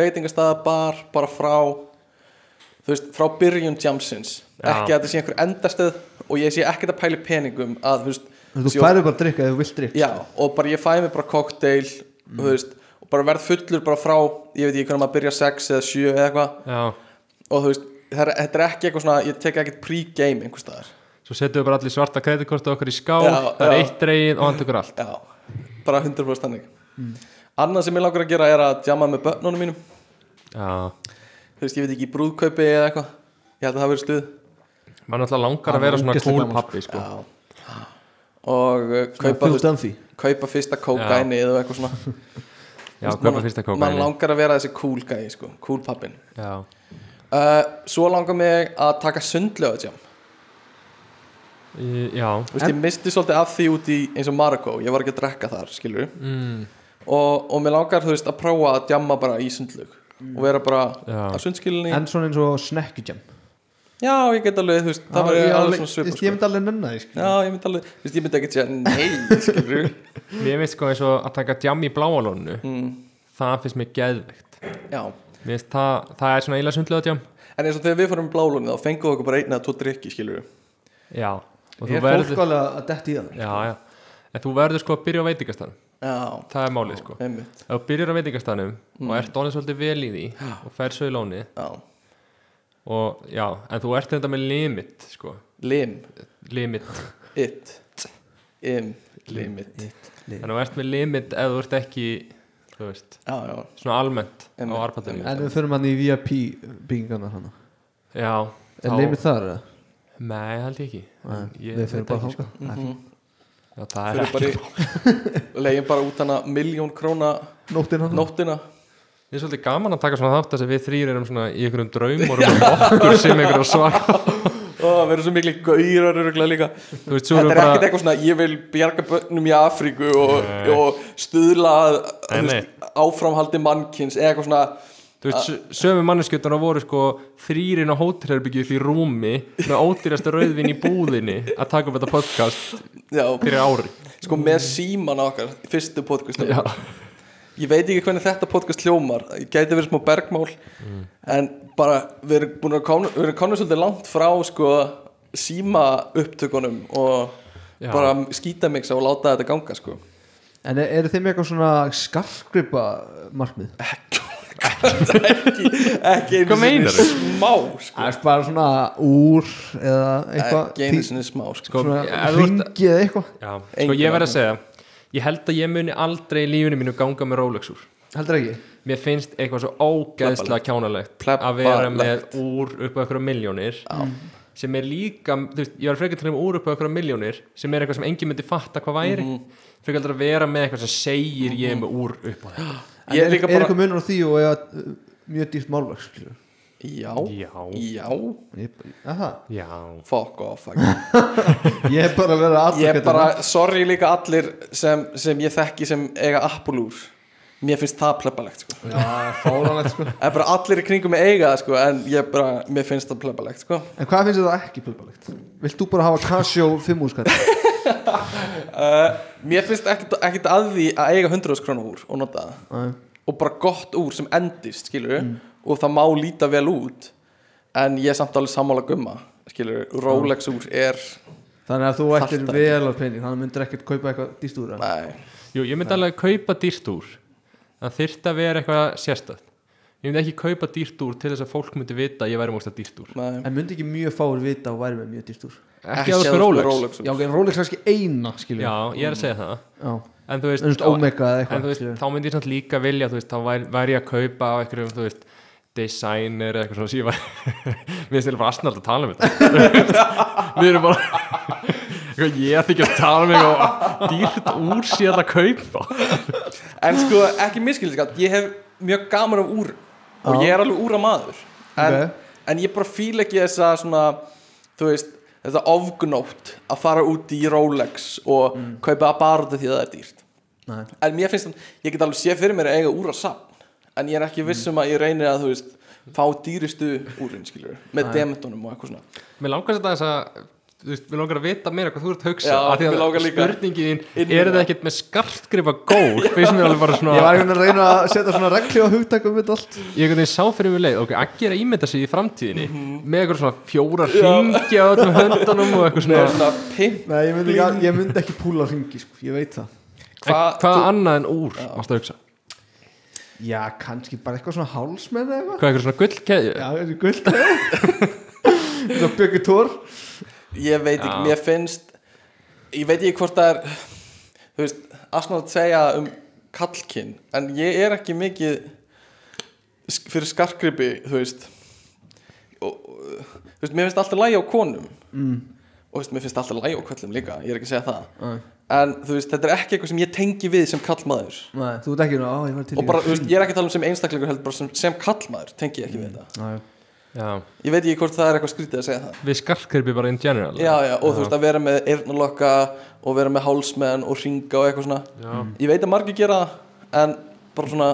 Speaker 4: veitingastæða bar, bara frá þú veist, frá byrjun jamsins
Speaker 2: Já.
Speaker 4: ekki að þetta sé einhver endastöð og ég sé ekkert að pæli peningum að þú veist,
Speaker 5: Þú færið bara að drikka eða þú vilt drikka
Speaker 4: já, og bara ég fæ mig bara kokteil, þú veist, og bara verð fullur bara frá ég veit ekki hvernig maður byrja 6 eða 7 eða eitthvað
Speaker 2: Já,
Speaker 4: og þú veist, það er, þetta er ekki eitthvað svona ég tek ekkert pre-game einhvers staðar
Speaker 2: svo setjum við bara allir svarta kreditkortu okkur í skál,
Speaker 4: Já,
Speaker 2: það er
Speaker 4: já.
Speaker 2: eitt dreigið og hann tekur allt
Speaker 4: já, bara 100% þannig annað sem ég langar að gera er að djama með börnunum mínum
Speaker 2: Já,
Speaker 4: þú veist, ég veit ekki, í brúðkaupi eða eitthvað ég held að það verið stuð
Speaker 2: maður náttúrulega langar
Speaker 5: Það
Speaker 2: að
Speaker 5: er
Speaker 2: vera svona
Speaker 5: ógeðslega
Speaker 2: cool
Speaker 5: gaman,
Speaker 2: pappi sko.
Speaker 4: já og uh, kaupa,
Speaker 5: Phil
Speaker 4: þú veist,
Speaker 5: Dunphy
Speaker 4: kaupa fyrsta kókaini eða eitthvað svona Þú veist,
Speaker 2: Já, kaupa
Speaker 4: mann-
Speaker 2: fyrsta kóka
Speaker 4: mann langar að vera þessi cool gæi, sko, cool pappin
Speaker 2: Já,
Speaker 4: uh, svo langar mig að taka sundlega jam
Speaker 2: Í- já,
Speaker 4: Þú veist, ég misti svolítið af því út í eins og Marokko, ég var ekki að drekka þar, skilur
Speaker 2: mm,
Speaker 4: og, og mér langar, þú veist, að prófa að djamma bara í sundlug
Speaker 5: Mm.
Speaker 4: og vera bara
Speaker 2: Já.
Speaker 4: á sundskilinni
Speaker 5: En svona eins og Snackjam
Speaker 4: já, ég get alveg, þú veist, það var
Speaker 5: ég,
Speaker 4: alveg
Speaker 5: alveg-
Speaker 4: svona svipur
Speaker 5: ég ég myndi alveg nennan því sko.
Speaker 4: já, ég myndi alveg, þú veist, ég myndi ekki segja
Speaker 5: *laughs*
Speaker 4: nei, skilur
Speaker 2: Mér finnst sko eins og að taka djam í bláalónu
Speaker 4: mm,
Speaker 2: Það finnst mér geðvegt
Speaker 4: já,
Speaker 2: Mér finnst það, það er svona eila sundlega djam
Speaker 4: en eins og þegar við fórum í blálunni þá fengum við okkur bara einn eða tvo drikki, skilur
Speaker 2: Já, og þú
Speaker 5: Er
Speaker 2: verður
Speaker 5: fólk alveg að detti í það
Speaker 2: Já, já, en þú verður sko að byrja á veitingastanum
Speaker 4: já,
Speaker 2: Það er málið sko
Speaker 4: einmitt,
Speaker 2: Ef þú byrjar á veitingastanum og ert orðin svolítið vel í því og fer svo í lóni
Speaker 4: já,
Speaker 2: og já, en þú ert þetta með limit sko,
Speaker 4: lim
Speaker 2: limit
Speaker 4: it, im, limit
Speaker 2: en þú ert með limit ef þú ert ekki þú veist,
Speaker 4: já, já,
Speaker 2: svona almennt á
Speaker 4: Einmitt,
Speaker 2: arpatum
Speaker 5: En við förum hann í VIP byggingarnar hann
Speaker 2: já,
Speaker 5: Er leimið þar? eða?
Speaker 2: nei, held ég ekki
Speaker 5: Nei,
Speaker 2: Ég
Speaker 5: Við
Speaker 2: veit
Speaker 5: förum bara
Speaker 2: ekki,
Speaker 5: hóka
Speaker 4: Mhm.
Speaker 2: sko. já, það er
Speaker 4: fyrir
Speaker 2: ekki
Speaker 4: bara í *laughs* legin bara út hana miljón króna
Speaker 5: Nóttinn hann
Speaker 4: nóttina
Speaker 2: Mér er svolítið gaman að taka svona þátt þess að við þrýr erum svona í einhverjum draumor um okkur sem einhverjum svaka
Speaker 4: Ó, það verður svo miklu gaurar öruglega líka
Speaker 2: Þú veist, svo
Speaker 4: Þetta
Speaker 2: erum
Speaker 4: er
Speaker 2: við
Speaker 4: ekkert
Speaker 2: bara
Speaker 4: eitthvað svona, ég vil bjarga börnum í Afríku og,
Speaker 2: Nei.
Speaker 4: og stuðla að-
Speaker 2: Nei,
Speaker 4: að þú veist, áframhaldi mannkins eða eitthvað svona
Speaker 2: Þú veist, sö- sömu manneskjötana voru sko þrýrin á hótelherbyggju upp í rúmi með ódýrasta rauðvin í búðinni að taka upp þetta podcast
Speaker 4: já,
Speaker 2: fyrir ári
Speaker 4: sko með síman okkar fyrstu podcast
Speaker 2: Mm. Já,
Speaker 4: Ég veit ekki hvernig þetta podcast hljómar ég gæti verið smá bergmál
Speaker 2: Mm.
Speaker 4: en bara við erum búin að komna við erum komin svolítið langt frá sko síma upptökunum og
Speaker 2: Já.
Speaker 4: bara skýta mig og láta þetta ganga
Speaker 2: *laughs*
Speaker 4: sko
Speaker 5: En er- eru þeim eitthvað svona skarfgripa markmið?
Speaker 4: ekki, ekki
Speaker 2: Hvað
Speaker 4: einu
Speaker 2: meinarðu?
Speaker 4: sinni smá sko.
Speaker 5: Það er bara svona úr eða eitthvað
Speaker 4: ekki einu sinni smá sko.
Speaker 2: sko,
Speaker 5: svona
Speaker 2: ef þú ert-
Speaker 5: ringi eða eitthvað
Speaker 2: já, sko
Speaker 4: Engin
Speaker 2: ég verð
Speaker 4: vegna.
Speaker 2: að segja Ég held að ég muni aldrei í lífinu mínu ganga með Rolex úr
Speaker 5: Heldur ekki?
Speaker 2: Mér finnst eitthvað svo ógeðslega kjánalegt að vera með úr upp á einhverja miljónir sem er líka, þú veist, ég var frekar til að með úr upp á einhverja miljónir sem er eitthvað sem enginn myndi fatta hvað væri frekar aldrei að vera með eitthvað sem segir ég er með úr upp á þetta
Speaker 5: En
Speaker 4: Ég er
Speaker 5: er,
Speaker 4: líka
Speaker 5: er
Speaker 4: bara-
Speaker 5: eitthvað munur á því og eða uh, mjög dýrt málverk skilur
Speaker 4: já,
Speaker 2: Já,
Speaker 4: já,
Speaker 5: Ég, að það?
Speaker 2: já
Speaker 4: fuck off fuck.
Speaker 5: Ég er bara að vera alltaf
Speaker 4: ég er bara, sorry líka allir sem, sem ég þekki sem eiga Apple úr mér finnst það plebbalegt sko.
Speaker 5: Já, fáránlegt sko
Speaker 4: en bara allir í kringum mig eiga það sko, en ég bara, mér finnst það plebbalegt sko.
Speaker 5: En hvað finnst þér það ekki pulbalegt? Vilt þú bara hafa Casio 5 úrskall?
Speaker 4: Eh, mér finnst ekkert, ekkert að því að eiga 100 krónu úr og nota það
Speaker 5: Nei
Speaker 4: og bara gott úr sem endist skilur og það má líta vel út en ég er samt alveg sammála gumma skilur, Rolex úr er
Speaker 5: Þannig að þú ættir
Speaker 4: Þarftu
Speaker 5: vel að pening Þannig myndir ekkert kaupa eitthvað dýrt úr en
Speaker 4: nei,
Speaker 2: Jú, ég myndi alveg kaupa dýrt úr það þyrfti að vera eitthvað sérstætt ég myndi ekki kaupa dýrt úr til þess að fólk myndi vita að ég væri mjög dýrt úr
Speaker 4: nei.
Speaker 5: En myndi ekki mjög fáir vita og væri með mjög dýrt úr
Speaker 2: ekki
Speaker 4: að
Speaker 2: að þú sko
Speaker 4: þú
Speaker 2: Rolex
Speaker 4: Rolex úr
Speaker 5: Já, ok, Rolex kannski eina skilur
Speaker 2: Já, ég er að segja það
Speaker 5: Já.
Speaker 2: en þú veist,
Speaker 5: En þú veist, Omega eða
Speaker 2: en
Speaker 5: eitthvað
Speaker 2: þú veist,
Speaker 5: skilur.
Speaker 2: þá myndi ég samt líka vilja þú veist, þá væri, væri ég að kaupa á einhverjum þú veist, designer eða eitthvað svona sem ég væri *laughs* mér finnst þetta bara asnald að tala um þetta *laughs* við erum bara *laughs* eitthvað ég ætti ekki að tala um eitthvað dýrt úr síðan að kaupa
Speaker 4: en sko, ekki miskildiskatt, ég hef mjög gaman af úr og ég er alveg úra maður en,
Speaker 5: Ok.
Speaker 4: en ég bara fíla ekki þessa svona, þú veist þetta ofgnótt að fara út í Rolex og kaupa að bara út af því að það er dýrt
Speaker 5: Nei.
Speaker 4: en mér finnst það, ég get alveg séð fyrir mér að eiga úra saman en ég er ekki viss um að ég reynir að þú veist fá dýristu úrin skilur með dementunum og eitthvað svona
Speaker 2: Mér langar þetta þess að þú veist, mér langar að vita meira hvað þú ert að hugsa
Speaker 4: Já,
Speaker 2: af því að
Speaker 4: mig langar líka.
Speaker 2: spurningin
Speaker 4: Inn
Speaker 2: þín,
Speaker 4: í
Speaker 2: er
Speaker 4: það.
Speaker 2: það ekkert með skartgripa
Speaker 4: *laughs*
Speaker 2: gól finnst mér alveg bara svona
Speaker 5: Ég
Speaker 2: ég,
Speaker 5: var einhvern veginn að reyna að setja svona regli á hugtakum við allt
Speaker 2: einhvern veginn sá fyrir mig leið ok, ekki er að ímynda sig í framtíðinni
Speaker 4: Mhm.
Speaker 2: með eitthvað svona fjóra hringi á öllum höndunum og eitthvað
Speaker 4: með
Speaker 2: svona
Speaker 4: svona pimp
Speaker 5: Nei, ég myndi, ekki, ég myndi ekki púla hringi, sko, ég veit það
Speaker 2: hvað
Speaker 4: þú-
Speaker 2: annað en úr mást að hugsa
Speaker 5: já, kannski bara eitthvað svona háls með það eitthvað
Speaker 2: Hvað, eitthvað svona gullkeðju?
Speaker 5: já, þetta er guld *laughs* þetta er byggjur tór
Speaker 4: ég veit ekki,
Speaker 2: Já.
Speaker 4: mér finnst ég veit ekki hvort það er þú veist, asnátt segja um kallkinn, en ég er ekki mikið sk- fyrir skarkripi, þú veist og, og, þú veist, mér finnst alltaf lægi á konum
Speaker 5: mm.
Speaker 4: og þú veist, mér finnst alltaf lægi á köllum líka, ég er ekki að segja það en þú veist, þetta er ekki eitthvað sem ég tengi við sem kallmaður
Speaker 5: Nei, þú ert ekki nú, á, ég var til
Speaker 4: og bara, þú veist, ég er ekki að tala um sem einstaklingur heldur, bara sem, sem kallmaður tengi ég ekki við þetta
Speaker 5: Næ,
Speaker 2: Já,
Speaker 4: ég veit ekki hvort það er eitthvað skrítið að segja það
Speaker 2: við skarkripi bara in general
Speaker 4: já, já, og þú veist að vera með eyrnalokka og vera með hálsmenn og ringa og eitthvað svona
Speaker 2: Já.
Speaker 4: ég veit að margir gera það en bara svona,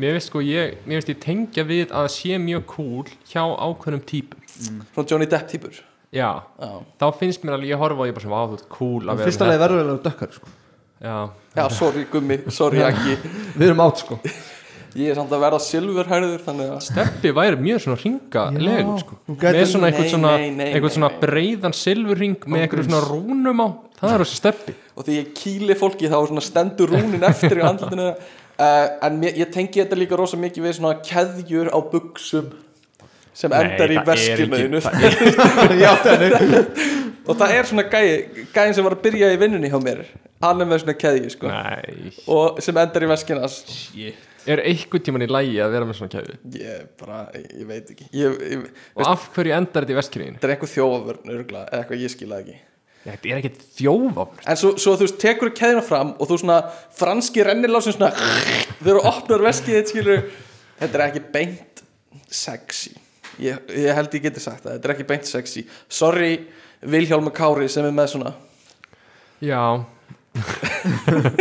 Speaker 2: Mér veist sko, ég, mér veist ég tengja við að það sé mjög cool hjá ákveðnum típum
Speaker 4: svona Johnny Depp týpur
Speaker 2: Já,
Speaker 4: já.
Speaker 2: þá finnst mér alveg, ég horfa og ég bara svona, vá, þú ert cool að vera
Speaker 5: fyrsta leið verður vel að dökkar sko.
Speaker 2: Já,
Speaker 4: já, sorry gummi, sorry ekki
Speaker 5: við erum átt sko
Speaker 4: ég er samt að verða silfurhærður þannig að
Speaker 2: Steppi væri mjög svona ringa legur sko
Speaker 5: hún
Speaker 2: Með
Speaker 5: gæti-
Speaker 2: svona eitthvað
Speaker 4: Nei,
Speaker 2: svona,
Speaker 4: nei, nei,
Speaker 2: eitthvað
Speaker 4: nei,
Speaker 2: svona
Speaker 4: nei.
Speaker 2: breiðan silfurring með eitthvað svona rúnum á Það er þessi steppi
Speaker 4: og því ég kýli fólki þá svona stendur rúnin eftir í andlutinu *laughs* uh, en mér, ég tengi þetta líka rosa mikið við svona keðjur á buksum sem endar í veskinuðinu
Speaker 5: *laughs* já, þannig
Speaker 4: *laughs* og það er svona gæi, gæin sem var að byrja í vinnunni hjá mér hann er með svona keðju sko
Speaker 2: Nei,
Speaker 4: og sem endar í veskinas
Speaker 2: er eitthvað tíman í lægi að vera með svona kæfi
Speaker 4: ég bara, ég veit ekki ég, ég,
Speaker 2: Og af hverju endar þetta í vestkriðinu?
Speaker 4: þetta er eitthvað þjófavörn örgla, eða eitthvað ég skila ekki
Speaker 2: Þetta er ekkert þjófafn
Speaker 4: en svo, svo þú veist, tekur keðina fram og þú svona franski rennilásin svona þegar þú opnar veskið þitt skilur þetta er ekki beint sexy ég, ég held ég geti sagt það, þetta er ekki beint sexy sorry Vilhjálmur Kári sem er með svona
Speaker 2: Já *laughs*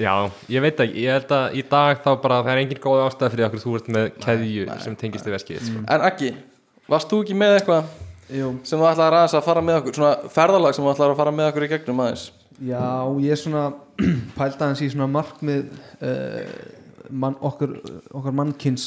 Speaker 2: Já, ég veit ekki, ég held að í dag þá bara það er engin góð ástæð fyrir okkur þú ert með keðju sem tengist í veskið sko.
Speaker 4: en Aggi, varst þú ekki með eitthvað
Speaker 5: Jú,
Speaker 4: sem þú ætlar aðeins að fara með okkur svona ferðalag sem þú ætlar að fara með okkur í gegnum aðeins
Speaker 5: já, ég er svona *clears throat* pælda hans í svona markmið uh, mann, okkar, okkar mannkins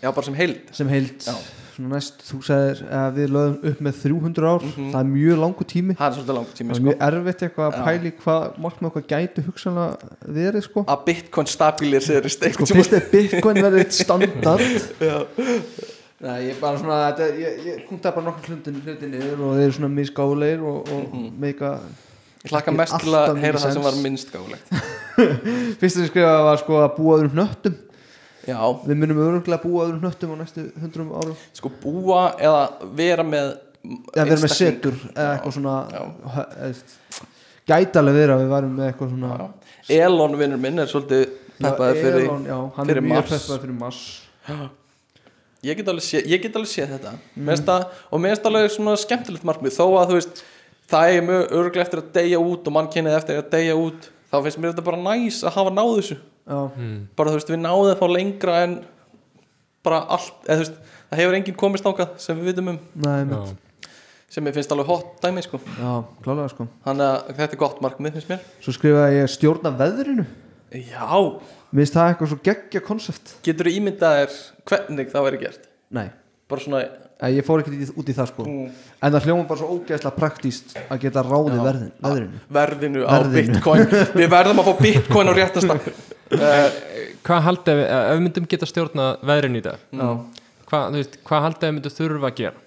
Speaker 4: já, bara sem heild
Speaker 5: sem heilt
Speaker 4: Já.
Speaker 5: svona næst, þú sagðir að við lögum upp með 300 ár, það er mjög langu tími
Speaker 4: það er svolítið langt tími
Speaker 5: það er
Speaker 4: Mhm. sko.
Speaker 5: mjög erfitt eitthvað að pæli hvað markmið okkar gæti hugsanlega verið sko
Speaker 4: að bitcoin stabilir sér í steik
Speaker 5: sko fyrst er bitcoin verið eitt
Speaker 4: *laughs*
Speaker 5: standard Nei, ég bara svona þetta, ég, ég kunta bara nokkur hlutin hlutin yfir og þeir eru svona misgáleir og, og
Speaker 4: Mhm.
Speaker 5: meika
Speaker 4: ég hlakka
Speaker 5: Ég
Speaker 4: mest til að
Speaker 5: alltaf
Speaker 4: heyra
Speaker 5: mikið
Speaker 4: það sem
Speaker 5: sens.
Speaker 4: var minnst gálegt
Speaker 5: fyrst sem ég skrifaði var sko að búa öðrum hnöttum
Speaker 4: já,
Speaker 5: við munum öruglega búa öðrum hnöttum á næstu hundrum árum
Speaker 4: sko búa eða vera með
Speaker 5: eða vera með
Speaker 4: einstakling.
Speaker 5: setur eða eitthvað svona
Speaker 4: já.
Speaker 5: hö- eða, gætalega vera að við varum með eitthvað svona
Speaker 4: Já. Elon vinnur minn er svolítið peppaði fyrir
Speaker 5: Elon, já, hann
Speaker 4: fyrir
Speaker 5: er mjög
Speaker 4: Mars.
Speaker 5: peppaði fyrir Mars
Speaker 4: ég get alveg séð, ég get alveg séð þetta mm. að, og mér finnst alveg svona skemmtilegt markmið þó að þú veist það er mjög örglega eftir að deyja út og mannkynið eftir að deyja út þá finnst mér þetta bara næs að hafa náð þessu
Speaker 5: já,
Speaker 2: Mm,
Speaker 4: bara þú veist við náðum þá lengra en bara allt eða þú veist það hefur enginn komist ákað sem við vitum um
Speaker 5: nei,
Speaker 2: Já.
Speaker 5: mitt,
Speaker 4: sem ég finnst alveg hot dæmi sko
Speaker 5: já, klálega sko
Speaker 4: þannig að þetta er gott markmið finnst mér
Speaker 5: svo skrifaði ég stjórna veðrinu
Speaker 4: já
Speaker 5: Mér finnst það eitthvað svo geggja konsept
Speaker 4: getur þú ímyndað þér hvernig það væri gert
Speaker 5: Nei,
Speaker 4: bara svona
Speaker 5: eh, ég fór ekkert í- út í það sko
Speaker 4: Mm.
Speaker 5: En það hljóma bara svo ógeðslega praktíst að geta ráðið verðin, veðrinu
Speaker 4: verðinu á
Speaker 5: Verðinu.
Speaker 4: bitcoin
Speaker 5: *laughs*
Speaker 4: við verðum að fá bitcoin á réttasta
Speaker 2: Hvað haldið ef, ef við myndum geta stjórna veðrin í dag?
Speaker 5: Já, Mm.
Speaker 2: Hvað, þú veist, hvað haldið ef við myndum þurfa að gera?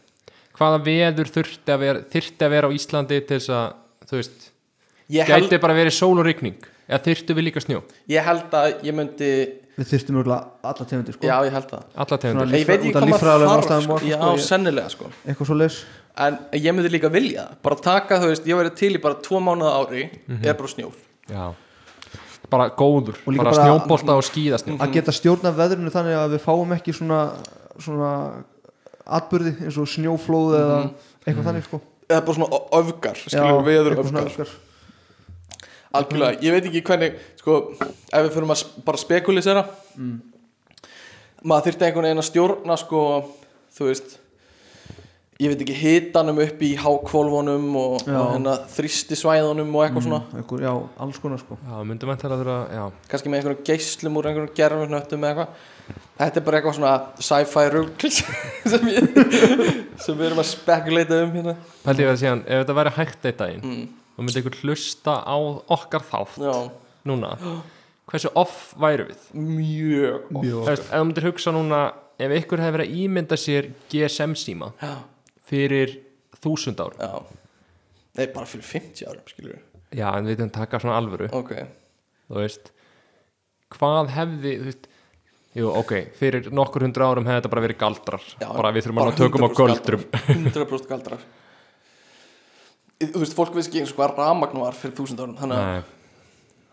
Speaker 2: Hvaða veður þurfti að vera, þyrfti að vera á Íslandi til þess að þú veist,
Speaker 4: ég held,
Speaker 2: gæti bara verið sól og rigning eða þyrftu við líka snjó,
Speaker 4: ég held að ég myndi
Speaker 5: við þyrstum örugglega alla tegundir sko
Speaker 4: já ég held það
Speaker 2: alla tegundir
Speaker 5: Svona-
Speaker 4: ég veit
Speaker 5: Líffræ-
Speaker 4: ekki
Speaker 5: út af
Speaker 4: hvað maður
Speaker 5: líffræðilegum
Speaker 4: þarf
Speaker 5: ástæðum
Speaker 4: sko.
Speaker 5: og
Speaker 4: já
Speaker 5: svona, sko, ég-
Speaker 4: sennilega sko
Speaker 5: Eitthvað svo leis
Speaker 4: en ég myndi líka vilja það. bara taka þú veist ég verið til í bara tvo mánuða ári er bara snjór
Speaker 2: Já, bara góður,
Speaker 5: Og líka
Speaker 2: bara,
Speaker 5: bara- Mm.
Speaker 2: snjóbolta og skíðasnjó
Speaker 5: Að geta stjórna veðrinu þannig að við fáum ekki svona Svona atburði eins og snjóflóð eða eitthvað þannig sko
Speaker 4: eða bara svona o- öfgar
Speaker 5: Já,
Speaker 4: Mhm. skilur veður
Speaker 5: eitthvað svona
Speaker 4: öfgar algjörlega, ég veit ekki hvernig sko, ef við fyrir að s- bara spekulisera maður þyrfti einhvern veginn að stjórna sko, þú veist ég veit ekki hitanum upp í hákvolvunum og,
Speaker 5: Já. Mm.
Speaker 4: og hérna, þrýsti svæðunum og eitthvað svona
Speaker 5: Eitthvað, Mhm, já, alls konar sko
Speaker 2: Já, myndum við að þurfa, já
Speaker 4: kannski með einhverjum geislum úr einhverjum gerfurnöttum eða eitthvað þetta er bara eitthvað svona sci-fi rugl *laughs* sem, ég, sem við erum að spekuleita um hérna
Speaker 2: Pældi ég að segja hann, ef þetta væri hægt eitt daginn og myndi einhver hlusta á okkar þátt
Speaker 4: já,
Speaker 2: núna hversu off væru við
Speaker 4: mjög oft.
Speaker 2: Þú veist, ef þú myndir hugsa núna ef ykkur hefur verið að ímynda sér GSM síma
Speaker 4: já,
Speaker 2: fyrir þúsund ár
Speaker 4: já Nei, bara fyrir 50 árum, skilur
Speaker 2: já, en við þum taka svona alvöru
Speaker 4: Ok,
Speaker 2: þú veist hvað hefði þú veist, jú, ok, fyrir nokkur hundra árum hefði þetta bara verið galdrar
Speaker 4: já
Speaker 2: bara við þurfum bara að tökum á
Speaker 4: 100%
Speaker 2: göldrum
Speaker 4: galdrar. 100%
Speaker 2: *laughs*
Speaker 4: galdrar Þú veist, fólk veist ekki eins og hvað rammagn var fyrir þúsund árum Þannig að-
Speaker 2: Nei,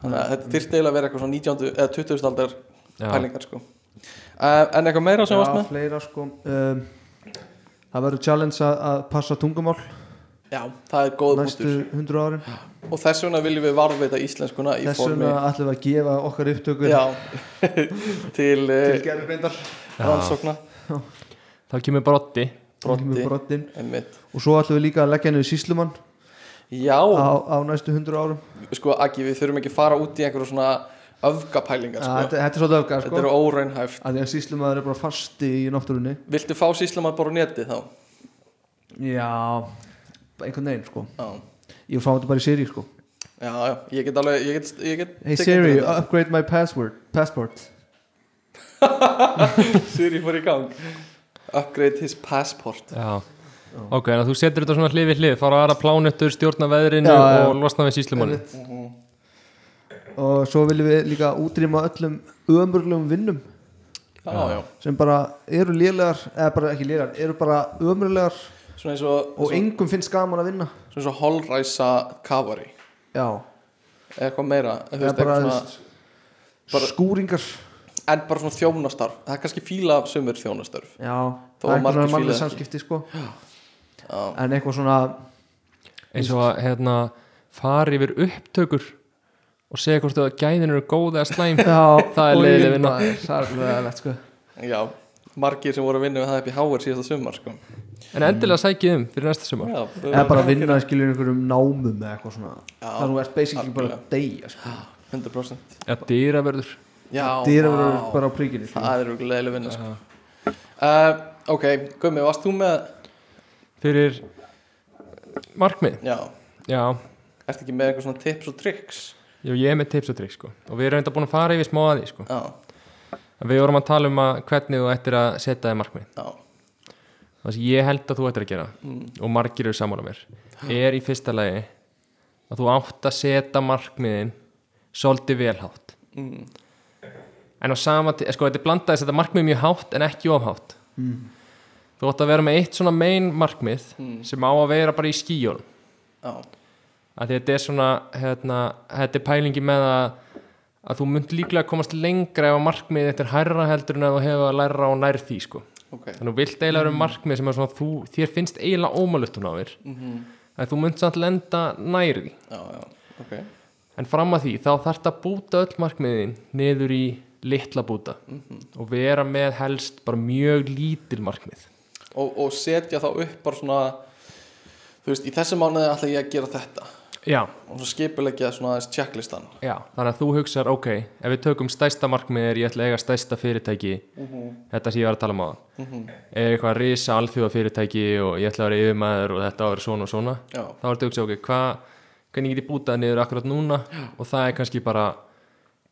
Speaker 4: þannig að þetta þyrfti eiginlega að vera eitthvað svona 19. eða 20. aldar
Speaker 2: já.
Speaker 4: pælingar, sko uh, En eitthvað meira sem varst
Speaker 5: Já,
Speaker 4: með?
Speaker 5: fleira sko um, Það verður challenge að, að passa tungumál
Speaker 4: Já, það er góð
Speaker 5: næstu 100
Speaker 4: punktur
Speaker 5: árin
Speaker 4: Og þess vegna viljum við varðveita íslenskuna í
Speaker 5: Þess
Speaker 4: formi
Speaker 5: vegna ætlum við að gefa okkar upptökur
Speaker 4: Já, *laughs* til,
Speaker 5: til
Speaker 4: til
Speaker 5: gerðurbeindar
Speaker 4: rannsókna
Speaker 2: þá kemur brotti
Speaker 4: Broddi.
Speaker 5: Broddi.
Speaker 4: Einmitt.
Speaker 5: Og svo ætlum við líka að leggja niður síslumann
Speaker 4: Já,
Speaker 5: á, á næstu 100 árum
Speaker 4: sko Aggi, við þurfum ekki að fara út í einhverju svona öfgapælingar
Speaker 5: Að
Speaker 4: sko.
Speaker 5: Þetta þetta er svolítið öfgar
Speaker 4: Þetta
Speaker 5: sko
Speaker 4: eru óraunhæft
Speaker 5: að Því að síslumaður er bara fasti í náttúrunni
Speaker 4: Viltu fá síslamað bara á neti þá?
Speaker 5: Já bara Einhvern veginn sko
Speaker 4: Já,
Speaker 5: Ég fá þetta bara í Siri sko
Speaker 4: já, já. ég get alveg ég get, ég get
Speaker 5: Hey
Speaker 4: tekið
Speaker 5: Siri,
Speaker 4: undir þetta.
Speaker 5: upgrade my password passport uh,
Speaker 4: Siri fór í gang Upgrade his passport
Speaker 2: já. ok, en að þú setur þetta svona hlið við hlið fara aðra plánettur, stjórna veðrinu
Speaker 5: Já, já.
Speaker 2: og losna við síslumanni
Speaker 5: Einmitt.
Speaker 4: Mhm.
Speaker 5: Og svo viljum við líka útrýma öllum ömurlegum vinnum
Speaker 4: Já, já,
Speaker 5: sem bara eru lélegar eða bara ekki lélegar, eru bara ömurlegar
Speaker 4: svona eins og,
Speaker 5: og
Speaker 4: svona,
Speaker 5: engum finnst gaman að vinna
Speaker 4: svona eins og holræsa kavari
Speaker 5: já,
Speaker 4: eða eitthvað meira þú
Speaker 5: eða
Speaker 4: veist,
Speaker 5: bara,
Speaker 4: eitthvað svona, bara-
Speaker 5: skúringar
Speaker 4: en bara svona þjónastarf það er kannski fíla af sumur þjónastarf
Speaker 5: já,
Speaker 4: Þó
Speaker 5: það er
Speaker 4: að margir
Speaker 5: einhvern veginn
Speaker 4: fíla
Speaker 5: mannlega
Speaker 4: það ekki.
Speaker 5: samskipti sko.
Speaker 4: Já,
Speaker 5: en eitthvað svona
Speaker 2: eins og að hérna, fara yfir upptökur og segja hvort að gæðin eru góð eða
Speaker 5: *laughs*
Speaker 4: *laughs*
Speaker 2: slæm
Speaker 5: já,
Speaker 2: Það
Speaker 5: oj,
Speaker 2: er leiðileg vinna.
Speaker 5: maður, það er leðilegt sko.
Speaker 4: já margir sem voru að vinna við það upp í háir síðasta sumar sko.
Speaker 2: en endilega sækið um fyrir næsta sumar
Speaker 4: já,
Speaker 5: eða bara að vinna skilur einhverjum námum eða eitthvað svona
Speaker 4: Já,
Speaker 5: þar þú ert basically bara að
Speaker 4: algjörlega.
Speaker 5: deyja sko.
Speaker 4: 100%
Speaker 2: eða dýravörður
Speaker 4: já,
Speaker 5: dýra verður
Speaker 4: vá.
Speaker 5: bara á príkinni sko.
Speaker 4: það er okkur leiðileg vinna sko. uh, ok, Gumi, varst þú með
Speaker 2: fyrir markmið
Speaker 4: já,
Speaker 2: já,
Speaker 4: ert ekki með eitthvað svona tips og tricks
Speaker 2: Jú, ég er með tips og tricks sko. og við erum enda búin að fara yfir smá aði sko.
Speaker 4: já,
Speaker 2: En við vorum að tala um að hvernig þú ættir að setja þig markmið
Speaker 4: já,
Speaker 2: það sem ég held að þú ættir að gera og margir eru sammála mér er í fyrsta lagi að þú átt að setja markmiðin svolítið velhátt
Speaker 4: mm,
Speaker 2: en á sama tíma, sko þetta er blandaði að setja markmið mjög hátt en ekki ofhátt mm. þú átt að vera með eitt svona main markmið
Speaker 4: Mm.
Speaker 2: sem á að vera bara í skíjónum
Speaker 4: já,
Speaker 2: að þetta er svona hérna, þetta er pælingi með að að þú munt líklega komast lengra ef að markmið þetta er hærra heldur en að þú hefur að læra á nær því sko.
Speaker 4: ok
Speaker 2: þannig að þú vilt eiginlega vera með markmið sem er svona þú, þér finnst eiginlega ómöluft hún á þér
Speaker 4: mm
Speaker 2: að þú munt samt lenda nær því
Speaker 4: já, já, ok
Speaker 2: en fram að því þá þarf þetta að búta öll markmiðin niður í litla búta og vera með helst bara mjög lítil markmið
Speaker 4: og, og setja þá upp bara svona þú veist, í þessum mánuði ætla ég að gera þetta
Speaker 2: já,
Speaker 4: og svo skipulegja svona aðeins checklistan
Speaker 2: Já, þannig að þú hugsar, ok, ef við tökum stæsta markmiðir, ég ætla að eiga stæsta fyrirtæki,
Speaker 4: Mhm.
Speaker 2: þetta sem ég var að tala um á það, eða eitthvað risa alþjóða fyrirtæki og ég ætla að vera yfirmaður og þetta að vera svona og svona,
Speaker 4: já,
Speaker 2: þá er þetta að hugsa, ok, hvað, hvernig get ég bútað niður akkurat núna og það er kannski bara,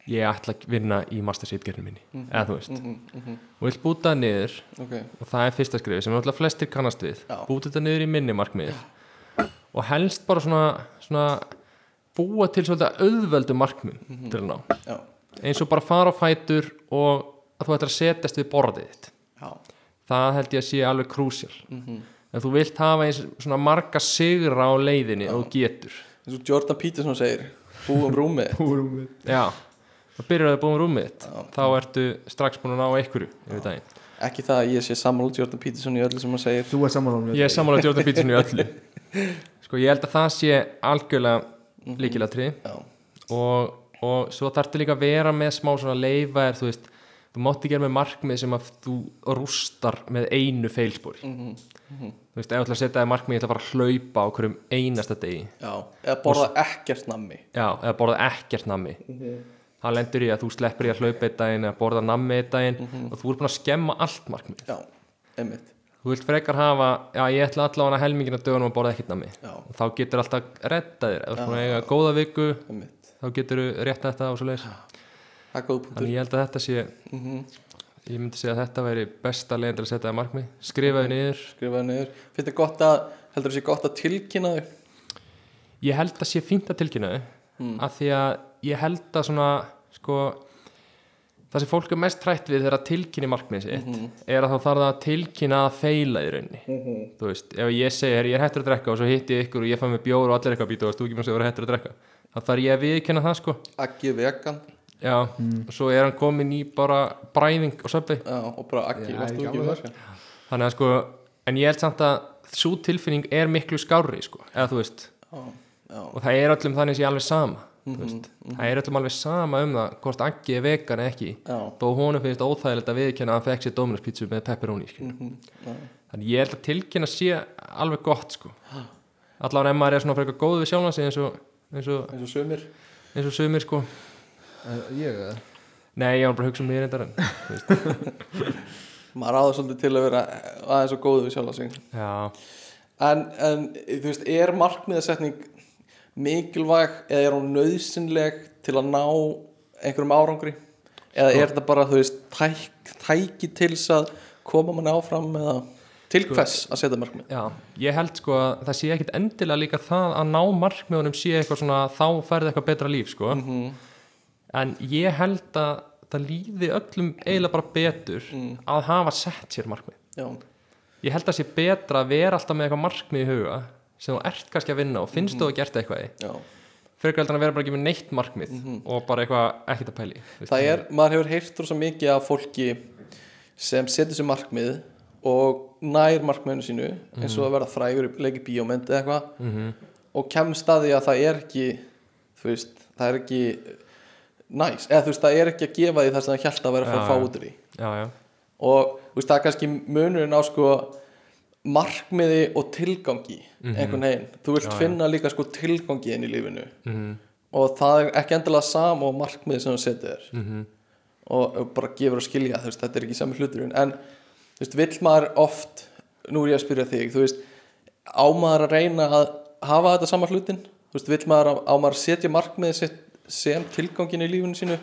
Speaker 2: ég ætla að vinna í mastersýtgerinu minni, eða þú veist,
Speaker 4: mm, mm,
Speaker 2: og vill bútað niður
Speaker 4: ok
Speaker 2: og það er fyrsta skrifi sem náttúrulega flestir kannast við,
Speaker 4: Já.
Speaker 2: bútið þetta niður í minni markmiðið og helst bara svona, svona búa til svolítið auðveldu markmið til að ná
Speaker 4: já,
Speaker 2: eins og bara fara á fætur og að þú ættir að setjast við borðið þitt
Speaker 4: já,
Speaker 2: það held ég að sé alveg krúsjál
Speaker 4: mm
Speaker 2: en þú vilt hafa eins svona marga sigra á leiðinni og þú getur
Speaker 4: eins og Jordan Peterson segir búum *laughs* rúmið
Speaker 2: já, þá byrjar það búin rúmið þitt
Speaker 4: Já.
Speaker 2: þá ertu strax búin að ná einhverju yfir daginn.
Speaker 4: ekki það að ég sé sammála Jordan Peterson í öllu sem hann segir
Speaker 5: þú er samanlóðum
Speaker 2: ég er sammála Jordan Peterson í öllu sko ég held að það sé algjörlega líkilatri
Speaker 4: já,
Speaker 2: og, og svo þarftu líka að vera með smá svona leifa er þú veist þú mátt ekki gera með markmið sem að þú rústar með einu feilspori
Speaker 4: Mhm.
Speaker 2: þú veist, ef þú ætlar að setja það markmið ég ætla að fara að hlaupa á hverjum einasta degi
Speaker 4: já, eða borða ekkert nammi
Speaker 2: já, eða borða ekkert nammi
Speaker 4: Mhm.
Speaker 2: það lendur í að þú sleppir í að hlaupa einn daginn eða borða nammi einn daginn
Speaker 4: Mhm.
Speaker 2: og þú ert búin að skemma allt markmið
Speaker 4: já, einmitt
Speaker 2: þú vilt frekar hafa, já ég ætla allavega helmingina dögunum að borða ekkert nammi
Speaker 4: já,
Speaker 2: og þá getur alltaf reddað þér, ef þú ert búin
Speaker 4: Já.
Speaker 2: að eiga góða viku
Speaker 4: einmitt
Speaker 2: þá getur þú rétt þetta og svo leiðis
Speaker 4: það er góð punktur
Speaker 2: Þannig ég held að þetta sé,
Speaker 4: mm
Speaker 2: ég myndi segja að þetta væri besta leiðin til að setja það markmið,
Speaker 4: Mhm.
Speaker 2: skrifaði niður.
Speaker 4: skrifaði niður, finnst það gott að heldur það sé gott að tilkynna þau
Speaker 2: Ég held að sé fínt að tilkynna þau,
Speaker 4: mm.
Speaker 2: af því að ég held að svona, sko, það sem fólk er mest trætt við þegar að tilkynni markmið sitt,
Speaker 4: Mhm.
Speaker 2: er að þá þarf það að tilkynna að feila í rauninni.
Speaker 4: Mhm.
Speaker 2: Þú veist, ef ég segi, herri, ég er hættur að drekka og svo hitti ég ykkur og ég fann með bjór og allir eitthvað býta og þú ekki mér að segja að hættur að drekka. Þá þarf ég að viðkynna það, sko.
Speaker 4: aggi vegan
Speaker 2: Já, og svo er hann komin í bara bræðing og söpvi
Speaker 4: já, og bara aggi,
Speaker 5: Já,
Speaker 4: varstu
Speaker 5: ég
Speaker 4: ekki
Speaker 5: gamla
Speaker 4: vegan
Speaker 2: þannig að sko, en ég held samt að svo tilfinning er miklu skárri sko, eða þú veist,
Speaker 4: já, já,
Speaker 2: og það er öllum þannig sé alveg sama,
Speaker 4: Mhm,
Speaker 2: þú veist
Speaker 4: mhm.
Speaker 2: það er öllum alveg sama um það, hvort Aggi er vegan eða ekki,
Speaker 4: já
Speaker 2: þó honum finnst óþægilegt að viðkynna að hann fekk sér Dominus pítsu með pepperoni, skilur
Speaker 4: mhm, já.
Speaker 2: þannig ég held að tilkynna sé alveg gott sko, allavega en maður er svona frekar góð við sjálfansi eins og eins og,
Speaker 4: eins og sumir
Speaker 2: eins og sumir sko
Speaker 5: Eh, ég eða?
Speaker 2: nei, ég var bara að hugsa um mér þetta en
Speaker 4: maður áður svolítið til að vera aðeins og góðu við sjálf sig
Speaker 2: já,
Speaker 4: en, en þú veist, er markmiðasetning mikilvæg eða er hún nöðsynleg til að ná einhverjum árangri eða
Speaker 2: Sko.
Speaker 4: er þetta bara, þú veist, tæk, tæki til þess að koma manni áfram eða til
Speaker 2: Sko.
Speaker 4: hvers að setja markmið
Speaker 2: já, ég held sko að það sé ekkit endilega líka það að ná markmiðunum sé eitthvað svona, þá færði eitthvað betra líf sko
Speaker 4: mm -hmm.
Speaker 2: en ég held að það líði öllum eiginlega bara betur
Speaker 4: Mm.
Speaker 2: að hafa sett sér markmið
Speaker 4: já,
Speaker 2: ég held að sé betra að vera alltaf með eitthvað markmið í huga sem þú ert kannski að vinna og finnst þú að gert eitthvað í
Speaker 4: já.
Speaker 2: fyrir heldur en að vera bara ekki með neitt markmið og bara eitthvað ekkert að pæli
Speaker 4: Mhm. það er, maður hefur heyrt rosa mikið af fólki sem setur sér markmið og nær markmiðinu sínu eins
Speaker 2: Mhm.
Speaker 4: og að vera frægur í leiki bíómynd eða eitthvað
Speaker 2: mm -hmm.
Speaker 4: og kemst að því að það er ekki þú veist, það er ekki næs, eða þú veist, það er ekki að gefa því það sem það hjælt að vera að fá
Speaker 2: Já,
Speaker 4: að fá
Speaker 2: já.
Speaker 4: út úr því
Speaker 2: já, já,
Speaker 4: og þú veist, það er kannski munurinn á sko markmiði og tilgangi
Speaker 2: Mhm.
Speaker 4: einhvern veginn, þú vilt finna líka sko tilgangi inn í lífinu
Speaker 2: mm
Speaker 4: og það er ekki endilega sam og markmiði sem þú setur þér og og bara gefur að skilja, þú veist, þetta er ekki sami hluturinn en, þú veist, vill maður oft nú er ég að spyrja þig, þú veist á maður að reyna að hafa þetta sama hlutin, þú veist, vill maður að- á maður að setja markmiðið sitt sem tilgangin í lífinu sínu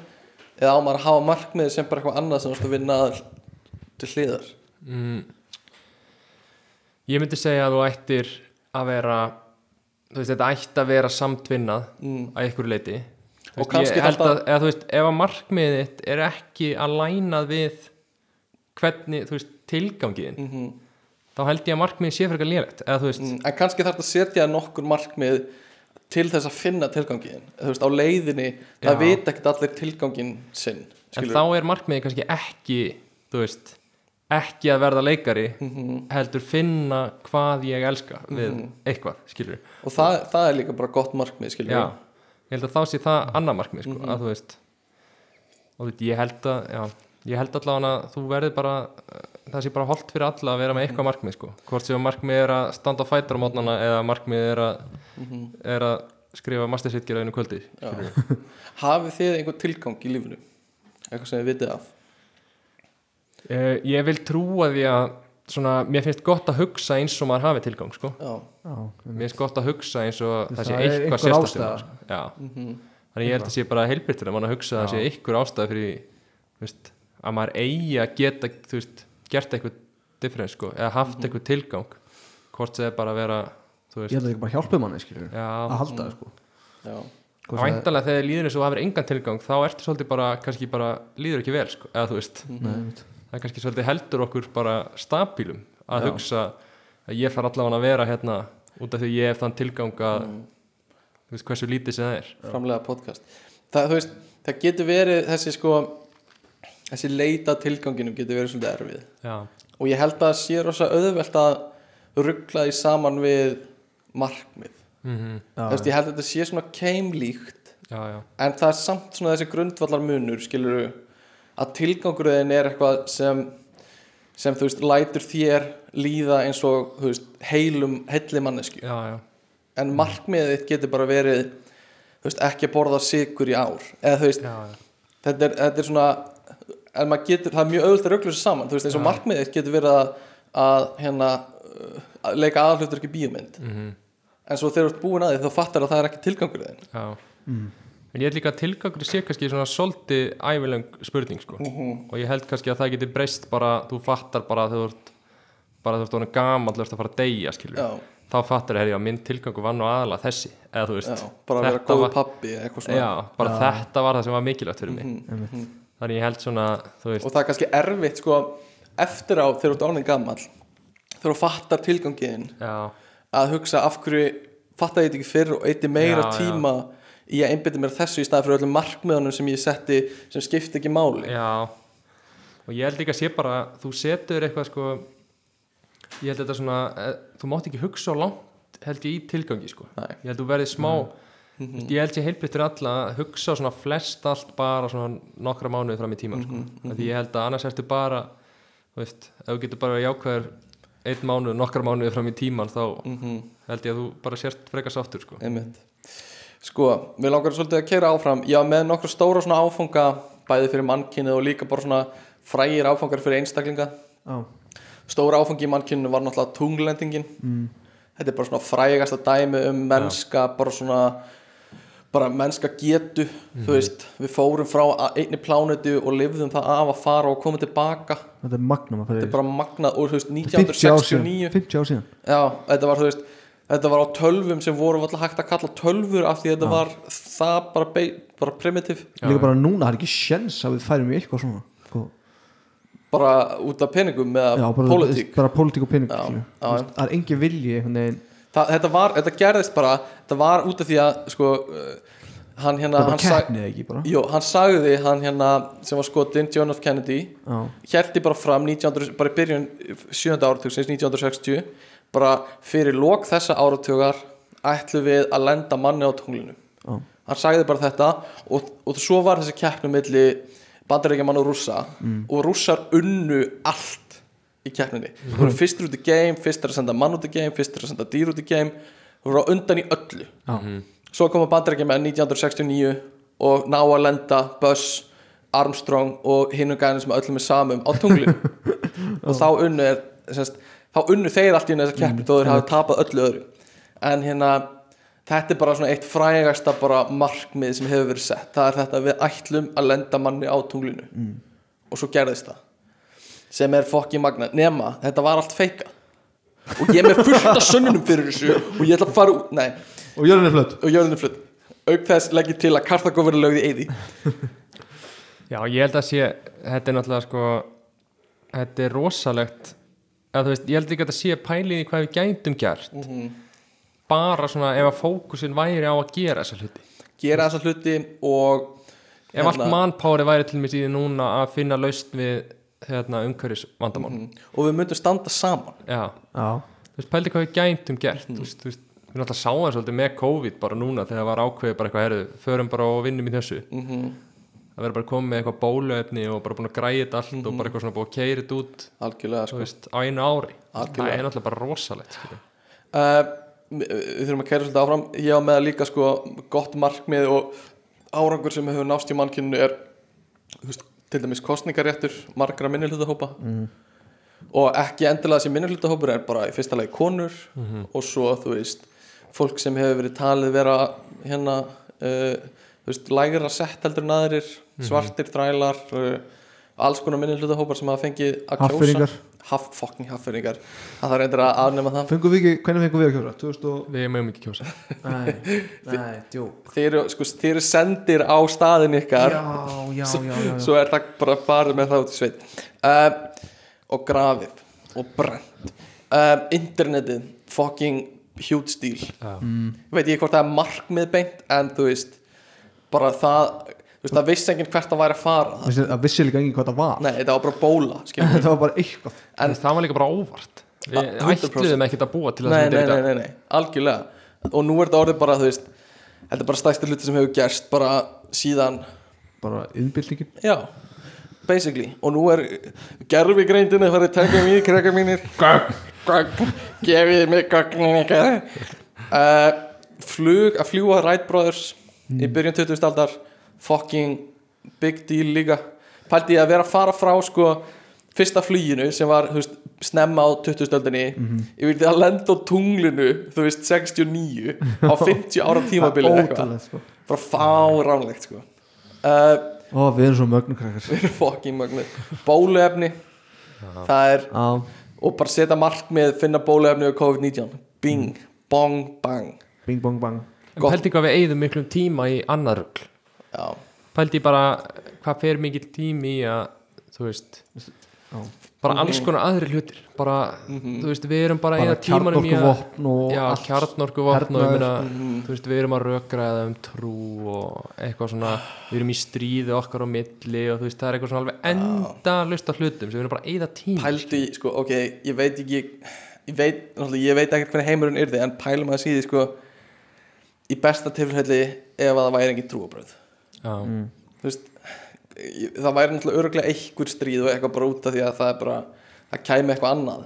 Speaker 4: eða á maður að hafa markmiðið sem bara eitthvað annað sem þú veist að vinna að til hliðar
Speaker 2: Mm. ég myndi segja að þú ættir að vera þú veist, þetta ætti að vera samtvinnað
Speaker 4: mm.
Speaker 2: að ykkur leiti
Speaker 4: Og kannski þetta-
Speaker 2: að, eða, þú veist, ef að markmiðið þitt er ekki að lænað við hvernig, þú veist, tilgangiðin
Speaker 4: Mm
Speaker 2: þá held ég að markmiðið sé frekar lélegt eða þú veist,
Speaker 4: mm. en kannski þarf þetta að setja nokkur markmið til þess að finna tilgangin þú veist, á leiðinni, það
Speaker 2: Já.
Speaker 4: vita ekkert allir tilgangin sinn
Speaker 2: en þá er markmiðið kannski ekki, þú veist ekki að verða leikari
Speaker 4: Mhm.
Speaker 2: heldur finna hvað ég elska við
Speaker 5: Mhm.
Speaker 2: eitthvað, skilur
Speaker 4: og það, það er líka bara gott markmið skilur
Speaker 2: já, ég held að þá sé það
Speaker 5: Mhm.
Speaker 2: annað markmið, sko, að þú veist og þú veist, ég held að já, ég held allavega að þú verður bara eh, það sé bara holdt fyrir alla að vera með eitthvað markmið, sko, hvort sem markmið er að standa á fætur á mótnana eða markmið er að er að skrifa mastersitgerðinu kvöldi
Speaker 4: Mhm, Já. *laughs* hafið þið einhver tilgang í lífinu eitthvað sem þið vitið af
Speaker 2: uh, ég vil trúa því að svona, mér finnst gott að hugsa eins og maður hafi tilgang, sko
Speaker 4: já,
Speaker 5: Já, um,
Speaker 2: mér finnst gott að hugsa eins og það,
Speaker 5: Það
Speaker 2: sé
Speaker 5: er
Speaker 2: eitthvað
Speaker 5: einhver
Speaker 2: sérstætt
Speaker 5: ástæða.
Speaker 2: sko. já,
Speaker 4: mm
Speaker 2: Þannig ég held að sé bara heilbært til að mann að hugsa að það sé ykkur ástæð fyrir þú veist, að maður eigi að geta þú veist, gert eitthvað difference sko, eða haft eitthvað tilgang hvort sem það er bara að vera þú
Speaker 5: ég
Speaker 2: veist,
Speaker 5: held að það bara hjálpið manni skilur að
Speaker 2: já,
Speaker 5: halda það sko
Speaker 4: já,
Speaker 5: Hvort það-
Speaker 2: væntanlega þegar líður eins og þú hafir engan tilgang þá ertu svolítið bara, kannski bara líður ekki vel sko, eða þú veist,
Speaker 4: Mhm.
Speaker 5: Nei, einmitt.
Speaker 2: það er kannski svolítið heldur okkur bara stabílum að
Speaker 5: Já.
Speaker 2: hugsa að ég þarf allavega að vera hérna út af því að ég hef þann tilgang að
Speaker 4: Mm.
Speaker 2: þú veist hversu lítið sem það er
Speaker 4: framlega podcast það, þú veist, það getur verið þessi sko þessi leita að tilganginum getur verið svolítið erfið
Speaker 2: já,
Speaker 4: og ég held að það sé rosa auðvelt að ruggla því saman við markmið
Speaker 2: mm
Speaker 5: Já,
Speaker 4: þú veist, ég held að þetta sé svona keimlíkt
Speaker 2: já, já,
Speaker 4: en það er samt svona þessi grundvallar munur skilur að tilgangurðin er eitthvað sem sem þú veist lætur þér líða eins og þú veist heilum heilli mannesku
Speaker 2: já, já.
Speaker 4: en markmiðið þitt getur bara verið þú veist ekki að borða sigur í ár eða þú veist
Speaker 2: já, já.
Speaker 4: þetta er, þetta er svona en maður getur það er mjög auðvitað raugljósa saman þú veist eins og
Speaker 2: Já.
Speaker 4: markmiðið þitt getur verið að, að hérna uh, að leika aðalhlutur ekki bíómynd
Speaker 2: Mm
Speaker 4: en svo þegar þú ert búin að því þá fattar að það er ekki tilgangurðin
Speaker 2: já.
Speaker 5: Mm.
Speaker 2: en ég held líka að tilgangur sé kannski svona svolítið ævilöng spurning sko.
Speaker 4: Mhm.
Speaker 2: og ég held kannski að það geti breyst bara, þú fattar bara þegar þú ert bara þegar þú ert gaman, þú ert að fara að deyja skilur,
Speaker 4: Já,
Speaker 2: þá fattar ég að minn tilgangur var nú aðalega þessi, eða þú
Speaker 4: já,
Speaker 2: veist
Speaker 4: bara að vera
Speaker 2: þetta
Speaker 4: góðu
Speaker 2: var-
Speaker 4: pappi eða eitthvað svona
Speaker 2: Já, bara
Speaker 5: Já.
Speaker 2: þetta var það sem var mikilvægt fyrir mig
Speaker 5: Einmitt.
Speaker 2: þannig ég held svona, þú
Speaker 4: Mhm.
Speaker 2: veist
Speaker 4: og það er kannski erfitt sko eftir á þegar þú ert ánæg gammal þegar þú fattar tilgangiðin
Speaker 2: já,
Speaker 4: að hugsa af hverju fattaði ég þetta ekki fyrr og eitti meira
Speaker 2: Já, já.
Speaker 4: tíma í að einbytta mér að þessu í staði fyrir öllum markmiðanum sem ég setti sem skipti ekki máli
Speaker 2: já og ég held líka að sé bara að þú setur eitthvað sko ég held þetta svona, eh, þú mátt ekki hugsa á langt held ég í tilgangi sko
Speaker 4: Nei.
Speaker 2: ég held þú verðið smá
Speaker 5: Mm.
Speaker 2: veist, ég held ég heilbrið fyrir alla að hugsa á svona flest allt bara svona nokkra mánuði fram í tíman sko.
Speaker 4: Mhm,
Speaker 2: af því ég held að annars ertu bara þú veist, ef þú getur bara jákvæður einn mánuð, nokkra mánuði fram í tíman þá
Speaker 4: Mhm,
Speaker 2: held ég að þú bara sért frekar sáttur sko
Speaker 4: einmitt sko, við langar svolítið að keira áfram já, með nokkra stóra svona áfanga bæði fyrir mannkynið og líka bara svona frægir áfangar fyrir einstaklinga
Speaker 5: Já,
Speaker 4: stóra áfangi í mannkyninu var náttúrulega tunglendingin
Speaker 5: mm.
Speaker 4: þetta er bara svona frægasta dæmi um mennska bara svona bara mennska getu
Speaker 5: Mhm.
Speaker 4: þú veist, við fórum frá a- einni plánutu og lifðum það af að fara og koma tilbaka
Speaker 5: þetta er magnum að fara
Speaker 4: þetta er
Speaker 5: yfir.
Speaker 4: bara magnað og þú veist
Speaker 5: Þetta er 50 ár síðan,
Speaker 4: 1969
Speaker 5: 50 ár síðan.
Speaker 4: já, þetta var þú veist þetta var á tölvum sem voru alltaf hægt að kalla tölvur af því þetta var það bara, bei- bara primitiv
Speaker 2: Já,
Speaker 5: Líka
Speaker 2: já.
Speaker 5: bara núna, það er ekki sjens að við færum í eitthvað svona sko.
Speaker 4: bara út af peningum eða
Speaker 5: Já, bara, sko.
Speaker 4: pólitík
Speaker 5: bara pólitík og pening
Speaker 4: Já,
Speaker 5: skilur.
Speaker 4: já,
Speaker 5: Þú veist, Það er engin vilji einhvern veginn
Speaker 4: Þa, þetta, var, þetta gerðist bara, þetta var út af því að sko, uh, hann hérna
Speaker 5: Það er bara
Speaker 4: hann sag-
Speaker 5: keppnið ekki bara
Speaker 4: Jó, hann sagði hann hérna sem var skotin, John F. Kennedy
Speaker 5: Já,
Speaker 4: hérti bara fram 1900, bara í byrjun 7. áratugsins 1960 bara fyrir lok þessa áratugar ætlum við að lenda manni á tunglinu
Speaker 5: já,
Speaker 4: hann sagði bara þetta og, og svo var þessi keppnum milli bandaríkjaman og rússa og rússar unnu allt í keppninni þú voru fyrstur út í game, fyrstur að senda mann út í game fyrstur að senda dýr út í game þú voru á undan í öllu
Speaker 5: já,
Speaker 4: svo koma bandarækjumenn 1969 og ná að lenda Buzz, Armstrong og hinn og gæðin sem öllum er samum á tunglinu og þá unnu er, semst, þá unnu þeir allt í þessar keppni þó þeir hafa tapað öllu öðru en hérna þetta er bara svona eitt frægasta bara markmið sem hefur verið sett það er þetta að við ætlum að lenda manni á tunglinu og svo gerðist það sem er fokki magna nema, þetta var allt feika og ég er með fullt af sönnunum fyrir þessu og ég ætla að fara út, nei
Speaker 5: Og jörðin er flött
Speaker 4: og jörðinu flutt auk þess legg ég til að Karthagó verið lögð í eyði
Speaker 2: Já, ég held að sé, þetta er náttúrulega sko, þetta er rosalegt eða þú veist, ég held ekki að þetta sé pælið í hvað við gætum gert bara svona ef að fókusin væri á að gera þessa hluti
Speaker 4: gera þessa hluti og
Speaker 2: ef allt
Speaker 4: Hérna-
Speaker 2: mannpári væri til mér síðan núna að finna lausn við hérna, umhverjus vandamál
Speaker 4: og við myndum standa saman
Speaker 2: Já,
Speaker 5: Já,
Speaker 2: þú veist, pælið hvað við gætum gert
Speaker 4: Mhm.
Speaker 2: þú veist, þú veist, við náttúrulega sáum það svolítið með COVID bara núna þegar það var ákveðið bara eitthvað herðu, förum bara og vinnum í þessu
Speaker 4: mm
Speaker 2: að vera bara komið með eitthvað bóluefni og bara búin að græja þetta allt
Speaker 4: Mhm.
Speaker 2: og bara eitthvað svona búin að keira þetta út
Speaker 4: algjörlega
Speaker 2: þú
Speaker 4: sko.
Speaker 2: veist, á einu ári
Speaker 4: Algjörlega.
Speaker 2: það er náttúrulega bara rosalegt skilur.
Speaker 4: uh, við við þurfum að kæra svolítið áfram ég á með að líka sko gott markmið og árangur sem hefur nást í mannkyninu er þú veist, til dæmis kostningaréttur margra minnihlutahópa og ekki endilega þessi minnihlutahópur er bara í fyrsta lagi konur og svo þú veist fólk sem hefur verið talið vera hérna uh, þú veist lægra sett heldur naðrir svartir, þrælar uh, alls konar minnihlutahópar sem hafa fengið að kjósa
Speaker 5: Haffyrringar.
Speaker 4: Haff, fucking haffyrringar það þarf reyndir að afnema það
Speaker 5: fengum við ekki, hvernig fengum við að kjóra? 2000
Speaker 2: *laughs*
Speaker 5: og...
Speaker 2: við mögum ekki kjósa
Speaker 5: Nei, nei, djók
Speaker 4: þeir eru, sko, þeir eru sendir á staðin ykkar
Speaker 5: Já, já, já, já, já.
Speaker 4: svo er það bara farið með það út í sveit uh, og grafið og brent uh, internetið, fucking huge deal
Speaker 2: Já.
Speaker 4: ég veit ekki hvort það er markmið beint en þú veist bara það, þú veist það vissi enginn hvert það væri að fara
Speaker 5: Vissi- Það vissi líka engin hvað það var *laughs*
Speaker 4: nei, þetta var bara bóla skilur við.
Speaker 5: Þetta var bara eitthvað
Speaker 4: En-
Speaker 2: en það var líka bara óvart við
Speaker 4: A- 100%.
Speaker 2: ætluðum ekkert að búa til það
Speaker 4: nei,
Speaker 2: sem
Speaker 4: nei, nei,
Speaker 2: þetta er í dag
Speaker 4: nei, nei, algjörlega og nú er þetta orðið bara, þú veist þetta er bara stæksta hluti sem hefur gerst bara síðan
Speaker 5: Bara innbyltingin
Speaker 4: Já, basically Og nú er gerfi greindinni farið að taka mér, krakka mínir Gögn, gögn, gefið mig gögnin ykkar uh, Flug, að fljúa Wright Brothers í byrjun 20. aldar fucking big deal líka Pældi ég að vera að fara frá sko fyrsta fluginu sem var þú veist, snemma á 2000-öldinni ég vildi að lenda á tunglinu þú veist 69 á 50 ára tímabili
Speaker 5: Það
Speaker 4: eða
Speaker 5: er
Speaker 4: eitthvað.
Speaker 5: ótrúlegt, sko.
Speaker 4: bara fáránlegt sko uh,
Speaker 5: Ó, við erum svo mögnum krakkar
Speaker 4: *laughs* við erum fucking mögnuð bóluefni það er
Speaker 5: Á,
Speaker 4: og bara setja markmið finna bóluefni og COVID-19 bing, bong, bang
Speaker 5: bing bong bang
Speaker 2: En
Speaker 4: Gott.
Speaker 2: pældi hvað við eigðum miklum tíma í annar rugl
Speaker 4: já,
Speaker 2: Pældi bara hvað fer mikill tími í að þú veist
Speaker 5: Já.
Speaker 2: bara alls konar aðri hlutir bara, þú veist, við erum bara að
Speaker 5: Bara
Speaker 2: eyða tímanum í
Speaker 5: kjarnorku
Speaker 2: að
Speaker 5: vopn og
Speaker 2: já,
Speaker 5: allt
Speaker 2: kjarnorku vopn og ég
Speaker 5: Hernaður.
Speaker 2: meina, þú veist, við erum að rökraða um trú og eitthvað svona við erum í stríði okkar á milli og þú veist, það er eitthvað svona alveg enda af hlutum sem við erum bara að eyða tíma
Speaker 4: pældi, sko, ok ég veit ekki ég veit, náttúrulega, ég veit ekkert hvernig heimurinn yrði en pælum að síði, sko í besta tilfelli ef að það væri engin trúabröð
Speaker 2: já,
Speaker 5: Mm.
Speaker 4: þú veist ég- það væri náttúrulega öruglega einhver stríð og eitthvað bara út af því að það er bara það kæmi eitthvað annað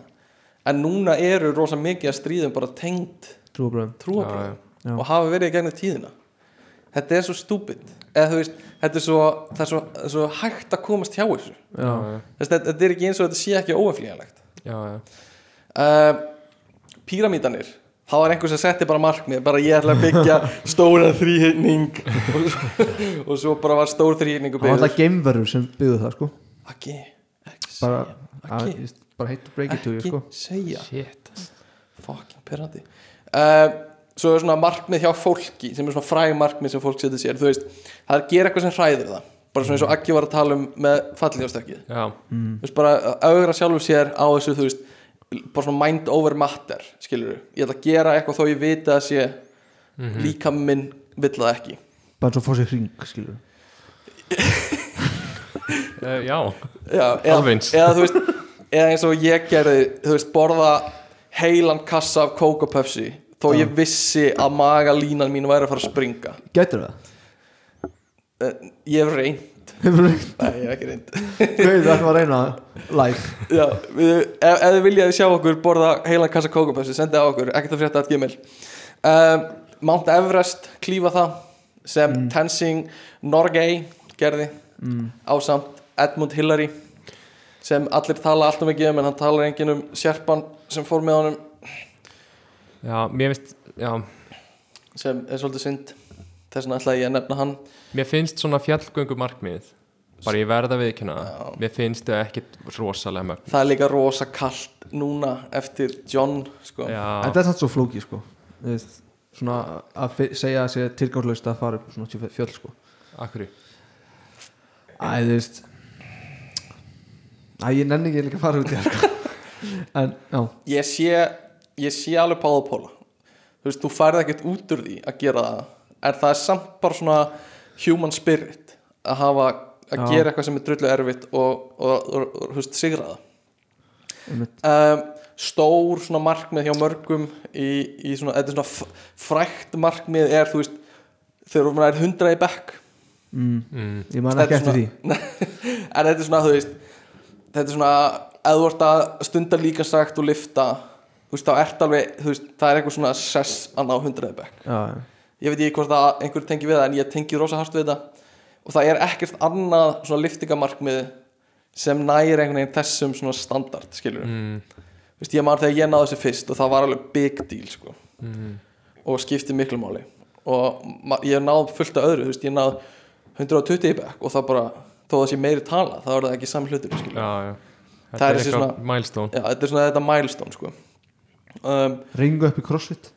Speaker 4: en núna eru rosa mikið að stríðum bara tengd
Speaker 5: Trúabröðum
Speaker 4: trúabröð
Speaker 5: Já, já.
Speaker 4: og hafa verið í gegnum tíðina þetta er svo stúpid eða þú veist, þetta er svo, það er svo, það er svo hægt að komast hjá þessu
Speaker 2: já,
Speaker 4: Þess, þetta, þetta er ekki eins og þetta sé ekki óaflýjanlegt
Speaker 2: já, já,
Speaker 4: uh, píramítanir þá var einhver sem setti bara markmið bara ég ætla að byggja stóra þrýhinning og, svo- og svo bara var stór þrýhinning og
Speaker 5: Það var
Speaker 4: byggður
Speaker 5: alltaf geimverur sem byggðu það sko
Speaker 4: ekki, ekki
Speaker 5: Bara,
Speaker 4: segja
Speaker 5: að,
Speaker 4: Ekki.
Speaker 5: just- bara heitt break it to you
Speaker 4: ekki
Speaker 5: sko
Speaker 4: segja
Speaker 2: shit
Speaker 4: fucking perandi uh, svo er svona markmið hjá fólki sem er svona fræg markmið sem fólk setur sér þú veist, það gera eitthvað sem hræðir það bara svona eins
Speaker 2: Mm.
Speaker 4: og Aggi var að tala um með fallíðastökkið
Speaker 2: já,
Speaker 4: þú veist, bara að augra sjálfur sér á þessu, þú veist bara svona mind over matter, skilur ég ætla að gera eitthvað þó ég vita að sé
Speaker 2: Mhm.
Speaker 4: líka minn vill það ekki
Speaker 5: Bara svo fá sér hring skilur
Speaker 2: uh, já
Speaker 4: já,
Speaker 2: Alveg
Speaker 4: eða,
Speaker 2: eins.
Speaker 4: eða þú veist eða eins og ég gerði, þú veist, borða heilan kassa af kókapöfsi þó ég vissi að magalínan mín væri að fara að springa
Speaker 5: Gætur það?
Speaker 4: Eh, ég hef reynd
Speaker 5: *laughs* Hefur reynd
Speaker 4: Nei, ég hef ekki reynd
Speaker 5: Gauð, það ætlum að reyna það Live
Speaker 4: *laughs* Já, við, ef, ef þið viljaði sjá okkur borða heilan kassa kókupössi, sendið á okkur ekkert að frétta að gmail um, Mount Everest, klífa það sem Tenzing Norgay gerði Mm. ásamt Edmund Hillary sem allir tala alltaf mikið um en hann talar enginn um sérpan sem fór með honum
Speaker 2: já, mér finnst, já
Speaker 4: sem er svolítið synd þess vegna ætlaði ég að nefna hann
Speaker 2: Mér finnst svona fjallgöngu markmið bara ég verða að viðkynna
Speaker 4: Já.
Speaker 2: það mér finnst þau ekkit rosalega mörg
Speaker 4: það er líka rosa kallt núna eftir John sko.
Speaker 2: já,
Speaker 5: Þetta er samt svo flóki sko Þú veist, Svona að fi- segja að sé tilgangslaust að fara upp svona tjú- fjöll sko
Speaker 2: akkur
Speaker 5: Æ, þú veist Æ, ég nenni ekki líka að fara út í það sko *laughs* En, já,
Speaker 4: ég sé ég sé alveg páða póla þú veist, þú færð ekkert út úr því að gera það en það er samt bara svona human spirit að hafa að
Speaker 5: Já.
Speaker 4: gera eitthvað sem er drullu erfitt og, og, og, og þú veist, sigra
Speaker 5: einmitt
Speaker 4: það um, stór svona markmið hjá mörgum í, í svona, þetta er svona f- frækt markmið er, þú veist þegar maður er hundra í bekk
Speaker 5: mm. Ég man ekki eftir því
Speaker 4: *laughs* en þetta er svona, þú veist þetta er svona, ef þú ert að stunda líka sagt og lifta þú veist, þá ert alveg, þú veist, það er eitthvað svona sess að ná hundraði bekk
Speaker 5: Já, já.
Speaker 4: ég veit ekki hvort að einhver tengi við það en ég tengi rosa hart við þetta og það er ekkert annað svona liftingamarkmið sem nægir einhvern veginn þessum svona standard, skilur
Speaker 2: mm,
Speaker 4: þú veist, ég man þegar ég náði þessu fyrst og það var alveg big deal, sko
Speaker 2: mm,
Speaker 4: og skipti miklu máli og ma- ég náði fullt af öðru, þú veist, ég náði 120 í bekk og það bara þó að það sé meiri tala, þá er það ekki sami hlutur, skilur
Speaker 2: já, já.
Speaker 4: Það
Speaker 2: Þetta
Speaker 4: er
Speaker 2: er
Speaker 4: þessi
Speaker 2: eitthvað
Speaker 4: svona-
Speaker 2: milestone
Speaker 4: Já, þetta er svona þetta milestone sko um,
Speaker 5: Ringu upp í crossfit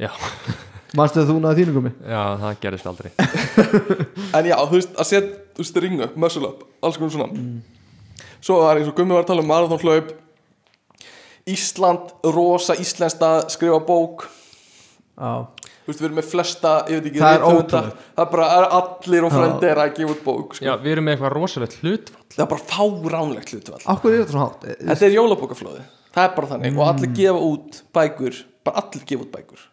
Speaker 2: Já.
Speaker 5: *laughs* Manstu að þú naði þínu komi?
Speaker 2: Já, það gerist
Speaker 4: *laughs*
Speaker 2: aldrei
Speaker 4: En já, þú veist, að setja, þú veist, ringa upp, muscle up, alls konar svona Svo var eins og Gummi var að tala um marathonhlaup Ísland, rosa íslenska, skrifa bók
Speaker 5: Já
Speaker 4: Þú veist, við erum með flesta, ég veit ekki,
Speaker 5: Það er
Speaker 4: rithöfunda.
Speaker 5: ótrúlegt.
Speaker 4: Það er bara, er allir og
Speaker 5: Já.
Speaker 4: frendi er að gefa út bók sko.
Speaker 2: Já, við erum með eitthvað rosalegt hlut
Speaker 4: Það er bara fáránlegt hlutvall
Speaker 5: Akkur er þetta svona hátt? E-
Speaker 4: Þetta er jólabókaflóði, það er bara þannig Og
Speaker 5: Mm.
Speaker 4: allir gefa út bækur, bara allir gefa út bækur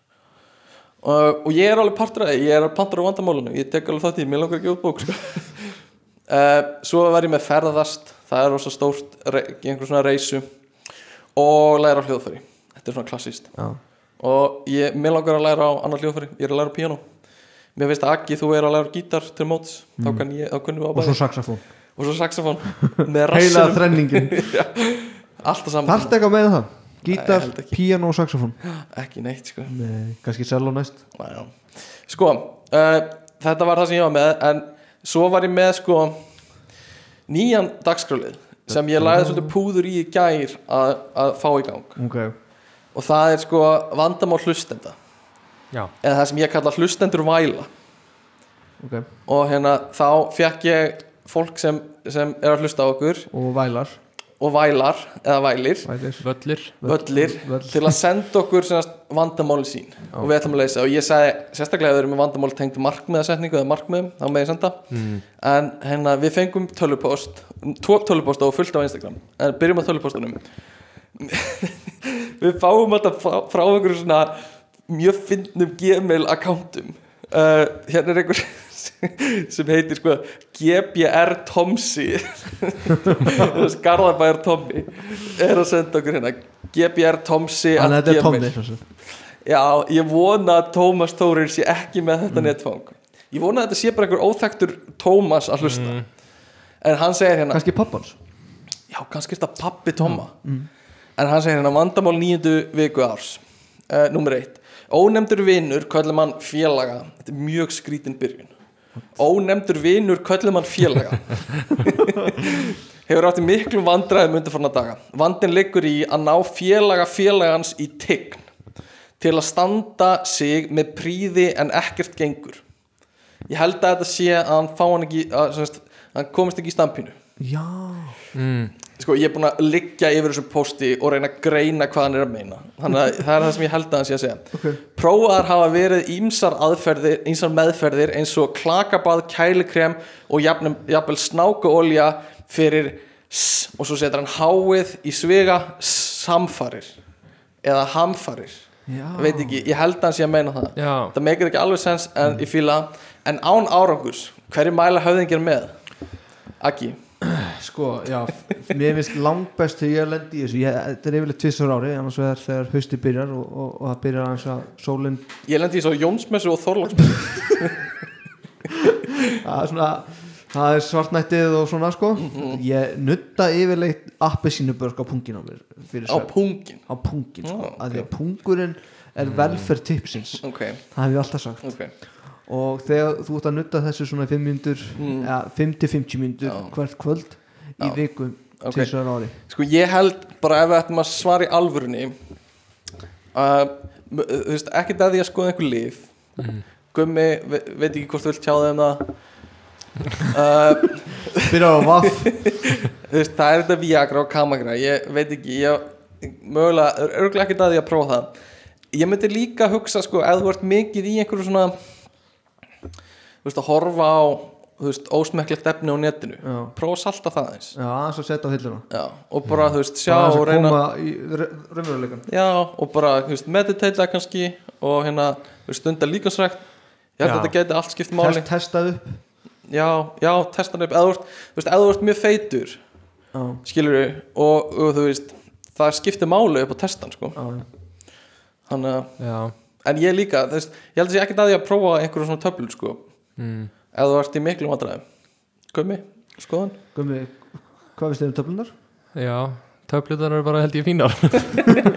Speaker 4: og, og ég er alveg partur af því, ég er alveg partur af vandamálunum Ég tek alveg þátt í, mér langar að gefa út bók sko. *laughs* uh, Svo var ég með ferðast Það er rosa stórt re- í einhver svona reysu Og læra á hljóðfæri Þetta er svona klassist
Speaker 5: Já
Speaker 4: Og ég, mér langar að læra á annar hljóðfæri Ég er að læra á píano Mér finnst að Aggi, þú er að læra á gítar til móts Þá kann ég, þá kunnum við á
Speaker 5: Mm. Og svo
Speaker 4: bæði
Speaker 5: saxofón
Speaker 4: og svo
Speaker 5: *laughs*
Speaker 4: saxofón
Speaker 5: heila
Speaker 4: með rassinum
Speaker 5: *laughs* þrenningin
Speaker 4: alltaf saman
Speaker 5: þarft eitthvað með það
Speaker 4: Nei,
Speaker 5: gítar,
Speaker 4: held ekki.
Speaker 5: píano og saxofón
Speaker 4: ekki neitt sko
Speaker 5: Nei, kannski cello næst
Speaker 4: Já. Sko, uh, þetta var það sem ég var með en svo var ég með sko nýjan dagskrálið sem ég lagði svolítið púður í í gær að, að fá í gang
Speaker 5: okay.
Speaker 4: og það er sko vandamál hlustenda
Speaker 2: Já,
Speaker 4: eða það sem ég kalla hlustendur væla
Speaker 5: Okay.
Speaker 4: og hérna þá fekk ég fólk sem, sem er að hlusta á okkur
Speaker 5: og vælar
Speaker 4: og vælar eða vælir
Speaker 5: vælir
Speaker 2: völlir
Speaker 4: völlir
Speaker 5: völl.
Speaker 4: til að senda okkur semast, vandamáli sín og við ætlum að leysa og ég sagði sérstaklega að við erum með vandamál tengd markmiðasetningu eða markmiðum þá með ég senda
Speaker 2: mm.
Speaker 4: en hérna við fengum tölupost tvo töluposta og fullt á Instagram en byrjum að tölupostunum *laughs* við fáum alltaf frá, frá einhverju svona mjög fyndnum gmail accountum uh, hérna er einhver *laughs* sem heitir sko GBR Tomsi *laughs* Garðabæjar Tommi er að senda okkur hérna GBR Tomsi
Speaker 5: Þannig að
Speaker 4: at
Speaker 5: þetta er
Speaker 4: gmail.
Speaker 5: tónni sem sagt.
Speaker 4: Já, ég vona að Tómas Þórir sé ekki með þetta netfang Ég vona að þetta sé bara einhver óþektur Tómas að hlusta En hann segir hérna,
Speaker 5: kannski pappans
Speaker 4: já kannski er þetta pappi Tóma En hann segir hérna, vandamál nýjöndu viku árs uh, Númer eitt Ónefndur vinur, köllum hann félaga Þetta er mjög skrítin byrjun Ónefndur vinur, köllum hann félaga Hefur átti miklum vandræðum undirfarna daga Vandin liggur í að ná félaga félagans í tign til að standa sig með príði en ekkert gengur ég held að þetta sé að hann fá hann ekki að, sem sagt, hann komist ekki í stampinu
Speaker 5: já
Speaker 2: Mm.
Speaker 4: sko ég er búin að liggja yfir þessu posti og reyna að greina hvað hann er að meina þannig að það er það sem ég held að hann sé að segja
Speaker 5: Ok.
Speaker 4: prófaðar hafa verið ímsar aðferðir ímsar meðferðir eins og klakabað kælikrem og jafnum, jafnvel snákuolja fyrir s og svo setur hann háið í svega samfarir eða hamfarir
Speaker 5: já
Speaker 4: veit ekki, ég held að hann sé að meina það
Speaker 2: Já,
Speaker 4: það meikir ekki alveg sens en ég fíla það. en án árangurs, hverju mæla höfðingir með? Akki
Speaker 5: Sko, já, f- mér finnst langbest þegar ég lendi í þessu, ég, þetta er yfirleitt tvisar ári annars vegar þegar hausti byrjar og, og, og það byrjar aðeins að sólinn
Speaker 4: ég lendi í svo Jónsmessu og Þorlóksmessu
Speaker 5: að svona, það er svartnættið og svona sko,
Speaker 4: Mhm.
Speaker 5: ég nutta yfirleitt appi á pungin á mér fyrir
Speaker 4: á
Speaker 5: svefn,
Speaker 4: pungin
Speaker 5: á pungin sko,
Speaker 4: Já,
Speaker 5: að því að pungurinn
Speaker 4: Mm.
Speaker 5: er velferð tipsins,
Speaker 4: ok,
Speaker 5: það hef ég alltaf sagt
Speaker 4: ok
Speaker 5: og þegar þú ert að nutta þessu svona í 5 mínútur,
Speaker 4: Mm.
Speaker 5: ja, 5-50 mínútur
Speaker 4: Já.
Speaker 5: hvert kvöld í
Speaker 4: Já.
Speaker 5: viku
Speaker 4: Ok.
Speaker 5: tvisar ári
Speaker 4: sko ég held bara ef við ættum að svara í alvörunni uh, m- þú veist, ekkert að því að skoða einhver líf Gummi, ve veit ekki hvort þú vilt tjá þeim það uh,
Speaker 5: byrjar á vaff,
Speaker 4: *laughs* þú veist, það er þetta Viagra og Kamagra ég veit ekki, ég mögulega, örgulega ekkert að því að prófa það ég myndi líka hugsa sko ef þú ert mikið í einhverju svona þú veist, að horfa á þú veist, ósmekklegt efni á netinu
Speaker 5: Já.
Speaker 4: prófa að salta það eins
Speaker 5: já, aðeins að setja á hilluna
Speaker 4: Já, og bara, þú veist, sjá
Speaker 5: Bara aðeins
Speaker 4: og
Speaker 5: að
Speaker 4: reyna
Speaker 5: koma í raunveruleikan
Speaker 4: já, og bara, þú veist, meditata kannski og hérna, þú veist, stunda líkansrækt ég held
Speaker 2: Já.
Speaker 4: að þetta geti allt skipt máli
Speaker 5: Test, testað upp
Speaker 4: já, já, testa hann upp eða þú ert, þú veist, eða þú ert mjög feitur
Speaker 5: já,
Speaker 4: skilur við og, og þú veist það skiptir máli upp á testan sko.
Speaker 5: já,
Speaker 4: Þannig, að-
Speaker 2: já
Speaker 4: en ég líka þú veist, ég held að ég ekkert að ég að prófa einhverjum svona töflur sko,
Speaker 2: mm.
Speaker 4: ef þú ert í miklum vandræðum Gummi, skoðan
Speaker 5: gummi, hvað finnst þið um töflunar?
Speaker 2: Já, töflutar eru bara held ég fínar
Speaker 4: *laughs*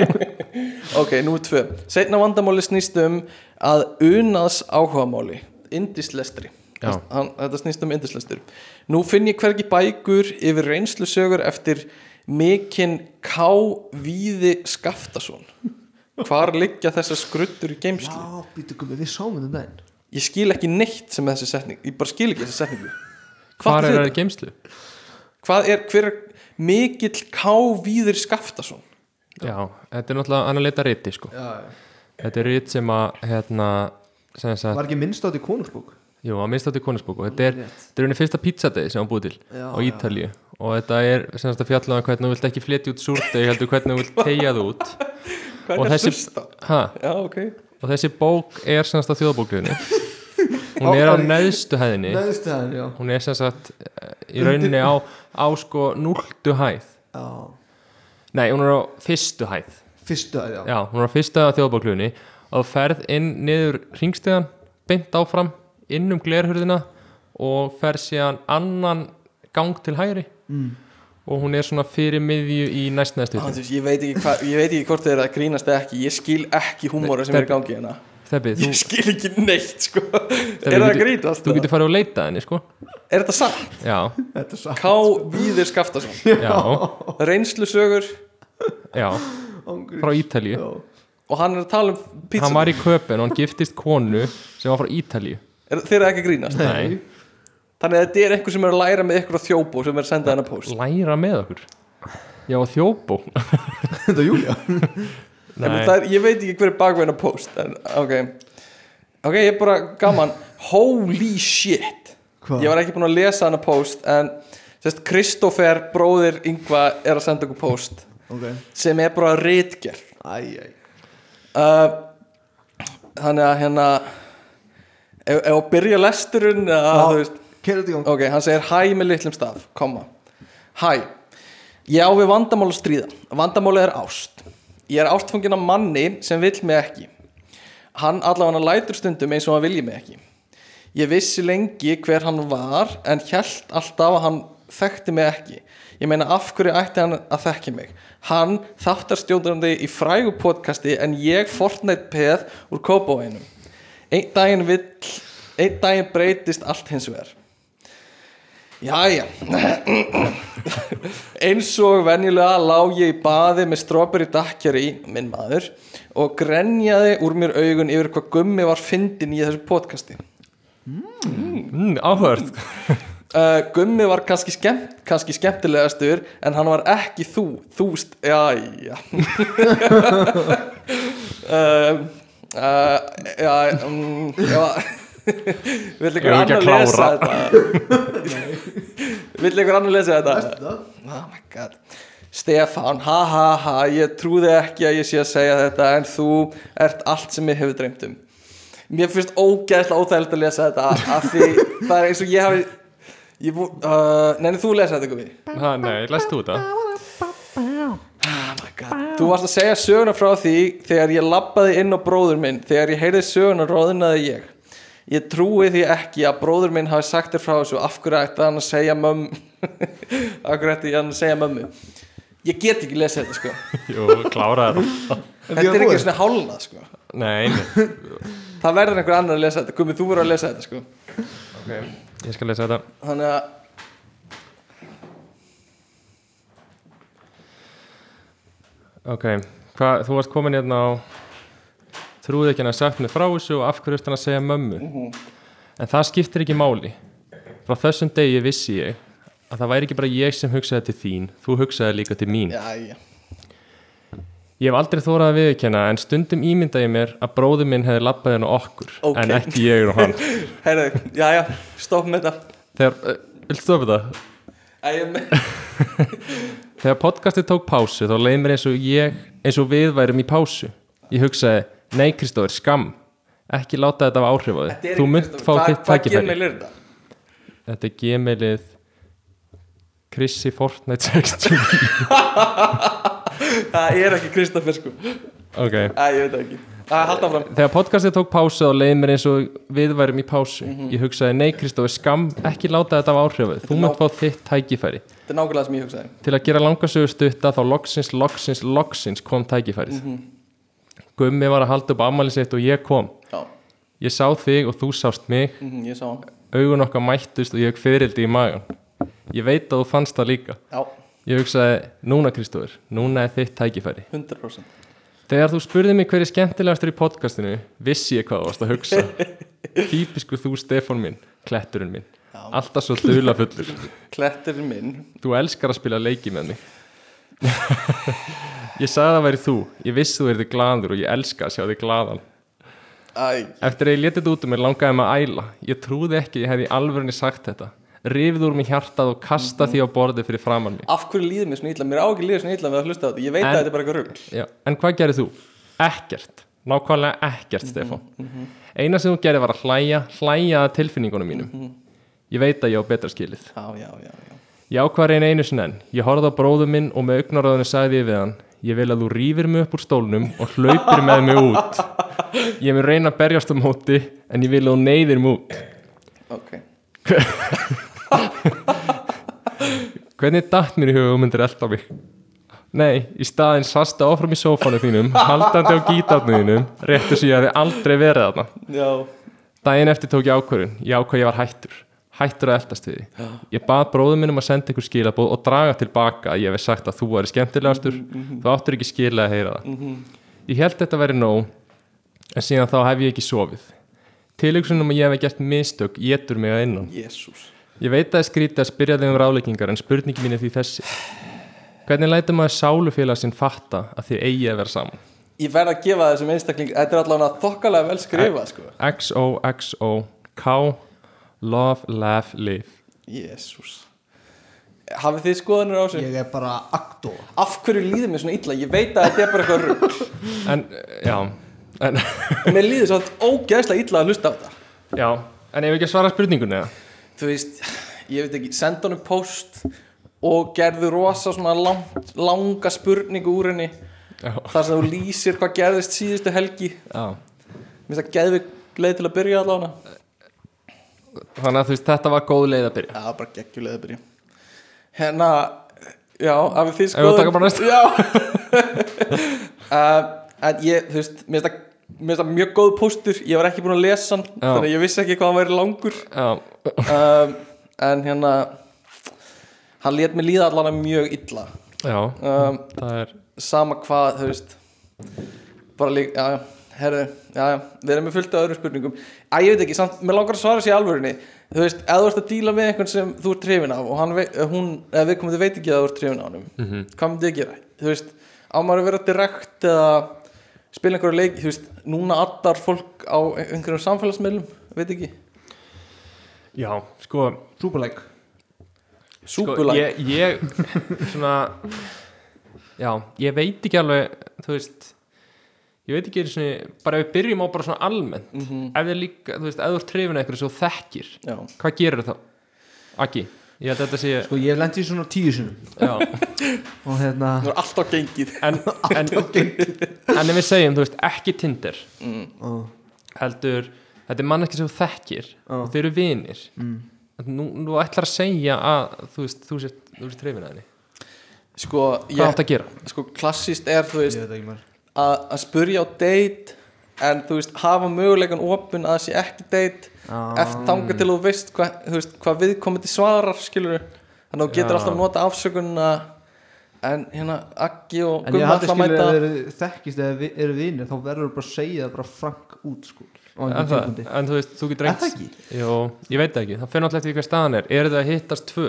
Speaker 4: ok, nú er tvö setna vandamáli snýst um að unaðs áhugamáli indislestri
Speaker 2: Já.
Speaker 4: Hann, þetta snýst um indislestur nú finn ég hvergi bækur yfir reynslusögur eftir mikinn K. Víði Skaftason hvar liggja þessar skruttur í geimslu
Speaker 5: já, býtu gummi, við sáum þetta um daginn
Speaker 4: ég skil ekki neitt sem er þessi setning ég bara skil ekki þessi setningu
Speaker 2: Hvar
Speaker 4: er
Speaker 2: er það
Speaker 4: þetta?
Speaker 2: geimslu?
Speaker 4: hvað er, hver er mikill K. Víður Skaftason
Speaker 2: Já, þetta er náttúrulega annar leita riti sko Þetta er rit sem að hérna, sem sagt,
Speaker 5: var ekki minnst átt í konungsbók
Speaker 2: jú, að minnst átti konusbók og þetta er,
Speaker 5: Rétt.
Speaker 2: þetta er henni fyrsta pizzadegi sem hún búið til
Speaker 5: Já,
Speaker 2: á Ítalíu og þetta er sem sagt að fjalla um hvernig þú vilt ekki flytja út súrdegi heldur hvernig þú vilt tegja þú út
Speaker 4: hvað
Speaker 2: Og
Speaker 4: er
Speaker 2: þessi-
Speaker 4: þessi... sursta?
Speaker 2: ha,
Speaker 4: já, ok
Speaker 2: og þessi bók er sem sagt á
Speaker 5: *laughs*
Speaker 2: þjóðbókliðinu hún er á neðstu hæðinni
Speaker 5: neðstæðan, já
Speaker 2: hún er sem sagt eh, í rauninni á, á sko núltu hæð
Speaker 5: já,
Speaker 2: nei, hún er á fyrstu hæð
Speaker 5: fyrstu að, já
Speaker 2: já, hún er á fyrstu hæð á þjóðbóklunni og þú ferð inn niður ringstegan beint áfram, inn um glerhurðina og ferð síðan annan gang til hægri
Speaker 5: mm.
Speaker 2: og hún er svona fyrir miðju í
Speaker 4: Á,
Speaker 2: næstnæðstu
Speaker 4: Ah, þú veist, ég, veit ekki hva, ég veit ekki hvort þeir eru að grínast eða ekki Ég skil ekki húmóra sem er í gangi hérna
Speaker 2: Þebbið,
Speaker 4: Ég
Speaker 2: þú,
Speaker 4: skil ekki neitt sko Er það að
Speaker 2: getur-
Speaker 4: grínast?
Speaker 2: þú
Speaker 4: eða?
Speaker 2: getur farið og leita henni sko
Speaker 4: Er þetta satt?
Speaker 2: Já,
Speaker 5: Þetta er satt
Speaker 4: K. Víðir Skaftason
Speaker 2: já,
Speaker 4: Reynslusögur
Speaker 2: já,
Speaker 5: Ángríns.
Speaker 2: frá Ítalíu
Speaker 5: Já.
Speaker 4: Og hann er að tala um pizza
Speaker 2: Hann var í köpen og hann giftist konu sem var frá Ítalíu
Speaker 4: er, Þeir eru ekki að grínast
Speaker 2: Nei,
Speaker 4: Þannig að þetta er einhver sem er að læra með ykkur á þjóbo sem er að senda hennar post
Speaker 2: læra með okkur Já, og þjóbó
Speaker 5: *laughs* Þetta er Júlia
Speaker 4: Nei. Það er, ég veit ekki hver er bakveina post en, ok ok, ég er bara gaman holy shit
Speaker 5: Hvað?
Speaker 4: ég var ekki búin að lesa hana post en sérst, Kristoffer, bróðir Ingva er að senda okkur post
Speaker 5: Ok
Speaker 4: sem er bara rítgerð
Speaker 5: Æ, æ
Speaker 4: uh, þannig að hérna ef, ef að byrja lesturinn eða, þú veist,
Speaker 5: Kerðu þetta í gang
Speaker 4: Ok, hann segir hæ með litlum staf, komma Hæ, ég á við vandamál að stríða Vandamálið er ást Ég er ástfungin af manni sem vill mig ekki Hann allavega lætur stundum eins og hann vilji mig ekki Ég vissi lengi hver hann var En hjælt alltaf að hann þekkti mig ekki Ég meina af hverju ætti hann að þekki mig Hann þáttarstjóðurandi í frægu podcasti En ég Fortnite peð úr kópóinum Einn daginn vill Einn daginn breytist allt hins vegar Jæja Eins og venjulega lá ég í baði með strawberry dakkjari minn maður og grenjaði úr mér augun yfir hvað gummi var fyndin í þessu podcasti
Speaker 2: mm, Áhört
Speaker 4: uh, Gummi var kannski, skemmt, kannski skemmtilegastur en hann var ekki þú þúst, jæja *laughs* uh, uh, Já, um, já Vill ykkur
Speaker 2: Eigum við ekki
Speaker 4: annar
Speaker 2: að
Speaker 4: lesa
Speaker 2: klára?
Speaker 4: þetta Vill ykkur annar lesa þetta oh my god Stefán, ha ha ha, ég trúði ekki að ég sé að segja þetta en þú ert allt sem ég hefur dreymt um Mér finnst ógæðslega óþægilegt að lesa þetta af því það er eins og ég hafi ég, bú- uh, Neini, þú lesa þetta Gumi
Speaker 2: Ha, Nei, læst þú þetta?
Speaker 4: Þú varst að segja söguna frá því þegar ég labbaði inn á bróður minn þegar ég heyrði söguna róðinaði ég ég trúi því ekki að bróður minn hafi sagt þér frá þessu af hverju ætti hann að segja mömmu *laughs* af hverju ætti hann að segja mömmu ég get ekki lesið þetta sko
Speaker 2: Jú, klára þetta
Speaker 4: þetta er ekki svona hálnað sko
Speaker 2: Nei, nei,
Speaker 4: það verður einhver annar að lesa þetta komið þú verður að lesa þetta sko
Speaker 2: ég skal lesa þetta
Speaker 4: þannig að
Speaker 2: Ok, Hva, þú varst komin hérna á trúði ekki hann að sagt mig frá þessu og af hverju ertu hann að segja mömmu
Speaker 4: Mhm.
Speaker 2: en það skiptir ekki máli frá þessum degi vissi ég að það væri ekki bara ég sem hugsaði til þín þú hugsaði líka til mín
Speaker 4: já, já.
Speaker 2: ég hef aldrei þórað að viðurkenna en stundum ímynda ég mér að bróður minn hefði labbað henn á okkur
Speaker 4: Ok.
Speaker 2: en ekki ég og
Speaker 4: *laughs*
Speaker 2: hann
Speaker 4: Heyrðu, já, já, stopp með þetta
Speaker 2: þegar, uh, viltu stofa þetta?
Speaker 4: Æ, ég
Speaker 2: *laughs*
Speaker 4: me-
Speaker 2: Þegar podcastið tók pásu þá leið mér eins og ég eins og við værum í pásu Ég hugsaði, nei Kristóður, skam ekki láta þetta af áhrif á
Speaker 4: Þetta
Speaker 2: þig
Speaker 4: er
Speaker 2: Þú
Speaker 4: ekki-
Speaker 2: munt fá
Speaker 4: Hvað-
Speaker 2: þitt
Speaker 4: hvað
Speaker 2: tækifæri
Speaker 4: gemil er þetta?
Speaker 2: Þetta er gmailið Chrissy Fortnite 60
Speaker 4: það er ekki Kristoffer sko
Speaker 2: Ok
Speaker 4: Æ, ég veit það ekki Æ, halda áfram
Speaker 2: Þegar podcastið tók pásu þá leið mér eins og við værum í pásu Ég hugsaði, nei Kristóður, skam ekki láta þetta af áhrif á þig Þú
Speaker 4: Mhm. er
Speaker 2: munt fá þitt tækifæri
Speaker 4: Þetta er nákvæmlega sem ég hugsaði
Speaker 2: Til að gera langasögu stutta þá loksins, loksins, loksins kom tækifærið
Speaker 4: Mhm.
Speaker 2: Gummi var að halda upp afmæli sitt og ég kom
Speaker 4: Já,
Speaker 2: Ég sá þig og þú sást mig,
Speaker 4: mhm, ég sá hann
Speaker 2: augun okkar mættust og ég hef fyrildi í magan. Ég veit að þú fannst það líka.
Speaker 4: Já,
Speaker 2: Ég hugsaði, núna Kristóður, núna er þitt tækifæri.
Speaker 4: 100%
Speaker 2: Þegar þú spurði mig hver er skemmtilegastur í podcastinu, vissi ég hvað þú varst að hugsa. Típisku þú Stefán minn, kletturinn minn. Alltaf svo dula fullur.
Speaker 4: Kletturinn minn
Speaker 2: Þú elskar að spila leiki með mig. ég sagði að það væri þú. Ég vissi þú erði gladur og ég elska að sjá þig gladan.
Speaker 4: Æ,
Speaker 2: Eftir að ég letið út um mér langaði mig að æla. Ég trúði ekki að ég hefði í alvörunni sagt þetta. Rifið úr mér hjartað og kasta því á borðið fyrir framann mig.
Speaker 4: af hverju líður mér svona illa? Mér á ekki líður svona illa við að hlusta á þetta Ég veit
Speaker 2: En-
Speaker 4: að þetta er bara eitthvað rugl
Speaker 2: Já. En hvað gerir þú? Ekkert. Nákvæmlega ekkert, Stefán. Eina sem þú gerir var að hlæja, hlæja að tilfinningunum mínum. Ég veit að ég á betra skilið.
Speaker 4: Já, já, já, já
Speaker 2: Ég ákvað að reyna einu sinni enn. Ég horfði á bróðu minn og með augnaráðinu sagði ég við hann Ég vil að þú rýfir mig upp úr stólnum og hlaupir með mig út. Ég mun reyna að berjast á móti en ég vil að þú neyðir mig út.
Speaker 4: Ok
Speaker 2: Hvernig datt mér í huga og myndir elda mig? Nei, í staðinn sasta áfram í sófanu þínum, haldandi á gítarnu þínum, réttu sem ég hefði aldrei verið þarna.
Speaker 4: já,
Speaker 2: Daginn eftir tók ég ákvörðun, ég ákvað ég var hættur, hættur að eldast við því. Ég bað bróðum minn um að senda ykkur skilabóð og draga tilbaka að ég hef sagt að þú væri skemmtilegastur, þú áttur ekki skila að heyra það. Ég held þetta væri nóg, en síðan þá hef ég ekki sofið. Tilugsunum að ég hef gert mistök, étur mig að innan.
Speaker 4: jésús
Speaker 2: Ég veit að það er skrítið að spyrja þig um ráleikingar en spurningi mín er því þessi Hvernig lætur maður sálufélag sinn fatta að þið eigi að vera saman?
Speaker 4: Ég verð að gefa þessum einstakling Þetta er allavega þokkalega vel skrifað sko.
Speaker 2: XO, XO, K Love, laugh, live
Speaker 4: Jésús Hafið þið skoðanir á þessu?
Speaker 5: ég er bara aktó
Speaker 4: Af hverju líður mér svona illa? Ég veit að þetta er bara eitthvað rugg
Speaker 2: En, já En, *laughs*
Speaker 4: En mér líður svona ógeðslega illa að hlusta á þetta
Speaker 2: já En ef ekki að svara spurningunni eða?
Speaker 4: Þú veist, ég veit ekki Senda honum post Og gerðu rosa svona langt, langa spurningu úr henni
Speaker 2: Já,
Speaker 4: Þar sem þú lýsir hvað gerðist síðustu helgi
Speaker 2: já
Speaker 4: Mér finnst það geðvig leið til að byrja allavega
Speaker 2: Þannig að þú veist, þetta var góð leið að byrja
Speaker 4: Já, bara geggjulega að byrja Hérna, já, af því
Speaker 2: Eigum við að taka bara næsta?
Speaker 4: Já *laughs* uh, En ég, þú veist, mér finnst það- mér finnst það mjög góð póstur Ég var ekki búin að lesa hann
Speaker 2: Já.
Speaker 4: Þannig að ég vissi ekki hvað hann væri langur
Speaker 2: Já,
Speaker 4: um, En hérna Hann lét mér líða allan mjög illa
Speaker 2: já,
Speaker 4: um,
Speaker 2: það er
Speaker 4: Sama hvað, þú veist Bara líka, já, já, herðu Já, já, við erum með fullt af öðrum spurningum Æ, ég veit ekki, samt, mér langar að svara sér í alvörinni Þú veist, ef þú ert að díla með einhvern sem þú ert trefin af og hann, vei- eh, hún, eða við komum veit ekki að þú ert trefin af honum
Speaker 2: Mhm.
Speaker 4: hvað myndið að gera? Þú veist, á maður að vera direkt eða spila einhverju leik þú veist, núna allar fólk á einhverjum samfélagsmiðlum, veit ekki
Speaker 2: Já, sko,
Speaker 5: súperlæk
Speaker 4: súpulæk
Speaker 2: ég, ég svona já, ég veit ekki alveg þú veist ég veit ekki einu sinni, bara ef við byrjum á bara svona almennt ef þið líka, þú veist, ef þú ert trefin eitthvað svo þekkir,
Speaker 4: Mhm, Já,
Speaker 2: hvað gerir þá? Akki, ég held að þetta sé
Speaker 5: sko ég hef lent í svona tíu sinum
Speaker 2: já,
Speaker 5: og hérna
Speaker 4: það er alltaf gengið
Speaker 2: en,
Speaker 5: *laughs*
Speaker 2: en, en ef við segjum, þú veist, ekki Tinder
Speaker 4: Mm.
Speaker 5: og,
Speaker 2: heldur, þetta er manneski sem þú þekkir
Speaker 5: Já.
Speaker 2: og þau eru vinir
Speaker 5: mm,
Speaker 2: nú, nú ætlar að segja að þú veist, þú sért, þú sért trefin að henni
Speaker 4: sko,
Speaker 2: hvað
Speaker 4: ég,
Speaker 2: átt að gera?
Speaker 4: sko klassist er þú
Speaker 5: ég
Speaker 4: veist,
Speaker 5: veit ekki mér
Speaker 4: að, að spurja á date en þú veist, hafa möguleikan opin að það sé ekki date
Speaker 5: Ah.
Speaker 4: eftir þanga til þú veist hvað, þú veist, hvað viðkomandi svarar skilur þannig að þú getur
Speaker 2: Já.
Speaker 4: alltaf nota afsökunna en hérna Aggi og
Speaker 5: en ég
Speaker 4: Gumma
Speaker 5: hætti
Speaker 4: alltaf
Speaker 5: skilur
Speaker 4: mæta
Speaker 5: að þeir þekkist eða vi- eru vinir þá verður þú bara að segja það bara frank út sko á
Speaker 2: En,
Speaker 5: einhvern
Speaker 2: það,
Speaker 5: tímpundi
Speaker 2: en þú veist, þú getur
Speaker 5: er
Speaker 2: reynt
Speaker 5: það ekki?
Speaker 2: Jó, ég veit það ekki, það fyrir náttúrulega eftir hvað staðan er eru þau að hittast tvö,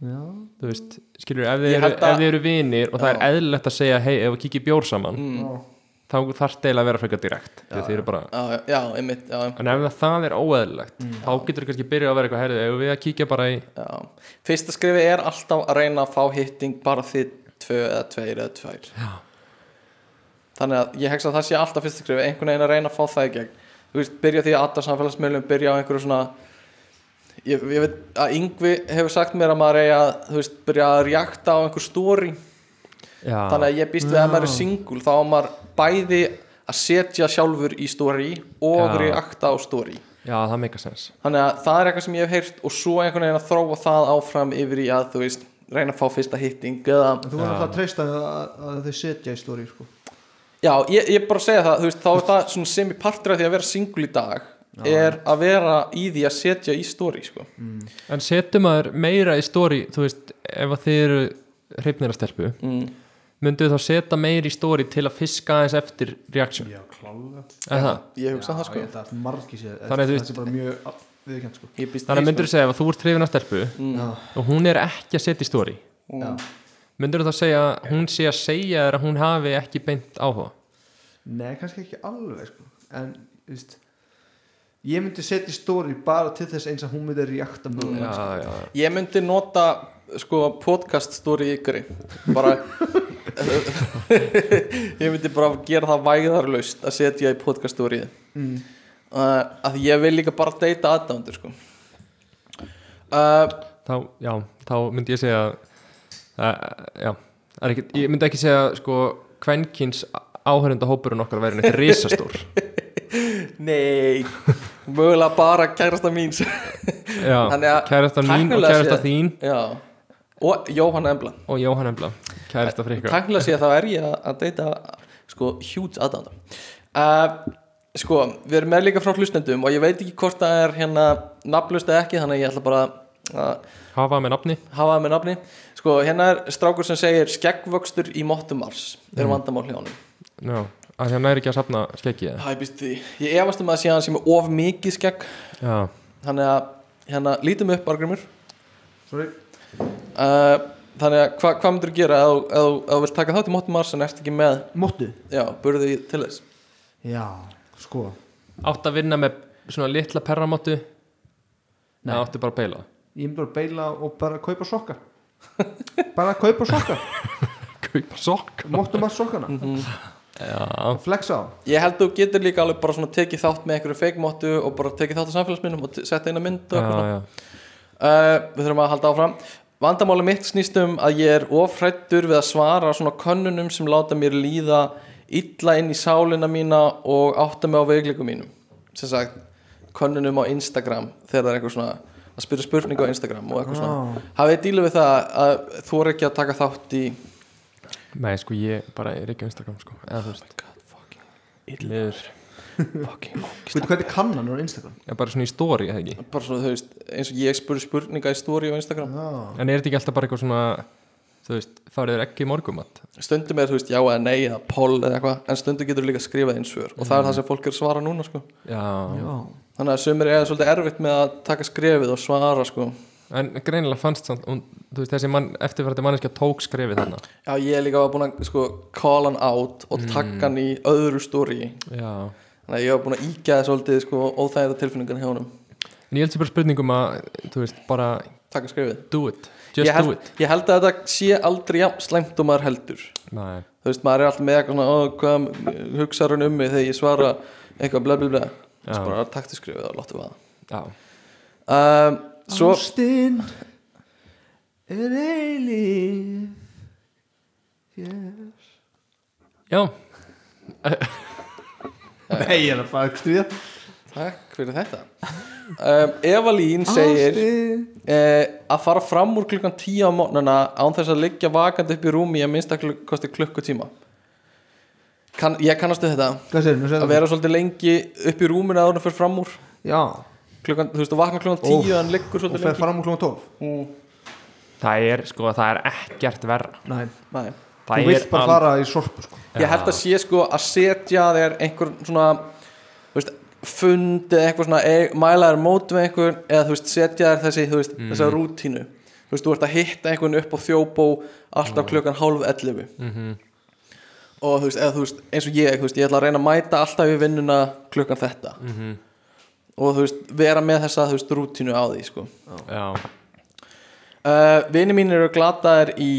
Speaker 5: já
Speaker 2: þú veist skilur, ef þið
Speaker 4: Ég
Speaker 2: eru,
Speaker 4: held að-
Speaker 2: ef þið eru vinir og það er eðlilegt að segja hei, ef við kikið bjór saman
Speaker 4: mm.
Speaker 2: þá þarf deila að vera frekar direkt já, þið eru bara,
Speaker 4: já, já, einmitt já,
Speaker 2: en ef það er óeðlilegt
Speaker 4: Mm.
Speaker 2: þá getur þau kannski byrjað að vera eitthvað herðið ef við að kíkja bara í,
Speaker 4: já. fyrsta skrifi er alltaf að reyna að fá hitting bara þið tvö eða tveir eða tvær já. þannig að ég hegsa að það sé alltaf fyrsta skrifi einhvern veginn að reyna að fá það í gegn þú veist, byrja því að alltaf samfélagsmiðlum byrja á einhverju svona ég, ég veit að Yngvi hefur sagt mér að maður eigi að þú veist, byrja að reakta á einhver story
Speaker 2: já,
Speaker 4: þannig að ég býst við að
Speaker 5: Já.
Speaker 4: maður er single þá á maður bæði að setja sjálfur í story og
Speaker 2: Já.
Speaker 4: reakta á story
Speaker 2: já, það meika sens
Speaker 4: þannig að það er eitthvað sem ég hef heyrt og svo einhvern veginn að þróa það áfram yfir í að þú veist, reyna að fá fyrsta hitting eða,
Speaker 5: en þú verður alltaf að treysta að, að, að þau setja í stóri sko
Speaker 4: já, ég, ég bara segja það þú veist, þá er það svona sem í partur af því að vera single í dag er að vera í því að setja í story sko.
Speaker 5: Mm.
Speaker 2: en setum maður meira í stóri þú veist, ef að þið eru hreifnir að stelpu,
Speaker 4: mm.
Speaker 2: myndu þá setja meira í stóri til að fiska aðeins eftir reaksjón,
Speaker 5: já klálega
Speaker 2: er það?
Speaker 4: ég hugsa það
Speaker 5: ég
Speaker 4: sko
Speaker 5: held að margir sér
Speaker 2: Þannig að þú
Speaker 5: það sé bara mjög al- viðurkennt sko
Speaker 4: ég Mm. býst
Speaker 2: Þannig að
Speaker 4: því,
Speaker 2: myndur þú segja ef að þú ert hrifin af stelpu
Speaker 5: já
Speaker 2: og hún er ekki að setja í stóri
Speaker 4: Mm.
Speaker 5: já
Speaker 2: myndur þú þá segja að hún sé að segja þér að hún hafi ekki beint áhuga
Speaker 5: Nei, kannski ekki alveg sko. En, þú veist Ég myndi setja í stóri bara til þess eins að hún myndi reakta mjög
Speaker 2: já, já,
Speaker 4: Ég myndi nota sko podcast stóri ykkur bara *laughs* ég myndi bara gera það væðarlaust að setja í podcast stórið
Speaker 5: mm.
Speaker 4: uh, að ég vil líka bara deyta aðdándur sko uh,
Speaker 2: Þá, já, þá myndi ég segja uh, já, það er ekki, ég myndi ekki segja sko kvenkins áhörunda hópurinn okkar væri neitt risastór *laughs*
Speaker 4: nei mögulega bara kærasta mín sem-
Speaker 2: já,
Speaker 4: Þannig að
Speaker 2: kærasta mín og
Speaker 4: tæknilega
Speaker 2: kærasta
Speaker 4: séð-
Speaker 2: þín
Speaker 4: já, og Jóhanna Embla
Speaker 2: og Jóhann Embla, kærasta frikka
Speaker 4: Tæknilega sé þá er ég að- að deyta sko huge aðdanda uh, Sko, við erum með líka frá hlustendum og ég veit ekki hvort það er hérna nafnlust eða ekki, þannig að ég ætla bara að
Speaker 2: hafa með nafni
Speaker 4: hafa það með nafni Sko, hérna er strákur sem segir skeggvöxtur í mottumars er vandamál hjá honum
Speaker 2: Já, að hérna er ekki að safna skeggi eða?
Speaker 4: Það er býst því, ég efast um að sé að hann sem er of mikið skegg
Speaker 2: Já,
Speaker 4: Þannig að, hérna, lítum upp Argrymur
Speaker 5: Sorry.
Speaker 4: uh, Þannig að, hva, hvað myndir gera ef þú- ef þú- ef þú vilt taka þátt í mottumars en ert ekki með,
Speaker 5: Móttu?
Speaker 4: já, burði til þess
Speaker 5: Já, sko
Speaker 2: átt að vinna með svona litla perramottu Nei, áttu bara að peila
Speaker 5: Ég myndi bara að beila og bara kaupa sokka Bara að kaupa sokka
Speaker 2: Kaupa sokk
Speaker 5: Móttu maður sokkana
Speaker 2: Já,
Speaker 5: og flexa á
Speaker 4: Mhm. Ég held þú getur líka alveg bara svona tekið þátt með einhverju feikmóttu og bara tekið þátt á samfélagsminnum og t- sett eina mynd og
Speaker 2: já,
Speaker 4: eitthvað svona.
Speaker 2: já
Speaker 4: uh, Við þurfum að halda áfram Vandamáli mitt snýst um að ég er ofrættur við að svara svona könnunum sem láta mér líða illa inn í sálina mína og átta mig á veikleikum mínum sem sagt, könnunum á Instagram þegar það er eitthvað svona að spyrja spurningu á Instagram og
Speaker 5: Ah.
Speaker 4: eitthvað svona Hafið þið dílu við það að þú er ekki að taka þátt í
Speaker 2: Nei, sko, ég bara er ekki á Instagram, sko Eða þú veist Illur
Speaker 4: fucking
Speaker 5: Veitu hvað þetta kannan á Instagram?
Speaker 2: Ég er bara svona í story, eða ekki
Speaker 4: bara svona, þú veist, eins og ég spurði spurninga í stóri á Instagram
Speaker 5: Já,
Speaker 2: En er þetta ekki alltaf bara eitthvað svona Þú veist, farið er ekki í morgumat
Speaker 4: stundum er þú veist já eða nei eða poll eða eitthvað en stundum getur líka skrifað inn svör og það er það sem fólk er að svara núna sko
Speaker 2: Já,
Speaker 5: já
Speaker 4: þannig að sumir er svolítið erfitt með að taka skrifið og svara sko
Speaker 2: En greinilega fannst samt, hún, þú veist, þessi mann, eftirfærandi manneskja tók skrefið þarna
Speaker 4: já ég er líka var búin að sko call hann out
Speaker 2: Mm.
Speaker 4: og taka hann í öðru stóri
Speaker 2: Já
Speaker 4: þannig að ég var búin að íkja það svolítið sko óþægða tilfinningan hjá honum
Speaker 2: En ég held sér bara spurningum að, þú veist, bara
Speaker 4: taka skrifið
Speaker 2: do it
Speaker 4: ég
Speaker 2: Just do
Speaker 4: held,
Speaker 2: it
Speaker 4: ég held að þetta sé aldrei jafn slæmt og maður heldur
Speaker 2: Nei,
Speaker 4: þú veist maður er alltaf með eitthvað svona "Ó, hvað hugsaður hann um mig þegar ég svara eitthvað bla bla bla
Speaker 2: Já.
Speaker 4: þess bara taktu skrifið og láttu
Speaker 2: já
Speaker 4: vaða um, svo
Speaker 5: Ástin er eilíf yeah.
Speaker 2: Já,
Speaker 5: Nei, ég er að fara ekki stríða
Speaker 4: Takk fyrir þetta um, Eva Lín segir uh, að fara fram úr klukkan 10 á mótnana án þess að liggja vakandi upp í rúmi í að minnsta kluk- kosti klukkutíma kan, Ég kannastu þetta
Speaker 5: Hvað segir, nú segir
Speaker 4: að vera svolítið lengi upp í rúminu áður en fyrir fram úr
Speaker 5: Já,
Speaker 4: klukkan, þú veist, þú vaknar klukkan 10 en liggur
Speaker 5: og
Speaker 4: svolítið
Speaker 5: fer
Speaker 4: lengi
Speaker 5: fram úr klón 12
Speaker 2: það er, sko, það er ekkert verra
Speaker 5: Nei,
Speaker 4: Nei.
Speaker 2: Það
Speaker 5: þú vilt
Speaker 2: er
Speaker 5: bara
Speaker 2: al-
Speaker 5: fara í sorpu sko.
Speaker 4: Ég held að sé sko að setja þér einhver svona þú veist, fund eða eitthvað svona e mæla þér mót með einhver eða þú veist setja þér þessi, þú veist, þessa rútínu þú veist, þú ert að hitta einhvern upp á þjóbó alltaf klukkan hálf 11
Speaker 2: Mhm,
Speaker 4: og þú veist, eða, þú veist eins og ég, þú veist, ég ætla að reyna að mæta alltaf í vinnuna klukkan þetta
Speaker 2: mhm.
Speaker 4: og þú veist, vera með þessa þú veist, rútínu á því, sko
Speaker 2: Já,
Speaker 4: uh, Vini mín eru glataðir í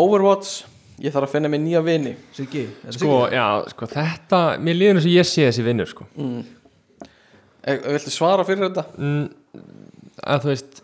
Speaker 4: Overwatch ég þarf að finna mér nýja vini
Speaker 5: Siggi, er þetta
Speaker 2: sko, já, sko, þetta Mér líður eins og ég sé þessi vinnur, sko
Speaker 4: e Mm. Viltu svara fyrir þetta?
Speaker 2: mm, Að þú veist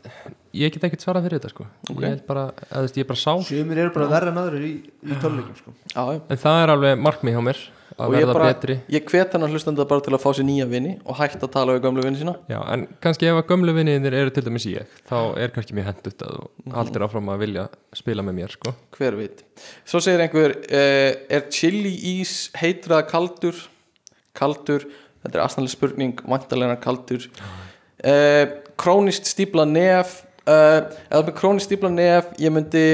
Speaker 2: Ég get ekkert svarað fyrir þetta, sko Ég held bara, að þú veist, ég bara sá
Speaker 5: Siggi? Sumir eru bara verri en aðrir í, í töluleikum sko.
Speaker 4: Já, já
Speaker 2: En það er alveg markmið hjá mér Að
Speaker 4: og ég
Speaker 2: verða
Speaker 4: bara,
Speaker 2: betri
Speaker 4: ég hvet hennar hlustanda bara til að fá sér nýja vini og hætta að tala við gamlu vini sína
Speaker 2: Já, en kannski ef að gömlu vinniðinir eru til dæmis ég þá er kannski mér hendut að
Speaker 4: Mhm.
Speaker 2: þú haldir áfram að vilja spila með mér, sko
Speaker 4: hver veit, svo segir einhver uh, er chili ís heitraða kaldur kaldur, þetta er astanlega spurning vantalega kaldur uh, krónist stípla nef uh, eða með krónist stípla nef ég myndi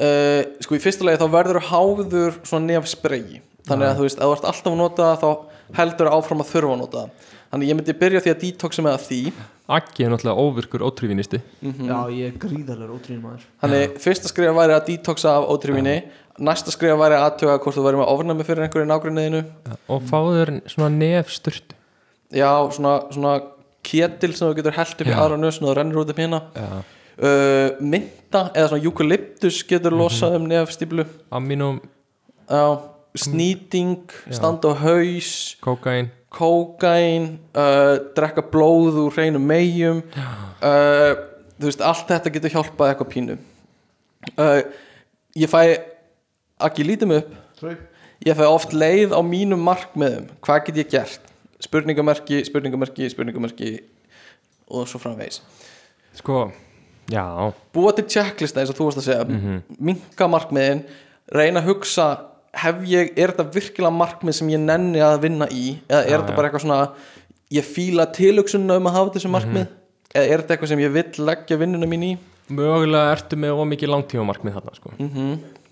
Speaker 4: uh, sko í fyrsta lagi þá verður háður svona nef spreyi, þannig að þú veist ef þú ert alltaf að nota það þá heldur áfram að þurfa að nota það, þannig ég myndi byrja á því að detoxa með því
Speaker 2: Aggi er náttúrulega óvirkur ótrýfinisti
Speaker 5: Já, ég er gríðarlega ótrýn maður
Speaker 4: Þannig fyrsta skrifa væri að detoxa af ótrýminni Næsta skrifa væri að aðtöga hvort þú væri með ofnæmi fyrir einhverju nágrunniðinu
Speaker 2: og fáður svona nef sturt
Speaker 4: Já, svona, svona kétil sem þú getur held upp í
Speaker 2: Já.
Speaker 4: aðra nösun og þú rennir út um hérna
Speaker 2: Já. Mhm.
Speaker 4: uh, Mynta eða svona eukalyptus getur losað um nefstíplu
Speaker 2: Aminum,
Speaker 4: Já, Snýting, standa á haus
Speaker 2: kókain
Speaker 4: Kókain uh, Drekka blóð úr hreinum megjum uh, Þú veist, allt þetta getur hjálpað eitthvað pínu uh, Ég fæ Akki lítið mig upp
Speaker 5: Sorry.
Speaker 4: Ég fæ oft leið á mínum markmiðum Hvað get ég gert? Spurningamerki, spurningamerki, spurningamerki og svo framvegis
Speaker 2: Sko, já,
Speaker 4: búa til checklista eins og þú varst að segja mm
Speaker 2: Mhm.
Speaker 4: minka markmiðin, reyna að hugsa hef ég, er þetta virkilega markmið sem ég nenni að vinna í eða er
Speaker 2: Já,
Speaker 4: þetta
Speaker 2: já.
Speaker 4: bara eitthvað svona ég fíla tilhugsunna um að hafa þessu markmið
Speaker 2: Mhm.
Speaker 4: eða er þetta eitthvað sem ég vill leggja vinnuna mín í
Speaker 2: mögulega ertu með ómikið langtífamarkmið þarna sko.
Speaker 4: Mhm,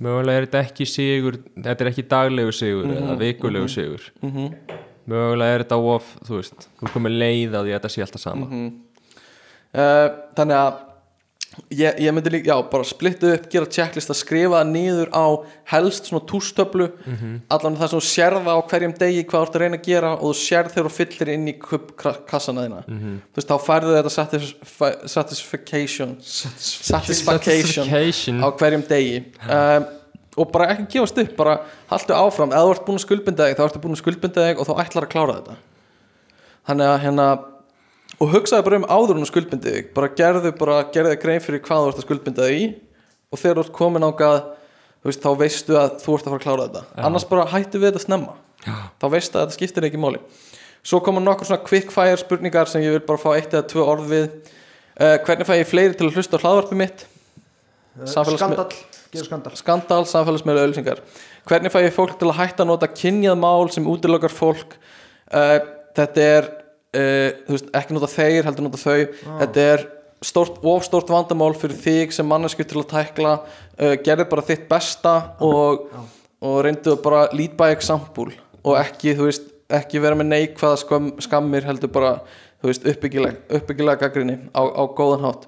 Speaker 2: mögulega er þetta ekki sigur þetta er ekki daglegu sigur
Speaker 4: Mhm,
Speaker 2: eða vikulegu sigur mögulega er þetta of þú veist, þú komir leið á því að þetta sé alltaf sama
Speaker 5: Mhm.
Speaker 4: uh, þannig að ég, ég myndi líka, já, bara splittu upp gera checklist að skrifa það niður á helst svona tústöflu allan það sem þú sérða á hverjum degi hvað þú ert að reyna að gera og þú sérð þegar þú fyllir inn í kubb kassana þína þú veist, þá færðu þetta satis, fa- satisfaction satisfaction
Speaker 2: Satisfaction.
Speaker 4: á hverjum degi um, og bara ekki gefast upp, bara haltu áfram eða þú ert búin að skuldbinda þig, þá ertu búin að skuldbinda þig og þá ætlar að klára þetta þannig að hérna og hugsaði bara um áður hún skuldbindið þig bara gerðu bara, gerðu þig grein fyrir hvað þú ert að skuldbinda þig í og þegar þú ert komin ángað þú veist, þá veistu að þú ert að fara að klára þetta annars bara hættu við þetta snemma Já. þá veistu að þetta skiptir ekki máli svo koma nokkur svona quick fire spurningar sem ég vil bara fá eitt eða tvö orð við uh, hvernig fæ ég fleiri til að hlusta á hlaðvarpið mitt Samfélagsmi-
Speaker 5: skandal, gera skandal
Speaker 4: skandal, samfélagsmeila auðlýsingar hvernig fæ ég fólk til að hætta að nota kynjað mál sem útilokar fólk uh, þetta er uh, þú veist, ekki nota þeir, heldur nota þau þetta er stort, ofstort vandamál fyrir þig sem mannesku til að tækla uh, gerði bara þitt besta og, og reyndu að bara lead by example og ekki, þú veist, ekki vera með neikvaða skam, skammir heldur bara þú veist, uppbyggilega, uppbyggilega gaggrinni á, á góðan hátt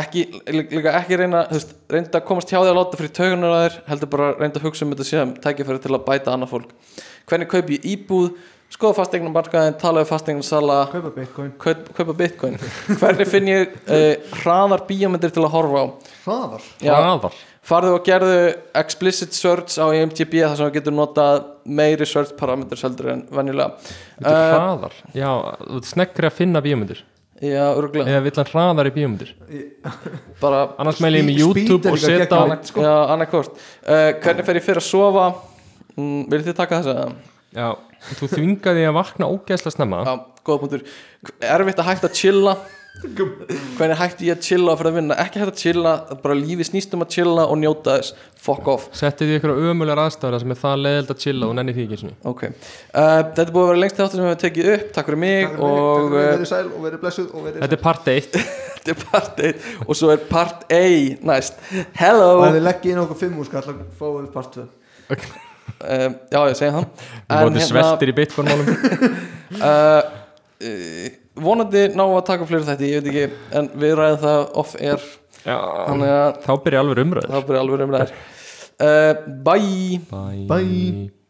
Speaker 4: ekki, lí- líka ekki reyna þú veist, reynda að komast hjá því að láta fyrir taugunar að þér heldur bara reynda að hugsa um þetta síðan tækifæri til að bæta annað fólk hvernig kaupi ég íbúð, skoða fasteignar markaðin tala við fasteignar sala
Speaker 5: kaupa bitcoin,
Speaker 4: kaup, kaupa bitcoin hvernig finn ég uh, hraðar bíómyndir til að horfa á
Speaker 5: hraðar
Speaker 2: hraðar
Speaker 4: farðu og gerðu explicit search á E IMDb þar sem þú getur notað meiri search parameters heldur en venjulega
Speaker 2: Þetta
Speaker 4: uh,
Speaker 5: Eh,
Speaker 2: er hraðar, já, þú ert sneggri að finna bíómyndir
Speaker 4: Eh, já, örgulega
Speaker 2: eða vill hann hraðar í bíómyndir
Speaker 4: bara
Speaker 2: annars mæli ég með
Speaker 5: Speed- speed er
Speaker 2: YouTube og
Speaker 5: líka
Speaker 2: setja á
Speaker 5: geggjað.
Speaker 4: annarkvort já, annarkvort uh, hvernig fer ég fyrir að sofa mm, viljið þið taka þess að
Speaker 2: já, þú þvingaði að vakna ógeðslega snemma
Speaker 4: Já, góða punktur Erfitt að hætta að chilla Hvernig hætti ég að chilla fyrir að vinna Ekki hætta að chilla, bara lífi snýst um að chilla og njóta þess, fuck off
Speaker 2: settið því ykkur á ömulegar aðstæður þar sem er það leiðild að chilla og nenni því ekki einu sinni.
Speaker 4: Ok, uh, þetta er búið að vera lengst þáttur sem við hefum tekið upp Takk fyrir mig
Speaker 5: Takk fyrir mig, takk fyrir
Speaker 4: og
Speaker 5: mig,
Speaker 4: uh,
Speaker 5: verið sæl og verið blessuð og verið
Speaker 2: þetta er part 1
Speaker 4: þetta er part 1 Og svo er part A næst Hello
Speaker 5: og ef
Speaker 4: um,
Speaker 5: þið leggja inn okkur fimm úr skall þá fáum við part 2
Speaker 4: Eh, Já, ég segi það hérna-
Speaker 2: þú
Speaker 5: hérna-
Speaker 2: bótið sveltir í bitcoin málum
Speaker 4: uh, uh, Vonandi ná að taka fleiri þetta, ég veit ekki En við ræðum það off-air
Speaker 2: já,
Speaker 4: Þannig að
Speaker 2: þá byrja alveg umröður
Speaker 4: það byrja alveg um þær uh, Bye
Speaker 2: bye,
Speaker 5: Bye.